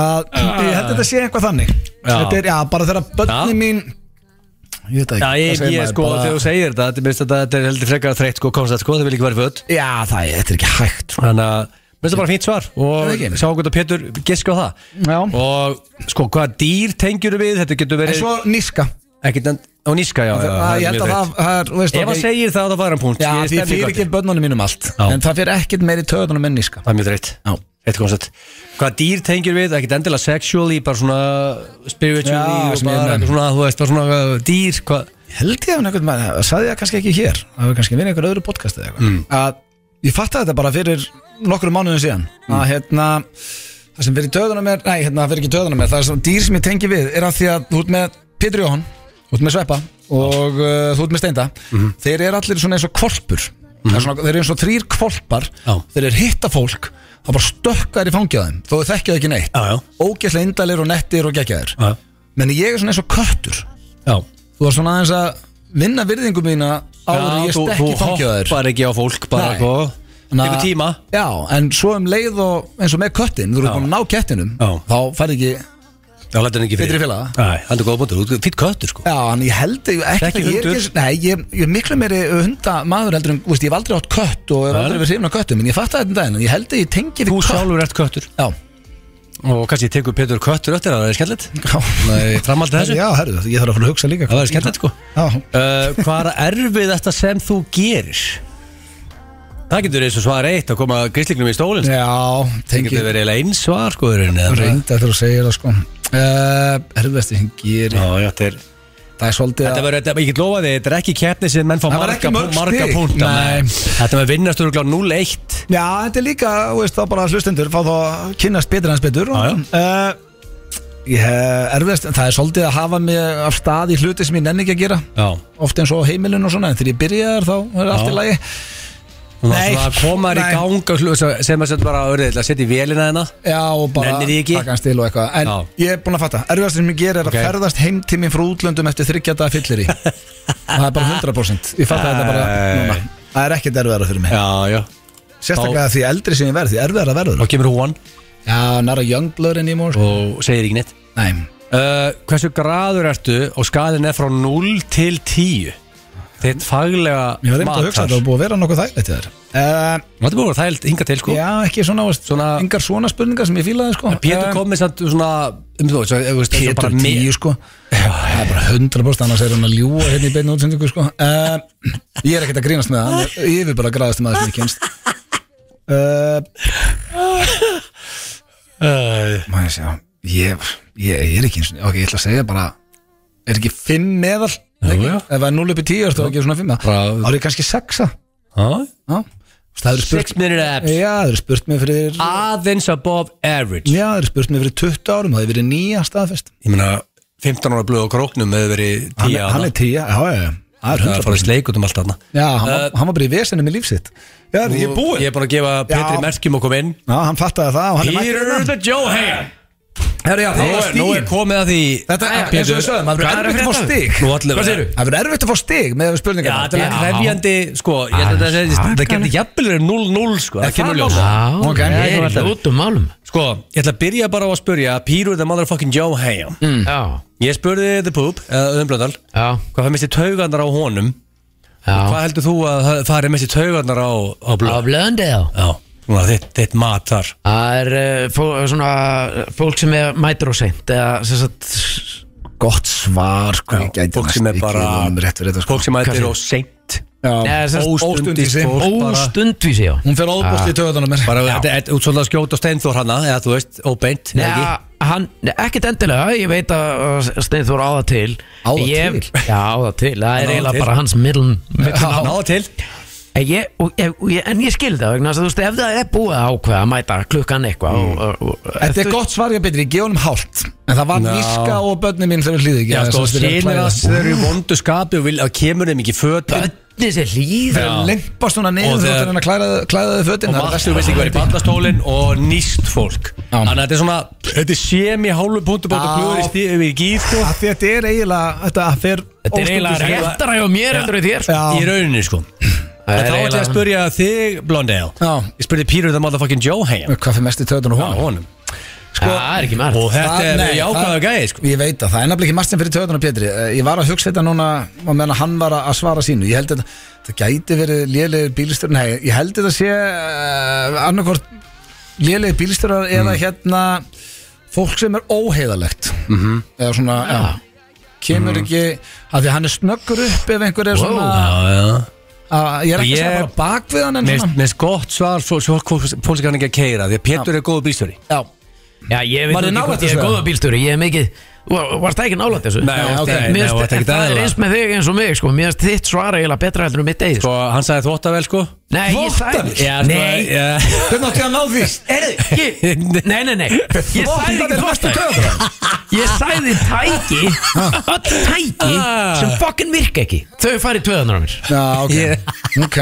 Speaker 1: að Ég held að þetta sé eitthvað þannig
Speaker 2: Já.
Speaker 1: Þetta er, já, bara þegar
Speaker 2: Já.
Speaker 1: börni mín Ég veit það
Speaker 2: Já,
Speaker 1: ekki,
Speaker 2: ég,
Speaker 1: hvað segir
Speaker 2: ég
Speaker 1: maður,
Speaker 2: sko,
Speaker 1: bara-
Speaker 2: þegar þú segir þetta þetta, minnst, þetta, þetta er heldur frekar þreytt sko, koncept, sko, það vil ekki vera föt
Speaker 1: Já, það er, þetta er ekki hægt sko.
Speaker 2: þannig að, minnst það bara fínt svar
Speaker 1: Það er
Speaker 2: og
Speaker 1: ekki.
Speaker 2: sjáum hvernig að Pétur giska á það
Speaker 1: Já.
Speaker 2: og sko, hvaða dýr tengjur við þetta getur
Speaker 1: En
Speaker 2: verið,
Speaker 1: svo níska
Speaker 2: ekkert enn, á níska já, já,
Speaker 1: Það-
Speaker 2: er
Speaker 1: Ég held
Speaker 2: mjög
Speaker 1: að
Speaker 2: þreytt.
Speaker 1: það það er, þú veist
Speaker 2: ef
Speaker 1: ok,
Speaker 2: hann segir það, það var hann
Speaker 1: Já,
Speaker 2: punkt Ég er
Speaker 1: því
Speaker 2: stemning
Speaker 1: fyrir
Speaker 2: gott.
Speaker 1: ekki börnunum mínum allt
Speaker 2: Já.
Speaker 1: En það fyrir ekkert meiri töðunum en níska
Speaker 2: það er mjög þreytt
Speaker 1: Já.
Speaker 2: Eitt koncept. Hvað dýr tengjur við, ekkert endilega sexually, bara svona spiritually
Speaker 1: Já,
Speaker 2: og
Speaker 1: sem ég
Speaker 2: bara
Speaker 1: menn.
Speaker 2: eitthvað svona, þú veist, bara svona uh, dýr, hvað,
Speaker 1: Held ég að einhvern veginn, það sagði ég það kannski ekki hér Það var kannski verið einhver öðru podcast eða
Speaker 2: Mm.
Speaker 1: eitthvað Að ég fattaði þetta bara fyrir nokkru mánuðum síðan
Speaker 2: Mm.
Speaker 1: Að hérna, það sem fyrir töðunum er, nei hérna það fyrir ekki töðunum er Það er svona dýr sem ég tengi við er að því að þú ert með Pétur Jóhann Þú ert með Sveppa og uh, þú ert með Steinda
Speaker 2: Mhm.
Speaker 1: Þeir eru allir svona eins og kvolpur mm er svona, Þeir eru eins og þrýr kvolpar
Speaker 2: Já.
Speaker 1: Þeir eru hitta fólk Það bara stökkar í fangja þeim Þó þau þekkja þau ekki neitt
Speaker 2: Já, já.
Speaker 1: Ógeðslega indalir og nettir og geggjaðir
Speaker 2: Já.
Speaker 1: Men ég er svona eins og köttur
Speaker 2: já,
Speaker 1: Þú var svona aðeins að vinna virðingu mína áður en ég
Speaker 2: þú-
Speaker 1: stekki
Speaker 2: Þú
Speaker 1: fangjaður
Speaker 2: hoppar ekki á fólk bara
Speaker 1: Nei.
Speaker 2: eitthvað Tekur tíma
Speaker 1: Já, en svo um leið og eins og með köttin Þú eru komin að ná kettinum
Speaker 2: Já.
Speaker 1: Þá færði ekki Já,
Speaker 2: Já, lætur hann ekki
Speaker 1: Betri félaga.
Speaker 2: Nei, hann er góða búndur Þú er fýtt köttur sko
Speaker 1: en ég held ég ekki,
Speaker 2: Ekki
Speaker 1: ég er
Speaker 2: hundur.
Speaker 1: ekki Nei, ég, ég er miklu meiri hunda maður heldur en, þú veist, Ég hef aldrei átt kött og hef
Speaker 2: Nei.
Speaker 1: aldrei verið hrifin á köttum En ég fatt að þetta um daginn en Ég held að ég tengi
Speaker 2: Þú
Speaker 1: við kött
Speaker 2: sjálfur ert köttur
Speaker 1: Já,
Speaker 2: Og kannski tekur Petur köttur öttir Það er skemmtilegt
Speaker 1: já Nei,
Speaker 2: Framhaldið þessu?
Speaker 1: Já, herru, ég þarf að fara að hugsa líka
Speaker 2: Það er skemmtilegt sko
Speaker 1: Já,
Speaker 2: uh, Hvað er að erfið þetta sem þú gerir? Það getur eins og svar eitt Að koma gríslingnum í stólinn sko.
Speaker 1: já
Speaker 2: Það
Speaker 1: tengi
Speaker 2: getur verið eiginlega eins svar sko í rauninni, eða-
Speaker 1: Reynda þegar þú segir það sko uh, Erfiðasti sem gerir
Speaker 2: Já, já, þetta er
Speaker 1: Það er svolítið
Speaker 2: Þetta
Speaker 1: að-
Speaker 2: verður, þetta- ég get lofa því, þetta er ekki keppni sem menn fá
Speaker 1: Það var
Speaker 2: marga,
Speaker 1: ekki mörg
Speaker 2: marga
Speaker 1: stig.
Speaker 2: púnta
Speaker 1: Nei.
Speaker 2: Þetta með vinnast örgulega 0-1
Speaker 1: Já, þetta er líka, þú veist, þá bara hlustendur fá þá að kynnast betur hans betur
Speaker 2: Já, já. Eh,
Speaker 1: Uh, ég hef erfiðast, það er svolítið að hafa mig af stað í hluti sem ég nenni ekki að gera
Speaker 2: Já
Speaker 1: oft eins og á heimilinu og svona, en þegar ég byrjaði þar þá er allt
Speaker 2: Já.
Speaker 1: í lagi
Speaker 2: Hún var
Speaker 1: Nei.
Speaker 2: svona að koma þér í
Speaker 1: Nei.
Speaker 2: gang og hlusta sem að setja bara að örðið, að setja í vélina hérna
Speaker 1: Já, og bara
Speaker 2: Nennir því ekki?
Speaker 1: takast til og eitthvað En
Speaker 2: Já.
Speaker 1: ég er búin að fatta, erfiðast sem ég gera er
Speaker 2: Ok.
Speaker 1: að ferðast heim til mín frá útlöndum eftir þryggjata fyllir í Það er bara 100% Ég fatta þetta bara núna Það er ekkert erfiðara fyrir mig
Speaker 2: Já, já
Speaker 1: Sérstaklega því eldri sem ég verð, því erfiðara verður
Speaker 2: Þá kemur húan
Speaker 1: Já, nara youngblood en ég mór
Speaker 2: og segir ekki neitt
Speaker 1: Nei,
Speaker 2: uh, Hversu graður ertu og skadin er frá 0 til 10 Þitt
Speaker 1: Ég var
Speaker 2: faglega
Speaker 1: reynd að hugsa að
Speaker 2: matar
Speaker 1: það var búið að vera nokkuð þægilegt í þér uh,
Speaker 2: Þetta búið að þælt hinga til sko
Speaker 1: Já, ekki svona, veist, svona
Speaker 2: Svona-
Speaker 1: Engar svona spurningar sem ég fílaði sko.
Speaker 2: Pétur kom með samt svona um þú, svo, veist, eins og
Speaker 1: Pétur
Speaker 2: bara me-
Speaker 1: tíu sko Það er bara 100% annars er hann að ljúa hérna í beinu útsendingu sko uh, Ég er ekkert að grínast með það hann er Yfir bara græðast maður sem ég kynst uh,
Speaker 2: uh,
Speaker 1: Má ég sjá ég, ég, ég er ekki eins og Ok, ég ætla að segja bara Er ekki 5 meðal
Speaker 2: Jú,
Speaker 1: Ekki?
Speaker 2: já.
Speaker 1: Ef það er 0 upp í 10 er það ekki svona 5
Speaker 2: Bara-
Speaker 1: Það er kannski 6
Speaker 2: huh?
Speaker 1: Það eru spurt
Speaker 2: 6 minute apps
Speaker 1: Já, það eru spurt mig fyrir
Speaker 2: Aðeins above average
Speaker 1: Já, það er spurt mér fyrir 20 árum og það er verið nýja staðfest
Speaker 2: Ég meina 15 ára blöð á króknum hefur verið 10
Speaker 1: Hann, hann er 10, já, já, já Það er
Speaker 2: Það er
Speaker 1: 100
Speaker 2: að fara í sleik út um allt þarna
Speaker 1: Já, hann,
Speaker 2: Eh,
Speaker 1: var, hann var bara í vesinu með lífsitt Já, ég er búinn
Speaker 2: Ég er búin að gefa Petri
Speaker 1: Já.
Speaker 2: merkjum og koma inn
Speaker 1: Já, hann fattaði það og hann er mættur
Speaker 2: Peter
Speaker 1: hérna.
Speaker 2: the Johan
Speaker 1: Herru, já, það var
Speaker 2: Nú er, nú er
Speaker 1: stíðin
Speaker 2: komið að því
Speaker 1: Þetta er, eins og við sögum, það
Speaker 2: Hvað
Speaker 1: verður erfitt að fá
Speaker 2: er að frétta?
Speaker 1: stig
Speaker 2: Nú allir
Speaker 1: Hvað
Speaker 2: verða-
Speaker 1: segirðu? Það verður erfitt að fá stig með
Speaker 2: Já,
Speaker 1: spurningar
Speaker 2: þetta er hrefjandi, sko Ég held að það segist, það getur jafnvel verið 0-0, sko Það kemur ljós
Speaker 3: Já,
Speaker 1: Ok.
Speaker 3: það
Speaker 2: Ég
Speaker 3: er
Speaker 2: veit það.
Speaker 3: út um málum
Speaker 2: Sko, ég ætla að byrja bara á að spurja Pírur the motherfucking Joe Ham
Speaker 1: Mm.
Speaker 3: Já,
Speaker 2: Ég spurði The Poop, eða Öðumblöndal
Speaker 3: já,
Speaker 2: Hvað það misti taugandar á honum
Speaker 3: já
Speaker 2: Hvað heldur þú að það fari misti taugandar á, á
Speaker 3: Á
Speaker 2: blöð?
Speaker 3: Blöndel
Speaker 2: Já, svona þitt, þitt mat þar
Speaker 3: Það er eh, fó- svona fólk sem er mætur og seint eða sem sagt
Speaker 1: Gott svar, sko Ég gæti
Speaker 2: Fólk
Speaker 1: næst
Speaker 2: sem er
Speaker 1: ekki
Speaker 2: bara
Speaker 1: um rétt fyrir þetta, sko.
Speaker 2: Fólk sem
Speaker 3: Hvað
Speaker 2: ættir
Speaker 3: segirðu?
Speaker 2: og seint
Speaker 1: Já,
Speaker 3: Nei, sem sagt,
Speaker 1: óstundísi
Speaker 2: fólk bara-
Speaker 3: Óstundvísi, já
Speaker 1: Hún fer óbúst í töðunum mér
Speaker 2: Bara þetta er út svolítið að skjóta Steinþór hana Eða þú veist, óbeint, eða ekki
Speaker 3: Já, hann, nei, ekkert endilega, ég veit að Steinþór áða til
Speaker 1: Á það
Speaker 3: ég,
Speaker 1: til?
Speaker 3: Já, áða til, það
Speaker 2: Hann á
Speaker 3: er
Speaker 2: það
Speaker 3: eiginlega
Speaker 2: til.
Speaker 3: bara hans millun
Speaker 2: Náða til
Speaker 3: En ég, og, ég, og ég, en ég skildi það vegna þess að þú veist ef það er búið að ákveða að mæta klukkan eitthvað
Speaker 2: Mm.
Speaker 3: og, og, og,
Speaker 1: Þetta er gott svar, ég betri, ég gef honum hálft En það var
Speaker 2: Já.
Speaker 1: Víska og börnin mín sem er hlýði
Speaker 2: Já, sko, skilur að þau eru í vondu skapi og vil að kemur þeim ekki fötin
Speaker 3: Bönni sem hlýður
Speaker 1: Þegar lempast svona
Speaker 2: Og
Speaker 1: niður
Speaker 2: þegar-
Speaker 1: Þegar hann að klæða- klæða þau
Speaker 2: og
Speaker 1: fötin það er
Speaker 2: maður
Speaker 1: versta-
Speaker 2: þú veist ekki verið í ballastólin og nýst fólk
Speaker 1: Já.
Speaker 2: Þannig að þetta er svona, þetta er semi hálfu punktu bótt og
Speaker 1: Já.
Speaker 2: glúður í stíð við gíð sko
Speaker 1: Af því Þetta er eiginlega Þetta fer
Speaker 3: Þetta er eiginlega
Speaker 1: óstundísi.
Speaker 3: réttara hjá mér heldur við þér
Speaker 1: Já.
Speaker 2: í rauninni sko
Speaker 3: Það
Speaker 2: En
Speaker 3: er
Speaker 2: þá ætla ég
Speaker 3: eiginlega-
Speaker 2: að spurja þig Blondale
Speaker 1: Já.
Speaker 2: Ég spurði Pírur það motherfucking Joe heim
Speaker 1: Hvað fyrir mest í töðunum honum?
Speaker 2: honum Sko,
Speaker 3: Já, Það er ekki margt
Speaker 2: Og þetta
Speaker 1: Það-
Speaker 2: er
Speaker 1: nei,
Speaker 2: jákvæða
Speaker 1: það-
Speaker 2: gæði sko
Speaker 1: Ég veit að það er nefnilega ekki margt sem fyrir töðunar Pétri Eh, Ég var að hugsa þetta núna og meðan að hann var að að svara sínu Ég held að það gæti verið lélegir bílstjórar Nei, ég held að það sé uh, annarkvort lélegir bílstjórar
Speaker 2: Mm.
Speaker 1: eða hérna fólk sem er óheiðalegt
Speaker 2: Mhm.
Speaker 1: -hmm. eða svona,
Speaker 2: Ah.
Speaker 1: já kemur ekki, af því að hann er snöggur upp ef einhver er svona
Speaker 2: Já, já
Speaker 1: að, ég er ekki að segja
Speaker 2: Ég-
Speaker 1: bara bak við hann en
Speaker 2: Mér
Speaker 1: svona
Speaker 2: mér finnst gott svar svo svo fólk fólk sem kann ekki að keira Því að Pétur er góðu bílstjóri
Speaker 1: já,
Speaker 3: Já, ég veit
Speaker 1: Var þið
Speaker 3: nú ekki
Speaker 1: nálægt
Speaker 3: hvort ég
Speaker 1: þessu?
Speaker 3: er góða bílstjóri Ég er mikið Var- Varst það ekki nálægt þessu?
Speaker 2: Nei,
Speaker 1: ok.
Speaker 2: nei,
Speaker 3: Mér
Speaker 2: nei,
Speaker 3: finnst-
Speaker 2: þetta er ekki
Speaker 3: Það er
Speaker 2: eðlilega.
Speaker 3: eins með þig eins og mig sko Mér finnst þitt svara eiginlega betra heldur en mitt eigið
Speaker 2: Sko, hann sagði þvóttavel sko
Speaker 3: Nei, ég
Speaker 1: Þvottavél?
Speaker 3: sagði
Speaker 2: Já, sko,
Speaker 3: Nei,
Speaker 2: já.
Speaker 1: hvernig átti hann á því?
Speaker 3: Ég- Nei, nei, nei Ég sagði
Speaker 1: Þvottavél
Speaker 3: ekki
Speaker 1: er mest í
Speaker 3: þvottavél
Speaker 1: töðunar
Speaker 3: Ég sagði tæki Öll tæki
Speaker 2: Ah.
Speaker 3: sem fokkin virka ekki Þau farið tvöðanar á mér
Speaker 1: já, ok,
Speaker 2: Ég-
Speaker 1: ok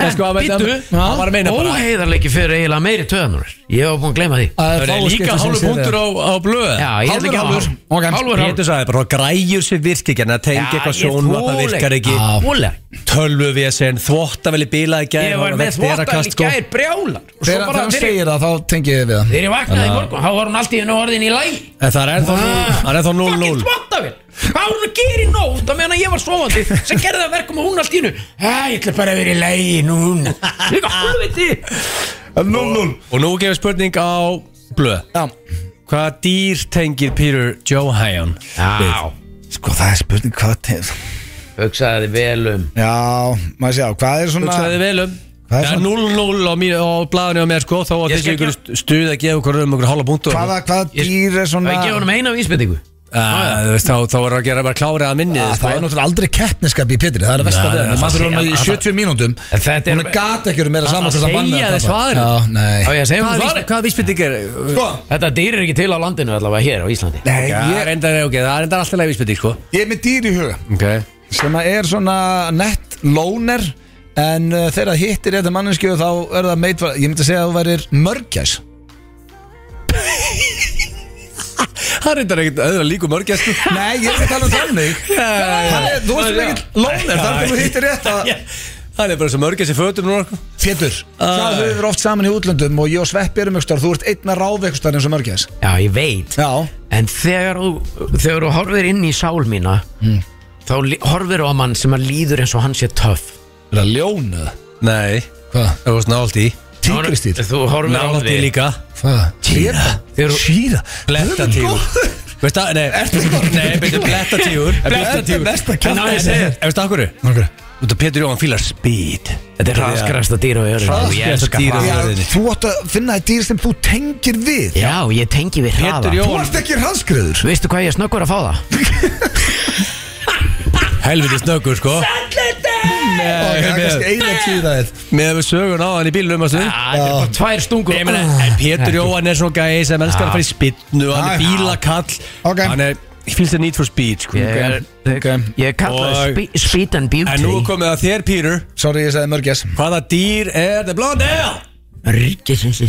Speaker 2: En sko, hann veit-
Speaker 3: Býttu,
Speaker 2: hann var að meina bara
Speaker 3: óheiðarleiki fyrir eiginlega meiri tvöðanar Ég var búin að gleyma því
Speaker 1: Það er
Speaker 2: Það er
Speaker 1: fáu
Speaker 2: líka
Speaker 1: skipti sem
Speaker 2: hálfur
Speaker 1: sé
Speaker 2: punktur
Speaker 1: það.
Speaker 2: á, á blöð
Speaker 3: Já, ég ætla ekki að
Speaker 1: Hálfur, hálfur. Ok.
Speaker 3: Hálfur, hálfur
Speaker 2: Pétur sagði bara græjur sem virk ekki en það tengi eitthvað sjónvapna virkar ekki
Speaker 3: Ólega
Speaker 2: tölvuvesen, þvóttaveli bíla í gær
Speaker 3: Ég var
Speaker 2: hún
Speaker 3: með
Speaker 2: vekkt
Speaker 3: þvóttal í
Speaker 2: derakast, sko.
Speaker 3: gær brjálar Og svo
Speaker 1: Þegar
Speaker 3: bara
Speaker 1: þegar hann
Speaker 3: þegar ég-
Speaker 1: segir það þá tengi ég við það
Speaker 3: þegar ég vaknaði í morgun Þá var hún allt í hennu orðin í læg
Speaker 2: En það er
Speaker 1: Ah.
Speaker 2: ennþá núll- það er ennþá 0-0
Speaker 3: þvottavél Hvað var hún að gera í nótt á meðan ég var sofandi sem gerði það verkum og hún allt í hennu Æ, ég ætla bara að vera í lægi núna Líka hálfviti
Speaker 1: 0-0
Speaker 2: Og nú gefur spurning á blöð
Speaker 1: Já,
Speaker 2: Hvaða dýr tengir Peter Johan
Speaker 3: Já,
Speaker 1: sko það er spurning hvað tegir
Speaker 3: hugsaði þið vel um
Speaker 1: Já, maður sé á, hvað er svona
Speaker 2: Hugsaði vel um
Speaker 1: Hvað er
Speaker 2: Það er
Speaker 1: svona-
Speaker 2: 0-0 á, mínu- á blaðinu á mér sko Þá að
Speaker 3: Ég
Speaker 2: þessi
Speaker 3: skal
Speaker 2: ykkur stuð að gefa okkur um okkur hálfa punktu
Speaker 1: Hvaða, hvaða
Speaker 3: Ég-
Speaker 1: dýr er
Speaker 3: Það
Speaker 1: svona
Speaker 3: er ekki honum eina vísbendingu
Speaker 2: Ah, þú veist, Þá þá er að gera bara klárið að minni
Speaker 1: Ah,
Speaker 2: sko.
Speaker 1: Það er náttúrulega aldrei keppniskap í Pétri Það er að versta
Speaker 2: Nei,
Speaker 1: við
Speaker 2: það
Speaker 1: hann Maður er
Speaker 2: sé-
Speaker 1: hann í
Speaker 2: það-
Speaker 1: 70 mínúndum
Speaker 3: En þetta er-
Speaker 1: Hún er gata ekki verið meira saman
Speaker 2: Það
Speaker 1: hvort hann vann
Speaker 2: segja
Speaker 1: eða
Speaker 2: þið
Speaker 1: tapar.
Speaker 2: svarið.
Speaker 1: sko. Já, nei
Speaker 3: Á ég að segja hún
Speaker 2: Hvaða
Speaker 3: svarið
Speaker 2: vísbending- Hvaða vísbending er
Speaker 1: Sko,
Speaker 3: Þetta dýr er ekki til á landinu allavega hér á Íslandi
Speaker 1: nei,
Speaker 2: Já,
Speaker 1: ég,
Speaker 2: það er endar ok, það er endar alltaf leið vísbending sko
Speaker 1: ég er með dýr í huga
Speaker 2: okay.
Speaker 1: Sem að er svona nett lóner En uh, þegar það hittir þetta manneskju Þá er það meit Ég myndi segja að þú værir mörgjæs
Speaker 2: Það er endar ekkert öðra líku mörgjastu
Speaker 1: Nei, ég er ekki að tala um þannig Hann er- Þú veist ekki lóner Þar til þú hittir rétt að
Speaker 2: Það er bara svo mörgjast í fötum núna sko.
Speaker 1: Pétur, það höfum við oft saman í útlöndum og ég og Sveppi erum ykkur, þú ert einn með ráf ykkur eins og mörgæs
Speaker 3: Já, ég veit
Speaker 1: Já,
Speaker 3: En þegar þú, þegar þú horfir inn í sál mína Þá li- horfir þú á mann sem að líður eins og hann sé töff
Speaker 1: er það ljónu?
Speaker 2: Nei,
Speaker 1: Hvað?
Speaker 2: það var snált í
Speaker 1: Tígristýr?
Speaker 3: Þú horfir á
Speaker 2: Nált í
Speaker 3: því
Speaker 2: líka
Speaker 1: Hvað? Tíra?
Speaker 3: Þeir-
Speaker 1: Tíra?
Speaker 2: Blettatígur Veist það, nei Nei, betur blettatígur Blettatígur
Speaker 1: mesta kjátt.
Speaker 2: En á ég segir Veist það okkur Þú
Speaker 1: Nókru
Speaker 2: veit að Pétur Jóhann fílar speed
Speaker 3: Þetta er raskarasta dýr á jörðinni og ég
Speaker 2: Hraðskreiðasta
Speaker 3: elska
Speaker 2: dýr á
Speaker 3: það.
Speaker 1: Já,
Speaker 2: jörðinni. Röðinni.
Speaker 1: þú átt að finna það dýr sem þú tengir við
Speaker 3: Já, ég tengi við hraða
Speaker 2: Pétur
Speaker 1: Þú
Speaker 2: Jóhann
Speaker 1: ert ekki hraðskriður
Speaker 3: Veistu hvað ég er snöggur að fá það?
Speaker 2: Helviti snöggur sko
Speaker 1: Það er
Speaker 2: Sallandi
Speaker 1: kannski eina tíra þér
Speaker 2: Með við sögun á hann í bílunum að stund
Speaker 3: Það er bara tvær stungur
Speaker 2: Ég meina,
Speaker 1: Ah,
Speaker 2: en Pétur Jóhann er svona gæði sem elskar að fara í spinnu
Speaker 1: Já.
Speaker 2: Hann er bílakall
Speaker 1: Ok.
Speaker 2: Hann er fylgst að need for speed sko
Speaker 3: Ég er,
Speaker 1: Ok.
Speaker 3: ég er kallað
Speaker 2: Og-
Speaker 3: spe, Speed and
Speaker 2: En nú er
Speaker 3: Beauty
Speaker 2: komið að þér Pírur
Speaker 1: Sorry, ég sagði mörgæs
Speaker 2: Hvaða dýr er The Blondale?
Speaker 3: Ríkisins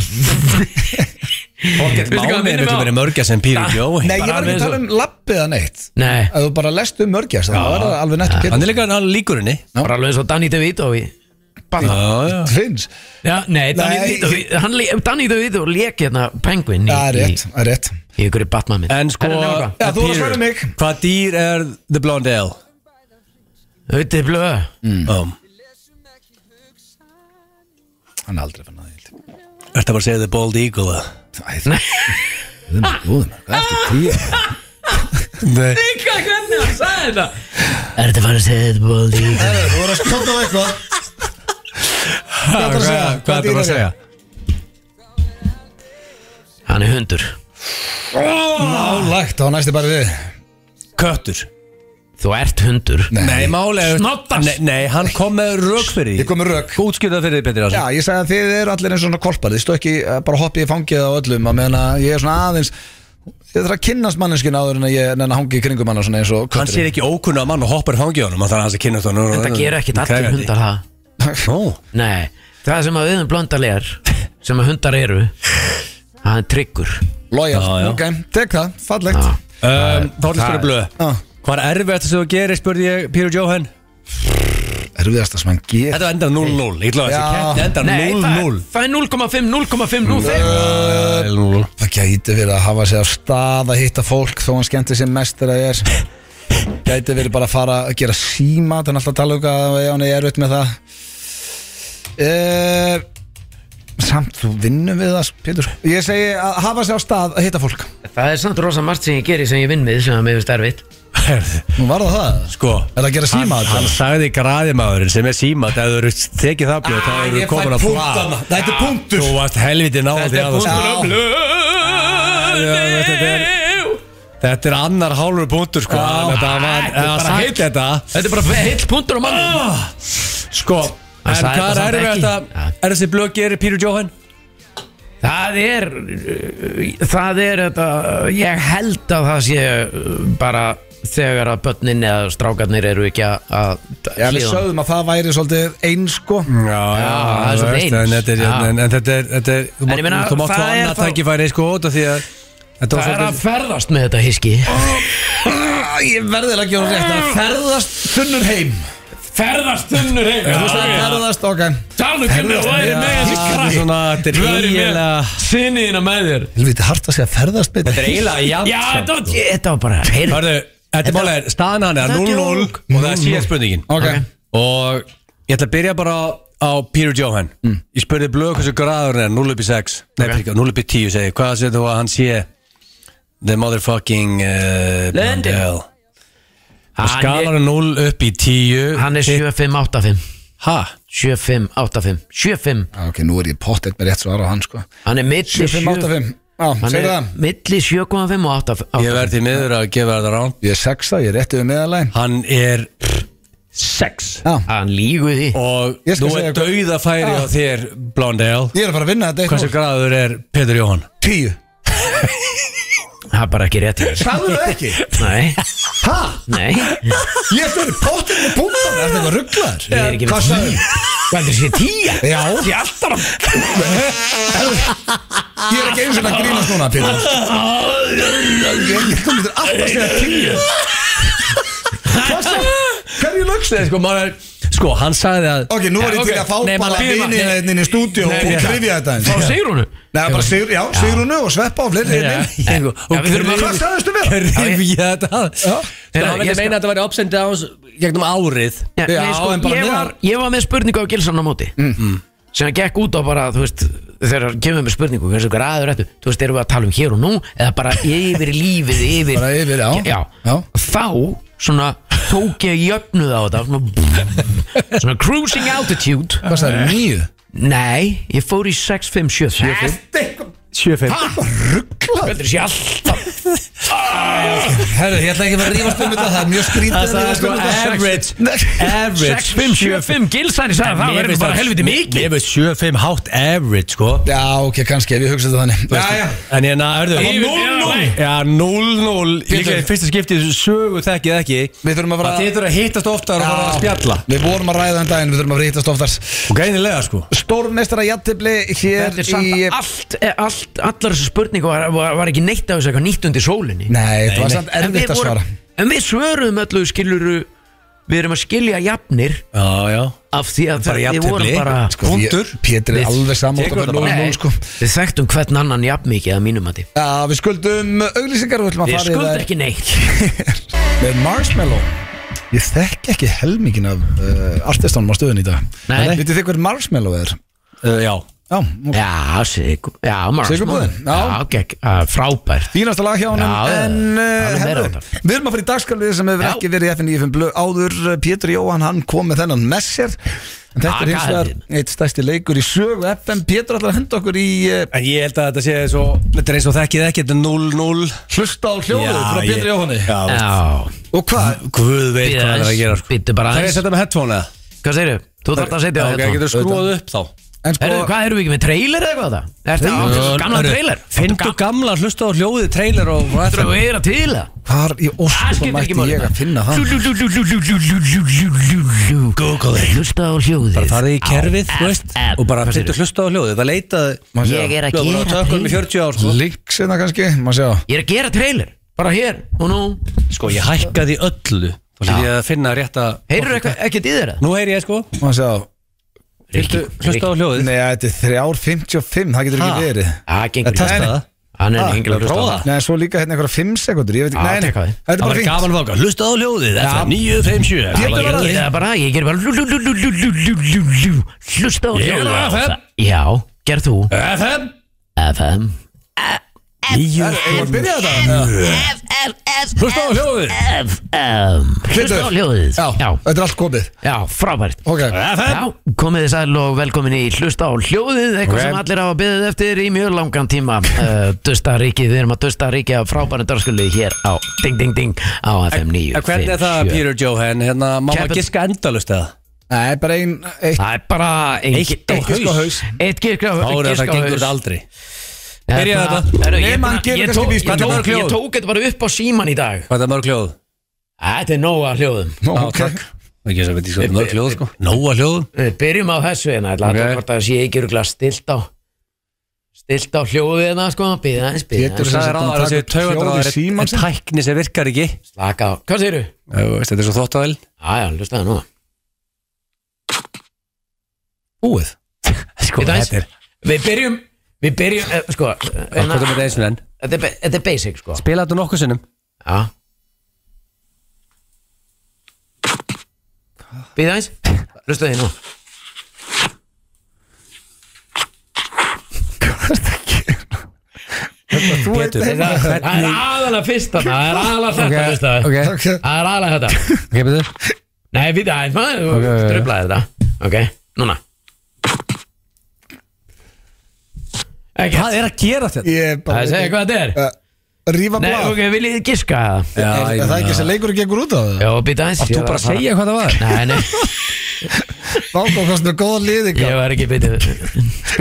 Speaker 2: Pocket
Speaker 3: Veistu
Speaker 2: Máni
Speaker 3: hvað
Speaker 2: er
Speaker 3: minnir
Speaker 2: miklu
Speaker 3: mig á?
Speaker 2: meira mörgja sem Píri Bjói
Speaker 1: Ah. Nei, ég var ekki að tala um lappið eða neitt
Speaker 3: Nei,
Speaker 1: Ef þú bara lest um mörgjast Það var það alveg nettur
Speaker 2: Hann er líka hann líkurinni
Speaker 3: bara alveg eins og Danny DeVito í
Speaker 2: Já, já
Speaker 1: Finns
Speaker 3: Já, nei,
Speaker 1: Nei,
Speaker 3: Danny DeVito hann lé- Danny DeVito lék hérna Penguin í,
Speaker 1: Það er rétt,
Speaker 3: í,
Speaker 1: það er rétt Já,
Speaker 3: í ykkur Batman mynd
Speaker 2: En sko
Speaker 1: þú var að svara um mig
Speaker 2: Hvað dýr er The Blonde Ale?
Speaker 3: Auðvitað blöð
Speaker 1: Hmm.
Speaker 2: Um,
Speaker 1: Hann er aldrei fann að því
Speaker 2: Ertu að bara að segja The Bald Eagle? eða?
Speaker 1: Æ, þú Guð minn góður, maður, Hvað ertu tíu?
Speaker 2: Nei
Speaker 3: Líka hvernig hann sagði þetta Er þetta farið að segja þetta bóð í
Speaker 1: Þú voru að skotta á eitthvað Hvað
Speaker 2: Hvað
Speaker 1: ætlarðu að segja? Hvað
Speaker 2: hvað ertu bara að
Speaker 1: dýr er
Speaker 2: segja?
Speaker 3: Hann er hundur
Speaker 1: Nálægt, þá næstu bara við
Speaker 2: Köttur
Speaker 3: Þú ert hundur
Speaker 2: Nei, málega
Speaker 3: Snoddast.
Speaker 2: Nei, nei, hann kom með rök fyrir því
Speaker 1: Ég kom með rök.
Speaker 2: Útskýrða fyrir því, Petri
Speaker 1: Já,
Speaker 2: Ásson
Speaker 1: ég sagði að þið eru allir eins og svona kolpar Þið stóð ekki eh, bara hoppið í fangið á öllum Að meðan að ég er svona aðeins Ég þarf að kynnast manneskinu áður en að ég nenni að hangi í kringum hana svona eins og
Speaker 2: Hann sér ekki ókunna mann og hoppar fangið honum Þannig að hans er kynnast honum
Speaker 3: Þetta gerir ekkit allir
Speaker 2: Krefjandi.
Speaker 3: hundar það
Speaker 2: Ó,
Speaker 3: Nei, það sem að við um blöndalegar sem að hundar eru það er tryggur
Speaker 1: Lója,
Speaker 2: Já, já.
Speaker 1: ok, tek það, fallegt
Speaker 3: Já.
Speaker 2: um, Þá ætlum spyrja blöð
Speaker 1: Já.
Speaker 2: Hvað er erfiðast sem þú gerir, spurði ég Píri Jóhann
Speaker 1: Erfiðasta sem hann ger
Speaker 2: Þetta endar 0-0 Ég ætla að
Speaker 1: Já.
Speaker 2: þessi keppni endar
Speaker 3: Nei, það er
Speaker 2: 0-0
Speaker 3: það er 0,5, 0,5, 0,5
Speaker 2: 0-0
Speaker 1: Það gæti verið að hafa sig af stað að hitta fólk þó hann skemmti sér mest þegar það er Gæti verið bara að fara að gera síma þannig alltaf að tala um hvað ef hann er erfitt með það uh, Samt þú vinnum við það Pétur Ég segi að hafa sig af stað að hitta fólk
Speaker 3: Það er samt rosa margt sem ég geri sem ég vinn við sem að mér finnst erfitt
Speaker 2: Herðu,
Speaker 1: Nú var það það
Speaker 2: Sko
Speaker 1: Er það að gera síma
Speaker 2: Hann, hann sagði graðimaðurinn sem er símat ef þú eru tekið það blöð þá eru komin að
Speaker 1: Það er punktur
Speaker 2: Þú varst helviti náði
Speaker 3: Þetta er
Speaker 2: að
Speaker 3: punktur
Speaker 1: Já.
Speaker 3: á blöð
Speaker 2: blöð. Þetta er annar hálfur punktur sko en Þetta var,
Speaker 3: þetta er
Speaker 2: eða
Speaker 3: bara heill.
Speaker 2: sagt þetta
Speaker 3: Þetta er bara heill punktur á
Speaker 1: Ah.
Speaker 3: mann
Speaker 2: Sko, en hvað
Speaker 3: sagði þetta
Speaker 2: er
Speaker 3: samt
Speaker 2: erfið
Speaker 3: ekki.
Speaker 2: þetta
Speaker 3: Ja.
Speaker 2: Er þessi blöð gerir Pítur Jóhann?
Speaker 3: Það er uh, það er þetta ég held að það sé uh, bara þegar að börnin eða strákarnir eru ekki að- að
Speaker 1: Já, við
Speaker 3: hlýða honum.
Speaker 1: sögðum að það væri svolítið eins sko
Speaker 2: Já,
Speaker 3: það er svo
Speaker 2: þú veist,
Speaker 3: eins.
Speaker 2: En þetta er,
Speaker 3: Já.
Speaker 2: en, en þetta er, þetta er Þú
Speaker 3: En ég
Speaker 2: mátt,
Speaker 3: meina,
Speaker 2: þú mátt fá
Speaker 3: það er
Speaker 2: annað
Speaker 3: þá-
Speaker 2: tækifæri sko út af því að Þetta var
Speaker 3: Það er að
Speaker 2: svolítið
Speaker 3: ferðast með þetta hiski
Speaker 1: Ég verðilega að gera rétt Það er
Speaker 2: Mm.
Speaker 1: að ferðast þunnur heim
Speaker 3: Ferðast þunnur heim
Speaker 1: Þú veist að ferðast, ok
Speaker 3: Taldu
Speaker 1: Ferðast, já.
Speaker 2: Þetta er svona, þetta er eiginlega
Speaker 3: Sinniðina með þér
Speaker 1: Helviti hart að segja ferðast betur
Speaker 2: Þetta er eiginlega jafn
Speaker 3: Já,
Speaker 2: samt, sko.
Speaker 3: þetta var- þetta var bara heyrðu,
Speaker 2: Hörðu, þetta er málega, staðan hann er
Speaker 3: Þetta er
Speaker 2: 0-0
Speaker 3: djók.
Speaker 2: og það er síðan spurningin
Speaker 1: Ok.
Speaker 2: Og ég ætla að byrja bara á, á Peter Johan Ég spurði blöð hversu gráður hann er 0 upp í 6, nei
Speaker 3: Mm. Ok.
Speaker 2: okay. 0 upp í 10 segi, ég. Hvað segir þú að hann sé The motherfucking uh,
Speaker 3: Lundin.
Speaker 2: Blondel Og
Speaker 3: Hann er-
Speaker 2: skalar hann 0 upp í 10
Speaker 3: Hann er 7585
Speaker 2: Ha?
Speaker 3: 7585 75
Speaker 1: Ok, nú er ég pottet með rétt svar á hann sko
Speaker 3: Hann er milli
Speaker 1: 7585 Já,
Speaker 3: Hann
Speaker 1: segir
Speaker 3: er
Speaker 1: það
Speaker 3: milli 7,5 og 8
Speaker 2: Ég verði því miður að gefa þetta rán
Speaker 1: Ég er sexa, ég er rétt yfir meðalæn
Speaker 2: Hann er 6
Speaker 1: Já,
Speaker 3: Hann lígu því
Speaker 2: Og
Speaker 1: Ég skal
Speaker 2: nú
Speaker 1: segja
Speaker 2: er
Speaker 1: hvað-
Speaker 2: dauðafæri
Speaker 1: Ah.
Speaker 2: á þér Blondel
Speaker 1: ég er að fara að vinna þetta
Speaker 2: Hversu
Speaker 1: eitthvað
Speaker 2: gráður er Peter Johan?
Speaker 1: 10
Speaker 3: Það er bara ekki rétt
Speaker 1: Sagðu það ekki?
Speaker 3: Nei,
Speaker 1: Ha?
Speaker 3: nei
Speaker 1: Ég er fyrir pottet með punktan Er þetta eitthvað rugglaður?
Speaker 3: Ég er ekki með
Speaker 1: Hvað sagðu?
Speaker 3: Hvað er þessi tíja?
Speaker 1: Já,
Speaker 3: Ég er alltaf að
Speaker 1: ég er ekki eins og að grínast núna, Pítur Ég er ekki komið til alltaf að segja 10 Hvað sagðu? Hverju lögst þið?
Speaker 2: Sko, maður, er- sko, hann sagði að
Speaker 1: Ok, nú var ég til að fá
Speaker 2: Nei,
Speaker 1: bara
Speaker 2: maður býður maður-
Speaker 1: vinina inn í stúdíu og
Speaker 2: Nei, nei,
Speaker 1: krifja þetta eins
Speaker 3: Frá Sigrúnu
Speaker 1: Nei, bara sigur, já, Sigrunu og Sveppa og fleiri
Speaker 2: Já,
Speaker 1: hérna inn.
Speaker 2: ég- og
Speaker 3: Já, við þurfum að-
Speaker 1: Hvað sagðistu vera?
Speaker 2: Krifja þetta
Speaker 1: Já.
Speaker 2: Sko, hann
Speaker 3: Ég
Speaker 2: vildi
Speaker 3: skal-
Speaker 2: meina að þetta væri ups and downs gegnum árið
Speaker 3: Já,
Speaker 1: Já,
Speaker 3: nei, sko,
Speaker 1: en bara Mm.
Speaker 3: ég,
Speaker 1: meðan-
Speaker 3: var, ég var með spurningu á Gilsan á móti sem að gekk út á bara, þú veist þegar hann kemur með spurningu, hversu ykkur aður eftir þú veist, erum við að tala um hér og nú eða bara yfir í lífið, yfir
Speaker 1: Bara yfir, já. Já.
Speaker 3: þá, svona, tók ég jöfnuð á þetta svona, svona cruising altitude
Speaker 1: Hvað sagði, nýju?
Speaker 3: nei, ég fór í 6, 5, 7
Speaker 1: Þetta er eitthvað Hvað ruggla?
Speaker 3: Þetta er sér alltaf
Speaker 1: Herru, ég ætla ekki að vera að rífast um þetta Það er mjög skrítið
Speaker 2: Það
Speaker 1: að
Speaker 2: sagði
Speaker 1: rífast
Speaker 2: sko
Speaker 1: um þetta.
Speaker 2: average Average
Speaker 3: 6, 5, 7, 5 Gilsæni sagði að það
Speaker 2: Mér
Speaker 3: verður
Speaker 2: finnst
Speaker 3: bara
Speaker 2: það-
Speaker 3: helviti mikið
Speaker 2: Mér finnst 7-5 hátt average sko
Speaker 1: Já, ok, kannski, ef ég hugsa þetta þannig Já, já
Speaker 2: En ég erðu
Speaker 3: Það var 0-0.
Speaker 2: Já, 0-0 Líka í fyrsta skiptið sögu þekkið ekki
Speaker 1: Við þurfum að fara
Speaker 2: Það þýttur að hittast oftar og fara að spjalla
Speaker 1: Við vorum að ræða þann daginn, við þurfum að fara hittast oftast
Speaker 2: Og greinilega sko
Speaker 1: Stórmestara jættibli hér
Speaker 3: Þetta er samt
Speaker 1: í
Speaker 3: allt, allt, allar þessu spurningu var, var, var ekki neitt af þessu eitthvað nýtt undir sólinni
Speaker 1: Nei, þetta var
Speaker 2: nei.
Speaker 1: samt
Speaker 3: En við
Speaker 1: erfitt að
Speaker 3: vorum-
Speaker 1: svara
Speaker 3: En við svöruðum öllu skiluru Við erum að skilja jafnir
Speaker 2: Já, já
Speaker 3: Af því að
Speaker 2: Bara
Speaker 3: við
Speaker 2: jafntefli.
Speaker 3: vorum bara
Speaker 1: Sko, því-
Speaker 2: Punktur.
Speaker 1: Pétur er
Speaker 3: Við-
Speaker 1: alveg saman
Speaker 2: Tekur þetta bara.
Speaker 3: Nei,
Speaker 1: sko.
Speaker 3: Við þekktum hvern annan jafn mikið að mínum að því
Speaker 1: Já, við skuldum auglýsingar og ætlum að
Speaker 3: Við
Speaker 1: fara í
Speaker 3: skuldum
Speaker 1: þær
Speaker 3: ekki neitt
Speaker 1: Með Marshmallow Ég þekk ekki helmingin af uh, artistanum á stöðun í dag
Speaker 3: Nei.
Speaker 1: Vitið þið hver Marshmallow er?
Speaker 2: Uh, Já
Speaker 1: Já, ok.
Speaker 3: Já, sigur Já, Marshmallow.
Speaker 1: Sigurbúðin, já.
Speaker 3: Já, gekk, að, frábært
Speaker 1: Fínasta lag hjá honum
Speaker 3: Já, já, já.
Speaker 1: En uh,
Speaker 3: Alveg meira
Speaker 1: herru,
Speaker 3: þetta.
Speaker 1: við erum að fara í dagskalvið sem hefur
Speaker 3: Já.
Speaker 1: ekki verið í FN95 blöð áður uh, Pétur Jóhann, hann kom með þennan með sér En þetta er
Speaker 3: Aga
Speaker 1: hins vegar
Speaker 3: helvítið.
Speaker 1: eitt stærsti leikur í sögu FM Pétur ætlar að henda okkur í uh,
Speaker 2: En ég held að þetta sé svo Þetta er eins og þekkið ekki Þetta er 0-0
Speaker 1: hlusta á hljóðu
Speaker 2: Já,
Speaker 1: frá Pétur
Speaker 2: ég-
Speaker 1: Jóhanni
Speaker 2: Já,
Speaker 3: Já,
Speaker 1: Og hvað?
Speaker 2: Guð veit hvað það er að gera
Speaker 3: býttu
Speaker 2: sko
Speaker 3: býttu bara
Speaker 2: Það er að
Speaker 3: aðeins
Speaker 2: setja með headphone eða?
Speaker 3: Hvað segirðu? Þú þarf að setja á
Speaker 2: Ok,
Speaker 3: þetta
Speaker 2: getur skrúað upp þá
Speaker 1: En sko,
Speaker 3: Herðu, hvað erum við ekki með trailer eða eitthvað það? Er þetta á þessu gamla trailer?
Speaker 2: Finndu gamla hlusta á hljóðið trailer og og
Speaker 3: Þetta
Speaker 2: FM.
Speaker 3: er að til það
Speaker 1: hvar í
Speaker 3: Það
Speaker 1: óskum
Speaker 3: skiptir ekki
Speaker 1: mætti
Speaker 3: máli
Speaker 1: ég að finna það?
Speaker 3: Google Hlusta á hljóðið
Speaker 2: bara farið í kerfið
Speaker 3: Á
Speaker 2: þú veist,
Speaker 3: app.
Speaker 2: og bara
Speaker 3: Hvað
Speaker 2: fyrstu
Speaker 3: segirðu?
Speaker 2: hlusta á hljóðið það leitaði
Speaker 1: Maður
Speaker 3: Ég
Speaker 1: sé
Speaker 3: er að
Speaker 2: Hljóðum
Speaker 3: gera
Speaker 2: á tökum í
Speaker 3: trailer
Speaker 2: 40 ár sko.
Speaker 1: Links hérna kannski, maður sé á
Speaker 3: Ég er að gera trailer Bara hér og nú
Speaker 2: sko ég hækkaði öllu þá hljóði ég að finna rétta
Speaker 3: Heyrðu eitthvað ekkert í þeirra?
Speaker 2: nú heyri ég sko
Speaker 1: Maður sé á
Speaker 2: fyrstu hlusta á hljóðið
Speaker 1: Nei, þetta er 3.55, það getur
Speaker 2: Ha?
Speaker 1: ekki verið
Speaker 3: Það gengur Ah,
Speaker 2: að testa það
Speaker 3: Hann
Speaker 2: Ha,
Speaker 3: er engil að
Speaker 2: prófa
Speaker 3: hlusta á
Speaker 2: það.
Speaker 3: það
Speaker 1: Nei, svo líka hérna einhverja 5 sekundur Ég veit
Speaker 3: Já,
Speaker 1: ekki, nei,
Speaker 3: teka
Speaker 1: nei,
Speaker 3: því.
Speaker 1: þetta er
Speaker 2: það
Speaker 1: bara
Speaker 2: var
Speaker 1: fínt
Speaker 2: gaman fanga hlusta á hljóðið þetta er 957
Speaker 1: Pétur
Speaker 3: Ég
Speaker 1: var að-
Speaker 3: gerði það bara, ég gerði bara lú, lú, lú, lú, lú, lú, lú, lú, lú, Hlusta á
Speaker 2: Ég er
Speaker 3: hljóðið á
Speaker 2: á FM.
Speaker 3: það Já, gerð þú
Speaker 2: FM
Speaker 3: FM
Speaker 1: Ég var að
Speaker 2: 957
Speaker 1: byrja þetta
Speaker 2: hlusta á hljóðið
Speaker 3: FM Hlusta á
Speaker 1: Pétur.
Speaker 3: hljóðið
Speaker 1: Já,
Speaker 3: Já, Eh?
Speaker 1: þetta er allt komið
Speaker 3: já, frábært
Speaker 1: Ok,
Speaker 2: FM
Speaker 3: Já, komið þið sæl og velkomin í Hlusta á hljóðið, eitthvað
Speaker 2: Ok.
Speaker 3: sem allir hafa byggðið eftir í mjög langan tíma uh, Dusta við erum að dusta ríkið af frábæri darskulið hér á Ding Ding Ding á FM 9
Speaker 2: En hvernig er það Peter Johan hérna má maður
Speaker 3: Kepil-
Speaker 2: giska endalust eða
Speaker 1: nei, bara ein eitt
Speaker 3: Það er bara ein-
Speaker 2: Eitt á
Speaker 3: eitt gisk á
Speaker 2: haus.
Speaker 3: haus Eitt gisk á
Speaker 2: þá
Speaker 3: eitt
Speaker 2: er
Speaker 3: gisk
Speaker 2: það
Speaker 3: á
Speaker 2: gengur
Speaker 3: haus.
Speaker 2: þetta aldrei Byrjaðu
Speaker 3: Hérna,
Speaker 2: þetta.
Speaker 3: herru,
Speaker 1: Nei,
Speaker 3: Ég
Speaker 1: maður gerir
Speaker 3: ég
Speaker 1: kannski
Speaker 3: tók-
Speaker 1: vísbendingar.
Speaker 3: ég tók- ég tók þetta bara upp á síman í dag
Speaker 2: hvað er það mörg hljóð
Speaker 3: Þetta er nóga hljóðum
Speaker 1: Ok,
Speaker 2: ekki þess að veit ég sko mörg hljóð sko nóa hljóð
Speaker 3: Við byrjum á þessu hérna Það
Speaker 2: Ok.
Speaker 3: er hvort að sé ekki örgulega stilt á Stilt á hljóðið hérna sko Býða aðeins, býða
Speaker 1: Pétur
Speaker 3: aðeins
Speaker 1: sem
Speaker 2: Það
Speaker 1: sagt
Speaker 2: er
Speaker 1: búin að
Speaker 2: aðra
Speaker 1: taka
Speaker 2: þessi
Speaker 1: upp hljóð í
Speaker 2: taugandraðar
Speaker 1: símann
Speaker 2: en
Speaker 1: sinn.
Speaker 2: tækni sem virkar ekki
Speaker 3: Slaka á Hvað segirðu?
Speaker 2: Þú veist, Þetta er svo þvóttavel
Speaker 3: Jæja, hlustaðu nú
Speaker 2: Búið Sko,
Speaker 3: Þetta
Speaker 2: þetta er
Speaker 3: Við byrjum Við byrjum eh, Sko hérna,
Speaker 2: Hvað er þetta eins og enn?
Speaker 3: Þetta er be- þetta er basic sko
Speaker 2: Bila þetta nokkuð sinnum
Speaker 3: Já Býða aðeins Hlustaðu hérna. því nú
Speaker 1: þú veit
Speaker 2: Pétur,
Speaker 1: heima.
Speaker 3: Það er aðalega fyrst þarna, það er aðalega þetta fyrst það
Speaker 2: ok,
Speaker 1: Ok,
Speaker 3: Það er aðalega þetta
Speaker 2: ok, betur
Speaker 3: Nei, við það, maður,
Speaker 2: Ok,
Speaker 3: þú
Speaker 2: ok, ok.
Speaker 3: ströflaði þetta Ok, núna Ekki,
Speaker 2: Hvað er að gera þetta?
Speaker 1: ég er
Speaker 3: það
Speaker 1: bara
Speaker 3: er segja hvað þetta er
Speaker 1: Eh, Rífa
Speaker 3: Nei,
Speaker 1: blá
Speaker 3: ok, viljið þið giska það?
Speaker 2: Já,
Speaker 1: Er
Speaker 2: ég
Speaker 1: er það
Speaker 2: meina-
Speaker 1: ekki sem leikur gengur út á það?
Speaker 3: Já, býta aðeins
Speaker 2: Þú bara að segja hvað það var
Speaker 3: Nei, nei,
Speaker 1: Vákó, hvað svona góða liðingar
Speaker 3: ég var ekki býta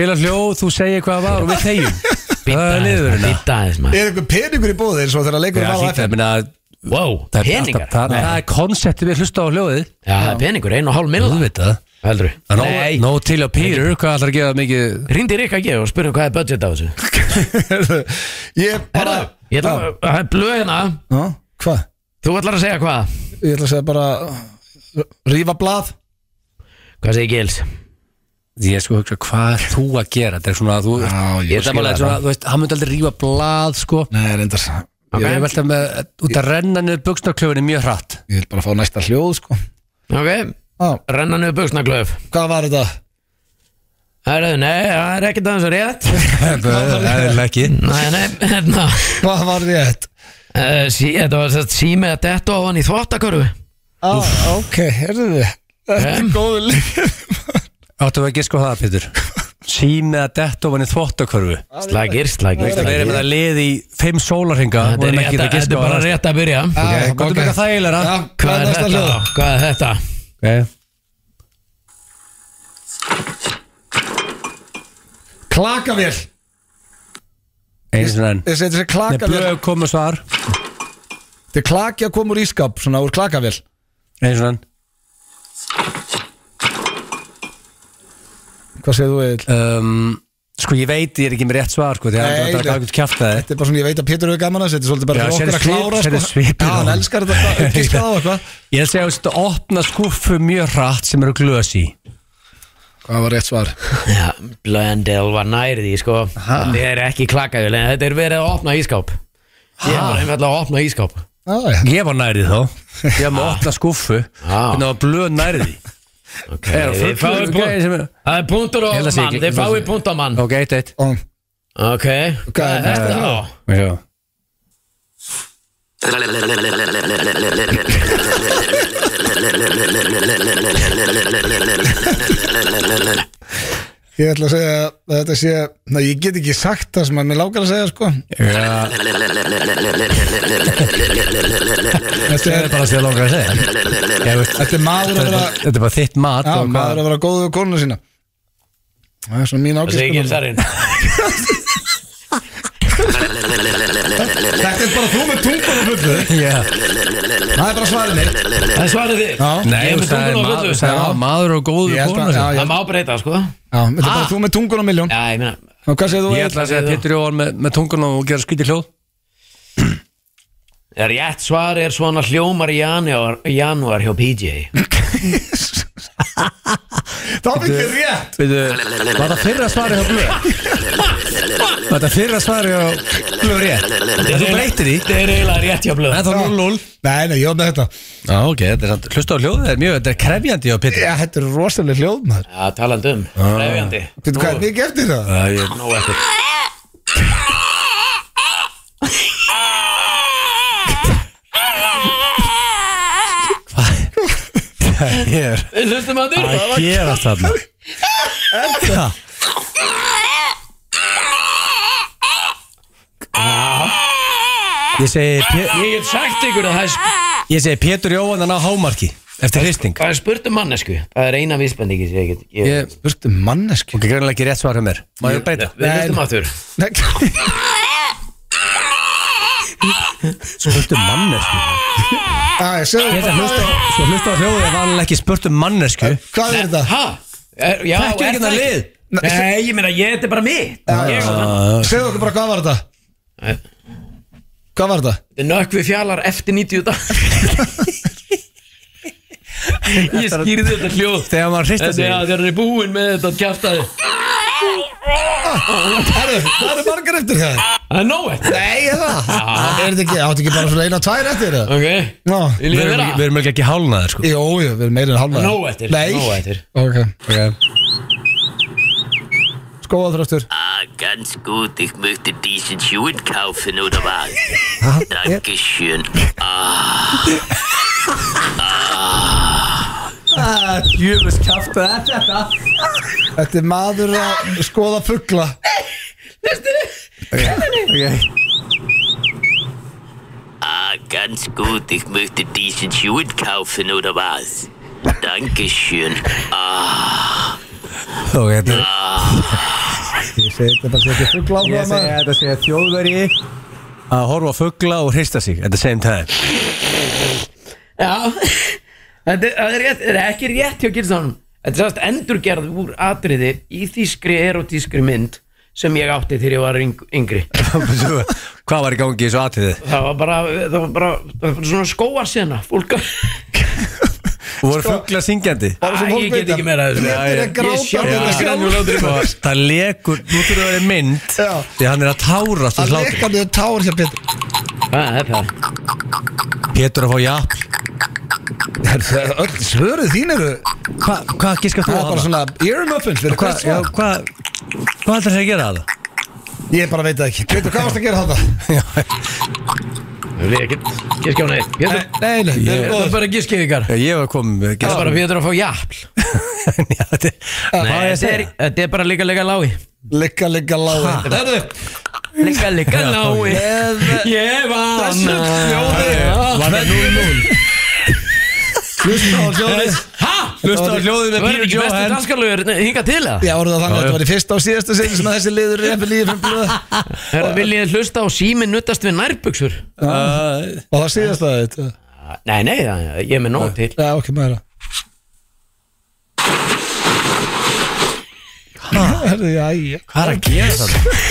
Speaker 2: Bila hljóð, þú segir hvað það var og við þegjum
Speaker 3: Býta
Speaker 2: Það er
Speaker 3: aðeins,
Speaker 2: liðurinn
Speaker 3: býta aðeins maður
Speaker 1: Er einhver peningur í bóðir svo þegar leikur var á FM?
Speaker 3: Wow, peningar
Speaker 2: Það
Speaker 3: Nei.
Speaker 2: það er konseptið við hlusta á hljóðið
Speaker 3: Já, það er peningur, ein og hálf
Speaker 2: Þú
Speaker 3: millar
Speaker 2: veit það
Speaker 3: Heldur
Speaker 2: Það
Speaker 3: Nei.
Speaker 2: er nóg- nóg til á Pýrur Hvað ætlar að gefa mikið
Speaker 3: Ringdi Rikka ekki og spurði um hvað er budget á þessu
Speaker 1: Ég bara
Speaker 3: Herra, ég ætla að, það er blöð hérna
Speaker 1: Já, Hvað?
Speaker 3: Þú ætlar að segja hvað?
Speaker 1: Ég ætla að segja bara uh, Rífa blað
Speaker 3: Hvað segir Gils?
Speaker 2: Ég er sko að hugsa hvað ert þú að gera Þetta er svona að þú
Speaker 1: Já,
Speaker 2: Ég er það málega svona, þú veist, hann myndi aldrei rífa blað sko
Speaker 1: Nei, reyndar
Speaker 2: Ég er velta með, út að renna niður buksnarklöfunni mjög hratt
Speaker 1: Ég vil bara fá næsta hljóð, sko
Speaker 3: Ok,
Speaker 1: Já,
Speaker 3: renna niður buksnaglöf
Speaker 1: Hvað var þetta?
Speaker 3: Herðu, nei, það er ekkert aðeins rétt
Speaker 2: Það er ekki
Speaker 3: Nei, nei, hérna
Speaker 1: Hvað var rétt?
Speaker 3: uh, sí, Þetta var sérst sími að detta ofan í þvottakörfu
Speaker 1: Á, ok, herðu þið Þetta er góðu lið
Speaker 2: Áttu að giska á það, Pétur sími að detta ofan í þvottakörfu
Speaker 3: Slagir, slagir,
Speaker 2: Það verið með
Speaker 3: slagir
Speaker 2: að liði í fimm sólarhinga
Speaker 3: Þetta er rétt að- þetta er bara rétt að byrja
Speaker 2: Ok, gott um eitthvað þægilega
Speaker 1: Já,
Speaker 3: Hvað er þetta? Hvað er þetta?
Speaker 1: Klakavél
Speaker 2: Einu sinna enn
Speaker 1: Ég seti þessi
Speaker 2: Nei,
Speaker 1: klakavél
Speaker 2: blöð komu svar
Speaker 1: Þetta er klaki að koma úr ískap Svona úr klakavél
Speaker 2: Einu sinna enn
Speaker 1: Hvað segir þú Egil?
Speaker 2: um, Sko ég veit, ég er ekki með rétt svar sko, Því að
Speaker 1: Nei,
Speaker 2: það er
Speaker 1: nei.
Speaker 2: ekki kjæft að
Speaker 1: Þetta er bara svona, ég veit að Pétur hefur gaman að Þetta er svolítið bara
Speaker 2: Já,
Speaker 1: fyrir okkur að klára
Speaker 2: sérðu svip-
Speaker 1: sko.
Speaker 2: sérðu svipinn
Speaker 1: Já,
Speaker 2: á
Speaker 1: hann
Speaker 2: honum.
Speaker 1: elskar þetta að Giska á eitthvað
Speaker 2: þetta Ég sé að þetta opna skúfu mjög hratt sem eru glös í
Speaker 1: Hvað var rétt svar?
Speaker 3: Já, Blöndel var nærði, sko Þetta er ekki klakaðil En þetta er verið að opna ískáp Ég var einfallega að opna ískáp
Speaker 1: Já, já
Speaker 2: Ég var nærið þá Ég var með að opna skúfu
Speaker 3: Ah.
Speaker 2: Þannig að blöð nærið
Speaker 3: okay.
Speaker 2: Er á fullu
Speaker 3: Þið fáið
Speaker 2: gæði
Speaker 3: punkt-
Speaker 2: sem er-
Speaker 3: Það er punktur á
Speaker 2: Ég held að sé
Speaker 3: mann
Speaker 2: ekki-
Speaker 3: Þið fáið punkt á mann
Speaker 2: Ok, eitt, eitt
Speaker 1: Og
Speaker 3: Ok, hvað er þetta þá?
Speaker 2: Já.
Speaker 1: Ég ætla að segja að þetta sé Ná, ég get ekki sagt það sem að mér lákar að segja sko Þetta
Speaker 2: Það er
Speaker 1: er,
Speaker 2: bara að segja langar að segja Ég veist,
Speaker 1: þetta er maður að
Speaker 2: Þetta er
Speaker 1: vera
Speaker 2: bara- þetta er bara þitt mat
Speaker 1: Já,
Speaker 2: og hvað-
Speaker 1: maður að vera góðu við konuna sína Það er svona mín
Speaker 3: Það segir
Speaker 1: ákvæmst
Speaker 3: gildarinn
Speaker 1: Þetta er bara þú með tungunum fullu
Speaker 2: Já.
Speaker 1: Það er bara svarið mitt
Speaker 3: Það svarið þið
Speaker 1: Já.
Speaker 2: Nei,
Speaker 3: Ég er
Speaker 2: þú
Speaker 3: með
Speaker 2: sagði
Speaker 3: tungun á
Speaker 2: maður-
Speaker 3: fullu
Speaker 2: sagði
Speaker 1: Já.
Speaker 2: maður- maður og góður
Speaker 1: Ég held
Speaker 2: kona
Speaker 1: að-
Speaker 2: sinna.
Speaker 1: já,
Speaker 3: Það má breyta, sko Já,
Speaker 1: Já, þetta er bara
Speaker 3: Ah.
Speaker 1: þú með tungunum miljón
Speaker 3: ég meina
Speaker 1: Og hvað segir þú?
Speaker 2: Ég ætla að segja að Pétur Jóhann með, með tungun og gera skýti hljóð
Speaker 3: Er rétt svar er svona hljómar í janúar, janúar hjá PJ
Speaker 1: Það er ekki rétt
Speaker 2: Veitu, Var það fyrra svari hjá Blöð? Var það fyrra svari hjá Blöð rétt? En þú breytir því
Speaker 3: Þetta er eiginlega rétt hjá blöð
Speaker 2: En það er 0-0
Speaker 1: Nei, nei, ég var með þetta
Speaker 2: Já, ok, þetta er samt Hlusta á hljóðið er mjög, þetta er krefjandi hjá Pétur
Speaker 1: Já, þetta er rosalega hljóð maður
Speaker 3: Já, talandi um Ræfjandi
Speaker 1: Þetta hvað er mikið eftir það?
Speaker 2: Já, ég-
Speaker 3: Nú eftir
Speaker 2: Ég er
Speaker 3: Við hlustum að þurr
Speaker 2: að gera þarna Já. Ég segi Pé-
Speaker 3: Ég get sagt ykkur að það er sp-
Speaker 2: Ég segi Pétur Jóhann hann á hámarki Eftir hristing
Speaker 3: það er spurt um mannesku Það er eina vísbendingi sem ég get ég-
Speaker 2: Ég um
Speaker 1: Spurtu mannesk
Speaker 2: Ok, greinlega ekki rétt svar hjá mér Má ég breyta?
Speaker 3: Við hlustum að þurr
Speaker 1: Nei,
Speaker 2: Spurt um mannesku
Speaker 1: Æ, segðu
Speaker 2: Ég ætla
Speaker 1: bara,
Speaker 2: að hlusta á- Sko hlusta á hljóðið Það var alveg ekki spurt um mannesku
Speaker 1: Hvað er þetta?
Speaker 3: Hæ?
Speaker 2: Þekkir
Speaker 3: Já, er
Speaker 2: ekki
Speaker 3: það
Speaker 2: þetta
Speaker 3: ekki?
Speaker 2: lið?
Speaker 3: Nei, ég meina, ég, þetta er bara mitt Ég-
Speaker 1: Segðu okkur bara hvað var þetta?
Speaker 3: Nei.
Speaker 1: Hvað var þetta?
Speaker 3: Þetta er nökkvi fjalar eftir 90 dag Ég skýrði þetta hljóð
Speaker 2: Þegar maður hrista
Speaker 3: Þetta
Speaker 2: sig
Speaker 3: er að þeir eru búin með þetta kjaftaði
Speaker 1: Herru, það eru margar eftir það
Speaker 3: Það er nóvett
Speaker 1: Nei, er það? Er þetta ekki, áttu ekki bara svona eina, tvær eftir það?
Speaker 3: Ok
Speaker 1: Ná,
Speaker 2: Við
Speaker 3: Vil ég
Speaker 2: erum
Speaker 3: vera?
Speaker 2: ekki- við erum ekki ekki hálnaðir sko
Speaker 1: jú, jú, við erum meira en halva
Speaker 3: Nóg eftir
Speaker 1: Nei,
Speaker 3: Nóg eftir
Speaker 1: ok
Speaker 2: Ok.
Speaker 1: Skóðaþröstur
Speaker 6: Ah, ganz gut. Ich möchte diesen Schuh kaufen, oder was? Dankeschön.
Speaker 2: Jöfus kæft að þetta
Speaker 1: Þetta er maður að skoða fuggla
Speaker 6: Ah, ganz gut. Ich möchte diesen Schuh kaufen, oder was? Dankeschön.
Speaker 2: Ok, þetta er
Speaker 1: Ég segi þetta bara sé ekki fuggla á
Speaker 2: Ég
Speaker 1: það
Speaker 2: segi
Speaker 1: maður
Speaker 2: þetta segja þjóðveri Að horfa á fuggla og hrista sig At the same time
Speaker 3: Já Þetta er- það er, rétt, þetta er ekki rétt hjá Gilsson Þetta er sást endurgerð úr atriði í þýskri erotískri mynd sem ég átti þegar ég var yng- yngri
Speaker 2: Hvað var í gangi í þessu atriði?
Speaker 3: Það var bara, það var bara, það var bara svona skóarsena Fólk
Speaker 2: Voru fuggla syngjandi?
Speaker 1: Bara svo
Speaker 3: Æ,
Speaker 1: fólk
Speaker 3: ég get
Speaker 1: veit
Speaker 3: ekki meira af þessu.
Speaker 1: Þetta er
Speaker 2: Já,
Speaker 1: að
Speaker 2: ég-
Speaker 1: gráta
Speaker 3: ég-
Speaker 1: þetta er
Speaker 3: Já.
Speaker 1: gráta.
Speaker 2: sko, Það lekur, nú þurfum við að vera í mynd
Speaker 1: Já.
Speaker 2: Því hann er að tárast úr
Speaker 1: Það
Speaker 2: hlátur
Speaker 1: leikar niður tár hjá Pétur
Speaker 3: Það er það
Speaker 2: Pétur að fá jafn
Speaker 1: Öll svöruð þín eru
Speaker 2: Hva- Hvað giskar þú
Speaker 1: Það
Speaker 2: á
Speaker 1: er bara
Speaker 2: hana?
Speaker 1: svona earmuffins fyrir hvert
Speaker 2: Hvað
Speaker 1: svar
Speaker 2: já, hvað- hvað ætlar þess að gera það?
Speaker 1: Ég bara veit það ekki Pétur, hvað varst að gera þetta?
Speaker 3: Vil ég ekki giska á neitt? Pétur?
Speaker 1: Nei, nei,
Speaker 2: Ég-
Speaker 1: yeah.
Speaker 3: Það er bara að giska ykkar
Speaker 2: Já, Ég var komið með
Speaker 3: Það er bara Pétur að fá jafl
Speaker 2: Já, þetta er-
Speaker 3: Nei,
Speaker 2: Hvað er
Speaker 3: þetta er, þetta er bara líka líka lái
Speaker 1: Ligga, ligga, lága Herðu,
Speaker 3: Líka líka lái Ég var
Speaker 1: þessu hljóði
Speaker 2: Var það 0-0?
Speaker 1: Hlusta á hljóðið
Speaker 3: Hæ?
Speaker 2: Hlusta á hljóðið með
Speaker 3: Það var
Speaker 2: Pínu
Speaker 3: ekki
Speaker 2: Jó
Speaker 3: bestu
Speaker 2: Henn
Speaker 3: danskarlögur hinga til það
Speaker 1: Já, voru það þannig að þetta var í fyrsta og síðasta sinni sem að þessi liður er eftir lífum blöð og
Speaker 3: Herra, vil ég hlusta á síminn nuttast við nærbuksur?
Speaker 1: það síðasta þetta
Speaker 3: Nei, nei, það- ég er með nóg til
Speaker 1: Já, ok, maður Herðu, já, já
Speaker 2: Hvað er að gera það?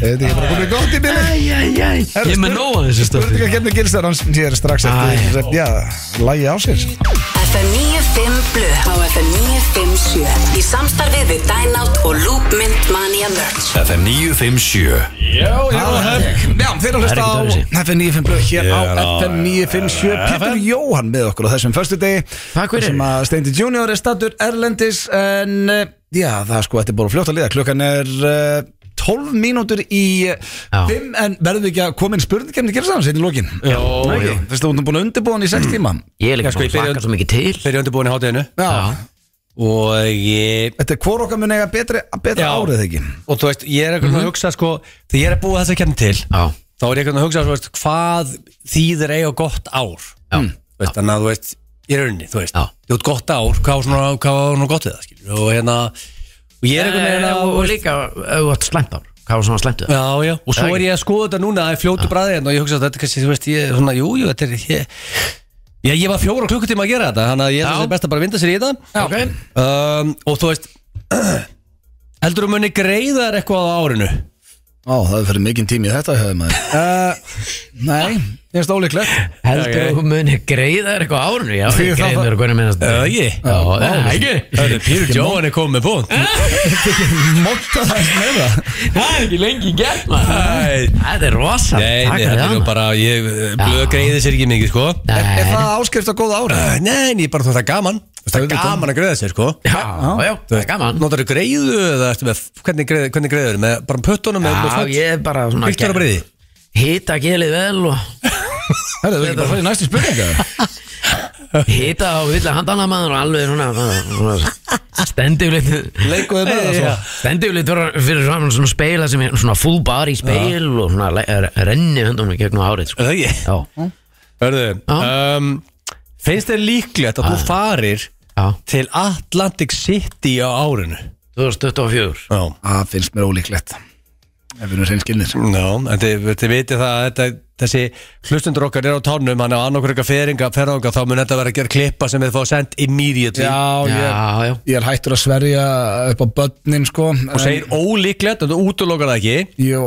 Speaker 1: Þetta er bara komið gott í bílinn
Speaker 3: Ég er með nóg að þessu stöfi
Speaker 1: Spurninga kemni gilsar hans hér strax eftir Já, lægi á sér
Speaker 5: FM 95 Blu á FM 957 í samstarfið við Dynout og Loopmynd Mania Merch
Speaker 7: FM 957
Speaker 2: Já, já,
Speaker 1: Já, þeir eru að hlusta
Speaker 3: Það
Speaker 1: á
Speaker 3: er ekkert
Speaker 1: FM 95 blöð hér á
Speaker 7: Já,
Speaker 1: FM 957 Pétur Jóhann með okkur á þessum förstu degi
Speaker 3: Takk fyrir.
Speaker 1: sem að Steindi Junior er stattur Erlendis en eh, já, það er sko, þetta er bara fljótt að liða klukkan er eh, 12 mínútur í eh,
Speaker 3: Já.
Speaker 1: 5 en verðum við ekki að koma inn spurningkemni gilsar hans hérna í lokin Já,
Speaker 3: jú.
Speaker 1: Þess að þú erum búin að undirbúa hann í 6 tíma
Speaker 3: Ég er líka
Speaker 2: Já, sko,
Speaker 3: búin
Speaker 2: ég
Speaker 3: að
Speaker 2: byrja-
Speaker 3: slaka svo mikið til
Speaker 2: Þeir eru undirbúin í hátæðinu
Speaker 1: Já,
Speaker 2: Og ég
Speaker 1: þetta er hvort okkar mun eiga betri, betra
Speaker 2: Já.
Speaker 1: árið ekki
Speaker 2: Og þú veist, ég er eitthvað að hugsa sko Þegar ég er að búa þess að kemna til
Speaker 3: Já,
Speaker 2: Þá er ég eitthvað að hugsa þú veist, hvað þýðir eiga gott ár Mm.
Speaker 3: já,
Speaker 2: Þú veist, Þannig að þú veist, ég er unni Þú veist,
Speaker 3: Já.
Speaker 2: þú veist gott ár Hvað var svona, hvað var svona gott við það skilur? Og hérna, og ég er eitthvað með
Speaker 3: Eh,
Speaker 2: hérna
Speaker 3: Og og líka, ef þú átt slæmt ár Hvað var svona slæmt ár?
Speaker 2: Já, já, Eh, og svo er ég að skoða þetta núna Það er fljótu bræði hérna og ég hugsa að þetta er kannski, þú veist, ég, svona, jú, jú, þetta er ég, Já, ég var fjóra klukkutíma að gera þetta Þannig að ég held að
Speaker 3: Já.
Speaker 2: þetta er best að bara vinda sér í þetta
Speaker 3: Ok.
Speaker 2: um, Og þú veist Heldur þú muni greiðar eitthvað á árinu?
Speaker 1: Ó, það er fyrir mikinn tími í þetta hefði maður uh, Nei, ég finnst ólíklegt
Speaker 3: Heldur þú muni greiða þér eitthvað á árinu? Já,
Speaker 1: Því
Speaker 3: ég
Speaker 1: þá-
Speaker 3: greiða þér eitthvað minnast
Speaker 2: Já, ég
Speaker 3: Já, eh, ekki
Speaker 2: Hörru, Pítur Jóhann er komið með punkt
Speaker 1: Monta það eins með það
Speaker 3: Það er ekki lengi gert
Speaker 2: Nei,
Speaker 3: Það er rosa
Speaker 2: nei,
Speaker 3: Takk
Speaker 2: nei,
Speaker 3: fyrir
Speaker 2: þetta er
Speaker 3: það,
Speaker 2: nú
Speaker 3: maður.
Speaker 2: bara Ég eh, blöð greiði sér ekki mikið, sko
Speaker 1: Er,
Speaker 3: Nei.
Speaker 1: er það áskrift á góða ára?
Speaker 2: Nei, Nei, ég bara þú veist það er gaman Þú veist, Það er gaman að greiða sér, sko
Speaker 3: Já, já, það er gaman
Speaker 2: Notar þú greiðu eða ertu með Hvernig greiðu, hvernig greiður, með bara pötunum með, með
Speaker 3: Já,
Speaker 2: föt?
Speaker 3: ég er bara svona
Speaker 2: Viktor á breiði
Speaker 3: Hita gelið vel og
Speaker 1: Herðu, þú er ekki bara að fara í næstu spurninga
Speaker 3: hita á vilja handana maður og alveg svona, svona stendiflitt
Speaker 1: Leikuðu með það svo
Speaker 3: Stendiflitt fyrir, fyrir svona, svona speila sem er svona full bar í speil og svona le- er- renni höndunum í gegnum árið sko.
Speaker 2: Er það ekki?
Speaker 3: Já,
Speaker 2: Hörðu,
Speaker 3: Já. Ah.
Speaker 2: um, finnst þér líklegt að þú farir
Speaker 3: já,
Speaker 2: til Atlantic City á árinu?
Speaker 3: 2024
Speaker 2: Já
Speaker 1: Það finnst mér ólíklegt Ef við erum reynskinnir
Speaker 2: Já, en þið, þið vitið það að þetta, þessi hlustundur okkar er á tánum hann á annarkur eitthvað feringa, ferðanga þá mun þetta vera að gera klippa sem þið fá send immediately
Speaker 1: Já, ég,
Speaker 3: Já, já,
Speaker 1: ég er hættur að sverja upp á börnin sko
Speaker 2: og segir ólíklegt en þú útlokar það ekki
Speaker 1: Jó,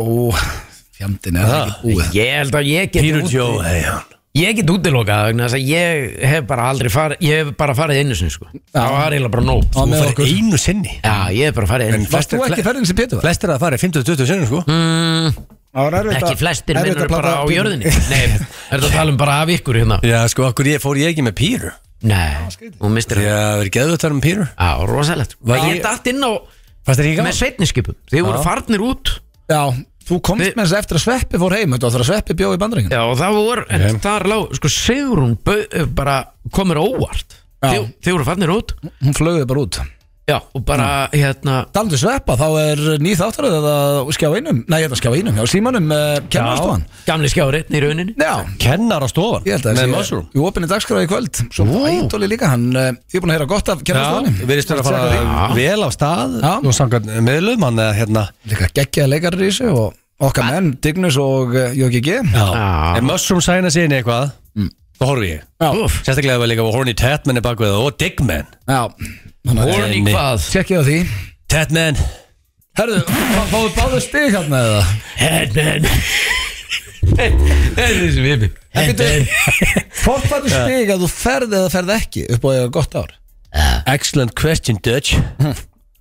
Speaker 1: fjandinn er það ekki búið
Speaker 3: ég held að ég get
Speaker 2: Pírur
Speaker 3: út-
Speaker 2: Jó, hei hann
Speaker 3: Ég get útilokað vegna þess að ég hef bara aldrei farið Ég hef bara farið einu sinni sko Það var eiginlega bara nóg
Speaker 1: Já,
Speaker 2: Þú
Speaker 1: með
Speaker 2: farið
Speaker 1: okkur.
Speaker 2: einu sinni
Speaker 3: Já, ég hef bara farið einu
Speaker 2: En
Speaker 3: sinni
Speaker 1: Varst þú ekki ferðin sem Pétur var?
Speaker 2: Flestir að fara 50-20 sinni sko
Speaker 1: Mm. Það var erfitt
Speaker 3: Ekki
Speaker 1: að-
Speaker 3: flestir
Speaker 1: erfitt
Speaker 3: minnur
Speaker 1: að plata-
Speaker 3: bara á jörðinni Nei, er þetta að tala um bara af ykkur hérna
Speaker 2: Já, sko, okkur ég fór ég ekki með píru
Speaker 3: Nei, hún mistir
Speaker 2: Já,
Speaker 3: það
Speaker 2: við erum geðvægt þar um píru
Speaker 3: Já, rosalegt
Speaker 2: Var
Speaker 3: Ég
Speaker 2: ég-
Speaker 3: dætt inn á
Speaker 2: Fannst þér ekki gaman?
Speaker 3: með sveitniskipum Þið voru farnir út
Speaker 1: Já, þú komst
Speaker 3: Við-
Speaker 1: með þess eftir að sveppi fór heim Þetta var þegar sveppi bjóði í bandaringin
Speaker 3: Já, og það voru En þar lág, sko, Sigrun bau- eh, bara komur óvart
Speaker 1: Já.
Speaker 3: Þið, þið voru farnir út
Speaker 1: Hún flögði bara út
Speaker 3: Já, og bara,
Speaker 2: Mm.
Speaker 3: hérna
Speaker 1: Talandi um sveppa, þá er nýð þáttaröð eða skjá einum, nei þetta skjá einum, já símanum uh, kennarstofan.
Speaker 3: Gamli skjárinn í rauninni
Speaker 1: Já,
Speaker 2: Kennar á stofan
Speaker 1: ég held að
Speaker 2: Með
Speaker 1: það
Speaker 2: mushroom
Speaker 1: í opinni dagskráði í kvöld. Svo ædoli líka, hann, uh, ég er búin að heyra gott af kennarstofanum.
Speaker 2: við erum stöður að fara vel af stað
Speaker 1: Já.
Speaker 2: Nú sangan meðlum hann eða hérna
Speaker 1: Líka geggjaði leikarir í þessu og okkar menn, Dignus og uh, Jóki G.
Speaker 3: Já.
Speaker 2: En Mushroom sæna sig inn í eitthvað
Speaker 1: Mm.
Speaker 2: Þá horfi ég
Speaker 3: Úff,
Speaker 2: Sérstaklega ef við líka voru Horny Tatman er bakvið það Og Digman
Speaker 1: Já, þannig að
Speaker 3: Horny
Speaker 2: Nei.
Speaker 3: hvað
Speaker 1: tjekkið á því.
Speaker 2: Tatman
Speaker 1: Herðu, fá- fáðu báðu stig hérna eða?
Speaker 3: Headman Þetta er þessi vipi Headman
Speaker 1: Hvort fættu stig að þú ferð eða ferð ekki upp á því gott ár?
Speaker 2: Excellent question Dutch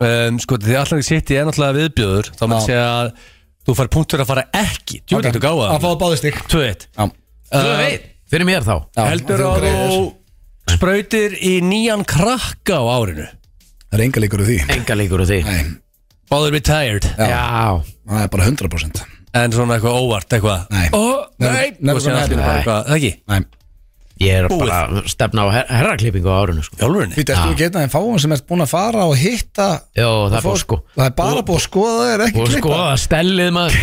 Speaker 2: um, Sko því allan sitt í ennáttúrulega viðbjöður Þá
Speaker 1: Hmm. Já.
Speaker 2: maður segja að Þú fær punkt fyrir að fara ekki Djúlega
Speaker 1: Ok.
Speaker 2: okay. þú gáða
Speaker 1: Að fáðu báðu stig.
Speaker 2: 2-1
Speaker 1: Já.
Speaker 3: Þú veit, fyrir mér þá
Speaker 1: Já,
Speaker 2: Uh, Heldur
Speaker 1: þú
Speaker 2: að
Speaker 1: greiðir.
Speaker 2: þú sprautir í nýjan krakka á árinu
Speaker 1: Það er enga líkur úr því.
Speaker 3: Enga líkur úr því
Speaker 1: Nei,
Speaker 2: Báður retired
Speaker 3: Já,
Speaker 1: það er bara 100%.
Speaker 2: en svona eitthvað óvart eitthvað
Speaker 1: Nei.
Speaker 2: Ó,
Speaker 1: Nei,
Speaker 2: nei,
Speaker 1: never
Speaker 2: og síðan
Speaker 1: gonna
Speaker 2: allt í einu
Speaker 1: happen.
Speaker 2: bara eitthvað, það ekki
Speaker 1: Nei,
Speaker 3: Ég er bara að stefna á her herraklippingu á árinu sko.
Speaker 2: Jálfurinni,
Speaker 1: við ertu ekki einn af þeim fáum sem ert búin að fara og hitta
Speaker 3: Já, það
Speaker 1: fólk-
Speaker 3: er bara sko
Speaker 1: Það er bara búið að skoða þér ekki
Speaker 3: Og
Speaker 1: klippa
Speaker 3: skoða stellið maður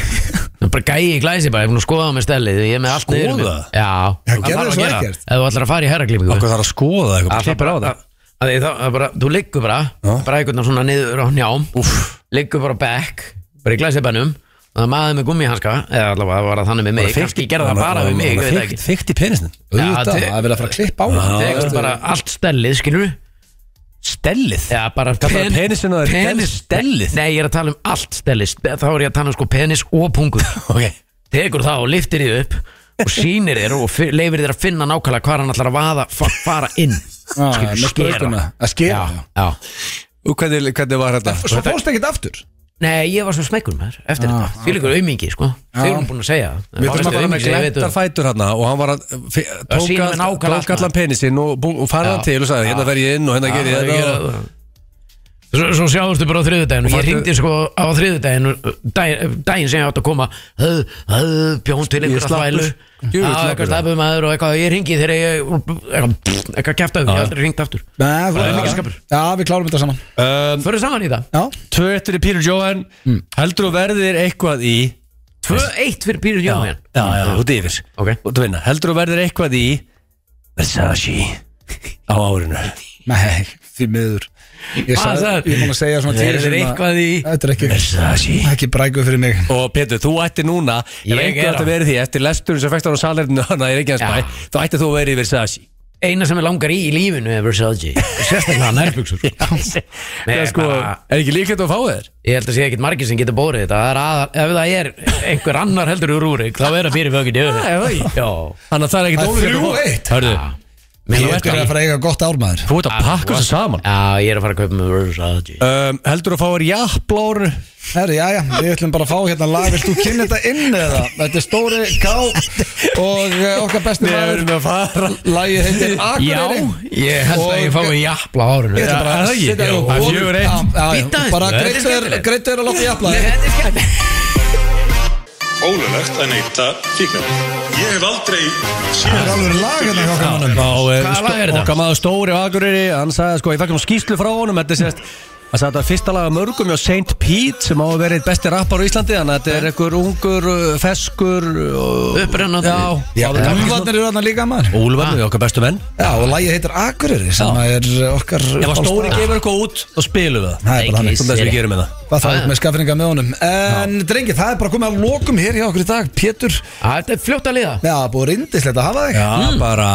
Speaker 3: Það er bara gæi í glæsi bara, ég er búin að skoða með stellið Ég er með allt
Speaker 2: Skoða?
Speaker 3: niður um mig. Já,
Speaker 1: Já,
Speaker 3: það
Speaker 1: gerðu
Speaker 3: þarf að
Speaker 1: svo
Speaker 3: gera.
Speaker 1: ekkert.
Speaker 3: Ef þú ætlar að fara í herraklippingu
Speaker 2: okkur þarf að skoða það
Speaker 3: að
Speaker 2: eitthvað
Speaker 3: það bara á það að því það er bara, þú liggur bara bara einhvern veginn svona niður á njám Úf. liggur bara á bekk, bara í glæsibænum og það er maður með gummihanska eða allavega var það þannig með mig, kannski gerði það bara við mig, ég veit það ekki
Speaker 2: Fykt í penisnin
Speaker 1: Auðvitað,
Speaker 3: Já,
Speaker 1: það er verið að fara að klippa á hann
Speaker 3: þegar er bara allt stellið, skilur við
Speaker 2: Stellið
Speaker 3: Já, bara
Speaker 2: Kallar það penisinn að það er
Speaker 3: penis
Speaker 2: stellið?
Speaker 3: Nei, ég er að tala um allt stellið Spe- Þá er ég að tala um sko penis og pungur
Speaker 2: Ok.
Speaker 3: Tekur það og liftir þið upp og sýnir þér og fi- leifir þér að finna nákvæmlega hvað hann ætlar að vaða, fa fara inn Skilurðu,
Speaker 1: með
Speaker 3: skera.
Speaker 1: sprautuna. Að skera,
Speaker 3: Já, já
Speaker 2: Og Hvernig, hvernig var þetta?
Speaker 1: Svo fórst ekkert aftur
Speaker 3: Nei, ég var svo smekkur með þér eftir þetta Fyrir ykkur aumingi, sko Þeir eru búin að segja
Speaker 2: Ah,
Speaker 3: það.
Speaker 2: Við þurfum að
Speaker 3: Fyrstu
Speaker 2: fara með
Speaker 3: aumingi, ég veit um-
Speaker 2: glættar
Speaker 3: þú.
Speaker 2: fætur hann og hann var að f- tók
Speaker 3: sýna
Speaker 2: all-
Speaker 3: mér nákvæmlega allt,
Speaker 2: tók allan
Speaker 3: maður.
Speaker 2: penisinn og, bú- og farði
Speaker 3: Já.
Speaker 2: hann til og sagði hérna fer ég inn og hérna
Speaker 3: Já,
Speaker 2: gerir
Speaker 3: ég
Speaker 2: þetta
Speaker 3: gera
Speaker 2: og-
Speaker 3: það. Svo, svo sjáðustu bara á þriðudaginu Ég
Speaker 2: fannstu-
Speaker 3: ringdi sko á þriðudaginu daginn, daginn sem ég átt að koma höð, höð, bjóns til einhverja
Speaker 2: slappur.
Speaker 3: þvælu
Speaker 2: Djöfull
Speaker 3: Já,
Speaker 2: slappur.
Speaker 3: eitthvað stafum aður og eitthvað Ég ringi þegar ég eitthvað, eitthvað kæfta Ég hef aldrei ringt aftur
Speaker 1: Nei, þú
Speaker 3: Það er mikið
Speaker 1: Já,
Speaker 3: skapur.
Speaker 1: við klárum þetta saman
Speaker 2: Um,
Speaker 3: Föru saman í það Mm.
Speaker 1: Já,
Speaker 2: Tvö eftir í Pírur Jóhann Heldur þú verðir eitthvað í
Speaker 3: 2-1 fyrir Pírur
Speaker 2: Já,
Speaker 3: Jóhann
Speaker 2: já, já, út yfir
Speaker 3: Ok.
Speaker 2: Út að vinna. Heldur þú verðir eitthvað í Versace á árinu
Speaker 1: nei, því miður Ég
Speaker 3: Hvað
Speaker 1: sagði,
Speaker 3: sagði-
Speaker 1: ég er búin að segja svona tíu
Speaker 3: Verður
Speaker 1: sinnum að-
Speaker 3: eitthvað í-
Speaker 1: Þetta er ekki,
Speaker 2: Versace
Speaker 1: ekki brækuð fyrir mig
Speaker 2: Og Pétur, þú ætti núna Ég
Speaker 3: Ég
Speaker 2: veit
Speaker 3: er
Speaker 2: að
Speaker 3: á-
Speaker 2: verið því Eftir lesturinn sem fækst hann á salernu Þannig er ekki hans
Speaker 3: Já.
Speaker 2: bæ Þá ætti þú að verið í Versace
Speaker 3: Eina sem ég langar í í lífinu er Versace Sérstaklega nærbuksur
Speaker 2: Það
Speaker 3: Nei,
Speaker 2: er sko,
Speaker 3: bara-
Speaker 2: er ekki líklegt að fá þér?
Speaker 3: Ég held að sé ekkit margir sem getur bórið þetta Það er aðal, Ef það er einhver annar heldur úr úr Þá er það fyrir fjögin yfir
Speaker 2: Já, já, já.
Speaker 3: Já
Speaker 2: Þannig að það er ekkert
Speaker 1: Það er
Speaker 2: ólíklegt að fá-
Speaker 1: 3-1.
Speaker 2: Hörðu,
Speaker 3: Ah. Mér
Speaker 1: Ég
Speaker 3: langar
Speaker 1: skal
Speaker 3: í-
Speaker 1: að fara að eiga gott ármaður
Speaker 2: þú
Speaker 3: Ah,
Speaker 2: ert að pakka þessu saman
Speaker 3: Já, ég er að fara að kaupa með Versace
Speaker 2: um, Heldur þú að fá þér jafnblóru?
Speaker 1: Herri, já, já, við ætlum bara að fá hérna lag Vilt þú kynna þetta inn eða? Þetta er Stóri K og eh, okkar besti maður
Speaker 2: að fara
Speaker 1: Lagið heitir
Speaker 3: Já,
Speaker 1: Akureyri
Speaker 3: ég held að ég
Speaker 1: Og-
Speaker 3: fái jafla á hárinu
Speaker 1: Ég ætla bara
Speaker 2: Já,
Speaker 1: að
Speaker 2: það ekki.
Speaker 1: setja
Speaker 2: Jú,
Speaker 1: þér
Speaker 2: það er
Speaker 1: og-
Speaker 2: fjögur eitt.
Speaker 1: Já, já, já,
Speaker 3: Býta aðeins.
Speaker 1: Bara
Speaker 3: Þetta er
Speaker 1: greitt er
Speaker 3: skemmtilegt.
Speaker 1: greitt er að láta jafla þér.
Speaker 7: Ólulegt að neyta fíknefni. Ég hef aldrei
Speaker 1: Það er
Speaker 7: séð
Speaker 1: alveg lag hérna hjá okkar mannum
Speaker 3: Hvaða lag er
Speaker 2: Þá
Speaker 3: þetta?
Speaker 2: eh, sko, okkar maður stóri á Akureyri Hann sagði sko, ég fekk um skýslu frá honum Þetta er sérst Það sagði þetta er fyrsta laga mörgum hjá St. Pete sem á að vera eitt besti rappar á Íslandi þannig að þetta er einhver ungur, uh, feskur og-
Speaker 3: Upprennandi.
Speaker 2: Já,
Speaker 1: Já, Úlfarnir eru hérna líka
Speaker 3: Ah.
Speaker 1: maður
Speaker 2: Úlfarnir, okkar bestu menn
Speaker 1: Já, og lagið heitir Akureyri sem
Speaker 2: Já.
Speaker 1: er okkar
Speaker 2: Ef að
Speaker 1: uppáhalds-
Speaker 2: stóri gefur eitthvað út, þá spilum við
Speaker 1: Það
Speaker 2: það
Speaker 1: er bara hann
Speaker 2: Svona þess við gerum hérna. með það
Speaker 1: Hvað það er með skafringa með honum En drengi, það er bara komið að lokum hér hjá okkur í dag Pétur,
Speaker 3: Á, Þetta er fljótt að liða
Speaker 1: já, búið rindislegt að hafa þig
Speaker 2: Já,
Speaker 3: Mm.
Speaker 2: bara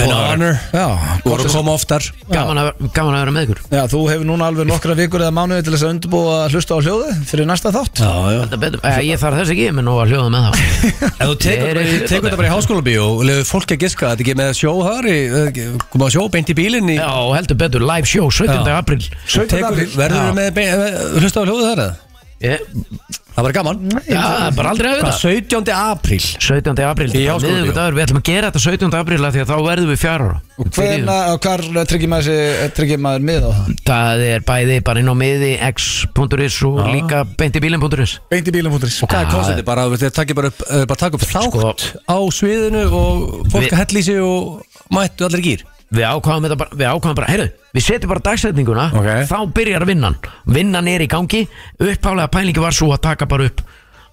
Speaker 2: an honor
Speaker 1: Já,
Speaker 2: Þú voru að koma oftar
Speaker 3: Gaman að gaman að vera með ykkur
Speaker 1: já, þú hefur núna alveg nokkra vikur eða mánuði til þess að undirbúa að hlusta á hljóði fyrir næsta þátt
Speaker 2: Já, já
Speaker 3: Þetta er betur- eh, Ég þarf þess ekki, ég er með nóg að hljóða með þá
Speaker 2: Ef þú tekur,
Speaker 3: Ég er í-
Speaker 2: tekur, þetta bara í háskóla bíó og lefur fólk að giska að þetta er ekki með sjó þar í, eh, koma að sjó beint í bílinn í
Speaker 3: Já, heldur betur, live show, 17.
Speaker 2: Já.
Speaker 3: april
Speaker 2: tekur, verður þú með, með, með hlusta á hljóðu þar eða?
Speaker 3: Ég-
Speaker 2: Það var gaman
Speaker 3: Já, það er bara aldrei að
Speaker 2: Hvað,
Speaker 3: vita
Speaker 2: 17. apríl
Speaker 3: 17. apríl,
Speaker 2: Í
Speaker 3: það er
Speaker 2: Háskólabíó.
Speaker 3: miðvikudagur, við ætlum að gera þetta 17. apríl af því að þá verðum við fjár ára
Speaker 1: Hverna, hvar tryggir maður, sig- tryggir maður mið á það?
Speaker 3: Það er bæði bara inn á miði x.is og líka beintibilin.is
Speaker 1: Beint í bílum húndurins
Speaker 2: Hvað er kostið bara, þetta takkir bara upp, eh, bara taka upp þátt
Speaker 3: Sko-
Speaker 2: á sviðinu og fólk
Speaker 3: Við-
Speaker 2: að hella í sig og mættu allir í gýr
Speaker 3: Við ákvaðum þetta bara, við ákvaðum bara, heyrðu, við setjum bara dagsetninguna
Speaker 2: Ok.
Speaker 3: Þá byrjar vinnan, vinnan er í gangi, upphálega pælingi var svo að taka bara upp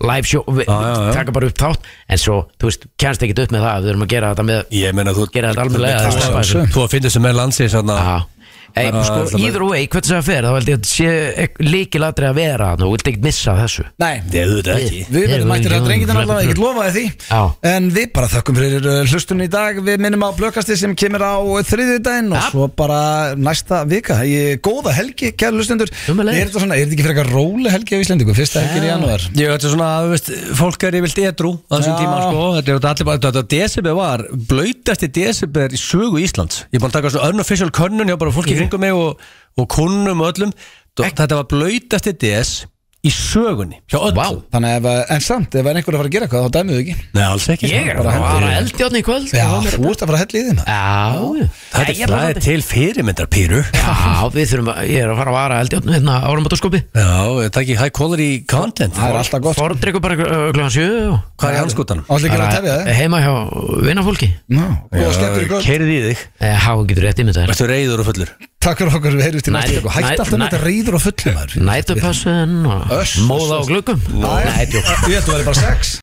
Speaker 3: live show, við,
Speaker 2: Já, já, já.
Speaker 3: taka bara upp þátt En svo, þú veist, kennst ekki upp með það, við erum að gera þetta með,
Speaker 2: Ég meina þú
Speaker 3: gera þetta alveg
Speaker 1: þú- þú-
Speaker 3: lega
Speaker 2: Þú að finna sem er landsins þarna
Speaker 3: Já Ei,
Speaker 2: Bara
Speaker 3: sko,
Speaker 2: ætla bara-
Speaker 3: either way, hvernig það fer, þá held ég að sé líkilatri að vera þarna og vilt ekki missa af þessu
Speaker 1: Nei,
Speaker 2: Nei, auðvitað ekki.
Speaker 1: Við verðum mættir að drengið hann allavega, ég get lofaði því
Speaker 3: Já.
Speaker 1: En við bara þökkum fyrir uh, hlustun í dag Við minnum á blökasti sem kemur á þriðjudaginn Og
Speaker 3: Ja.
Speaker 1: svo bara næsta vika Ég, Góða helgi, kæru hlustundur
Speaker 3: Sömuleiðis.
Speaker 1: Er þetta svona, er þetta ekki fyrir eitthvað róli helgi á Íslendingu Fyrsta helgin í janúar
Speaker 2: Ég veit svona að þú veist, fólk er yfirlt edru á þessum
Speaker 1: Já.
Speaker 2: tíma sko, þetta er allir bara, þetta desember var blautasti desember í sögu Íslands ég er búin að taka svona unofficial könnun hjá bara fólki kringum mig og, og kunnum og öllum, þetta var blautasti des í sögunni hjá öll
Speaker 3: Vá.
Speaker 1: Þannig ef, að- en samt, ef það er einhver að fara að gera eitthvað þá dæmið við ekki
Speaker 2: Nei, alls ekki
Speaker 3: Ég er að
Speaker 1: Bara
Speaker 3: fara
Speaker 1: hendur
Speaker 3: að
Speaker 1: í-
Speaker 3: eldjáðni í kvöld
Speaker 1: Já,
Speaker 3: Það er-
Speaker 1: þú ert að fara að hella í þeim
Speaker 3: Já,
Speaker 2: Þetta
Speaker 3: Nei,
Speaker 2: er
Speaker 3: ég bara-
Speaker 2: flæði til fyrirmyndar pýru
Speaker 3: Já, við þurfum að, ég er að fara að vara eldjáttn hérna áramótaskopi
Speaker 2: Já, þetta ekki high quality content
Speaker 1: Það er alltaf gott
Speaker 3: Fordrykku bara uh, klokkan sjö og
Speaker 2: Hvað er í anskotanum?
Speaker 1: Áslega ekki að tefja
Speaker 3: Bara heima hjá vinnafólki
Speaker 1: þið Góða skemmtur í kvöld
Speaker 2: Kerði í þig
Speaker 3: Eh, Há, getur rétt í mynda þér
Speaker 2: Ertu reyður og fullur?
Speaker 1: Takk fyrir okkur, við heyrjumst í næstu
Speaker 3: Næ-
Speaker 1: viku. Hætt
Speaker 3: næ-
Speaker 1: alltaf með
Speaker 3: næ-
Speaker 1: þetta reyður og fullum maður.
Speaker 3: Nætupassun og
Speaker 1: Öss,
Speaker 3: móða á gluggum
Speaker 1: Næ, Ég held að það væri bara sex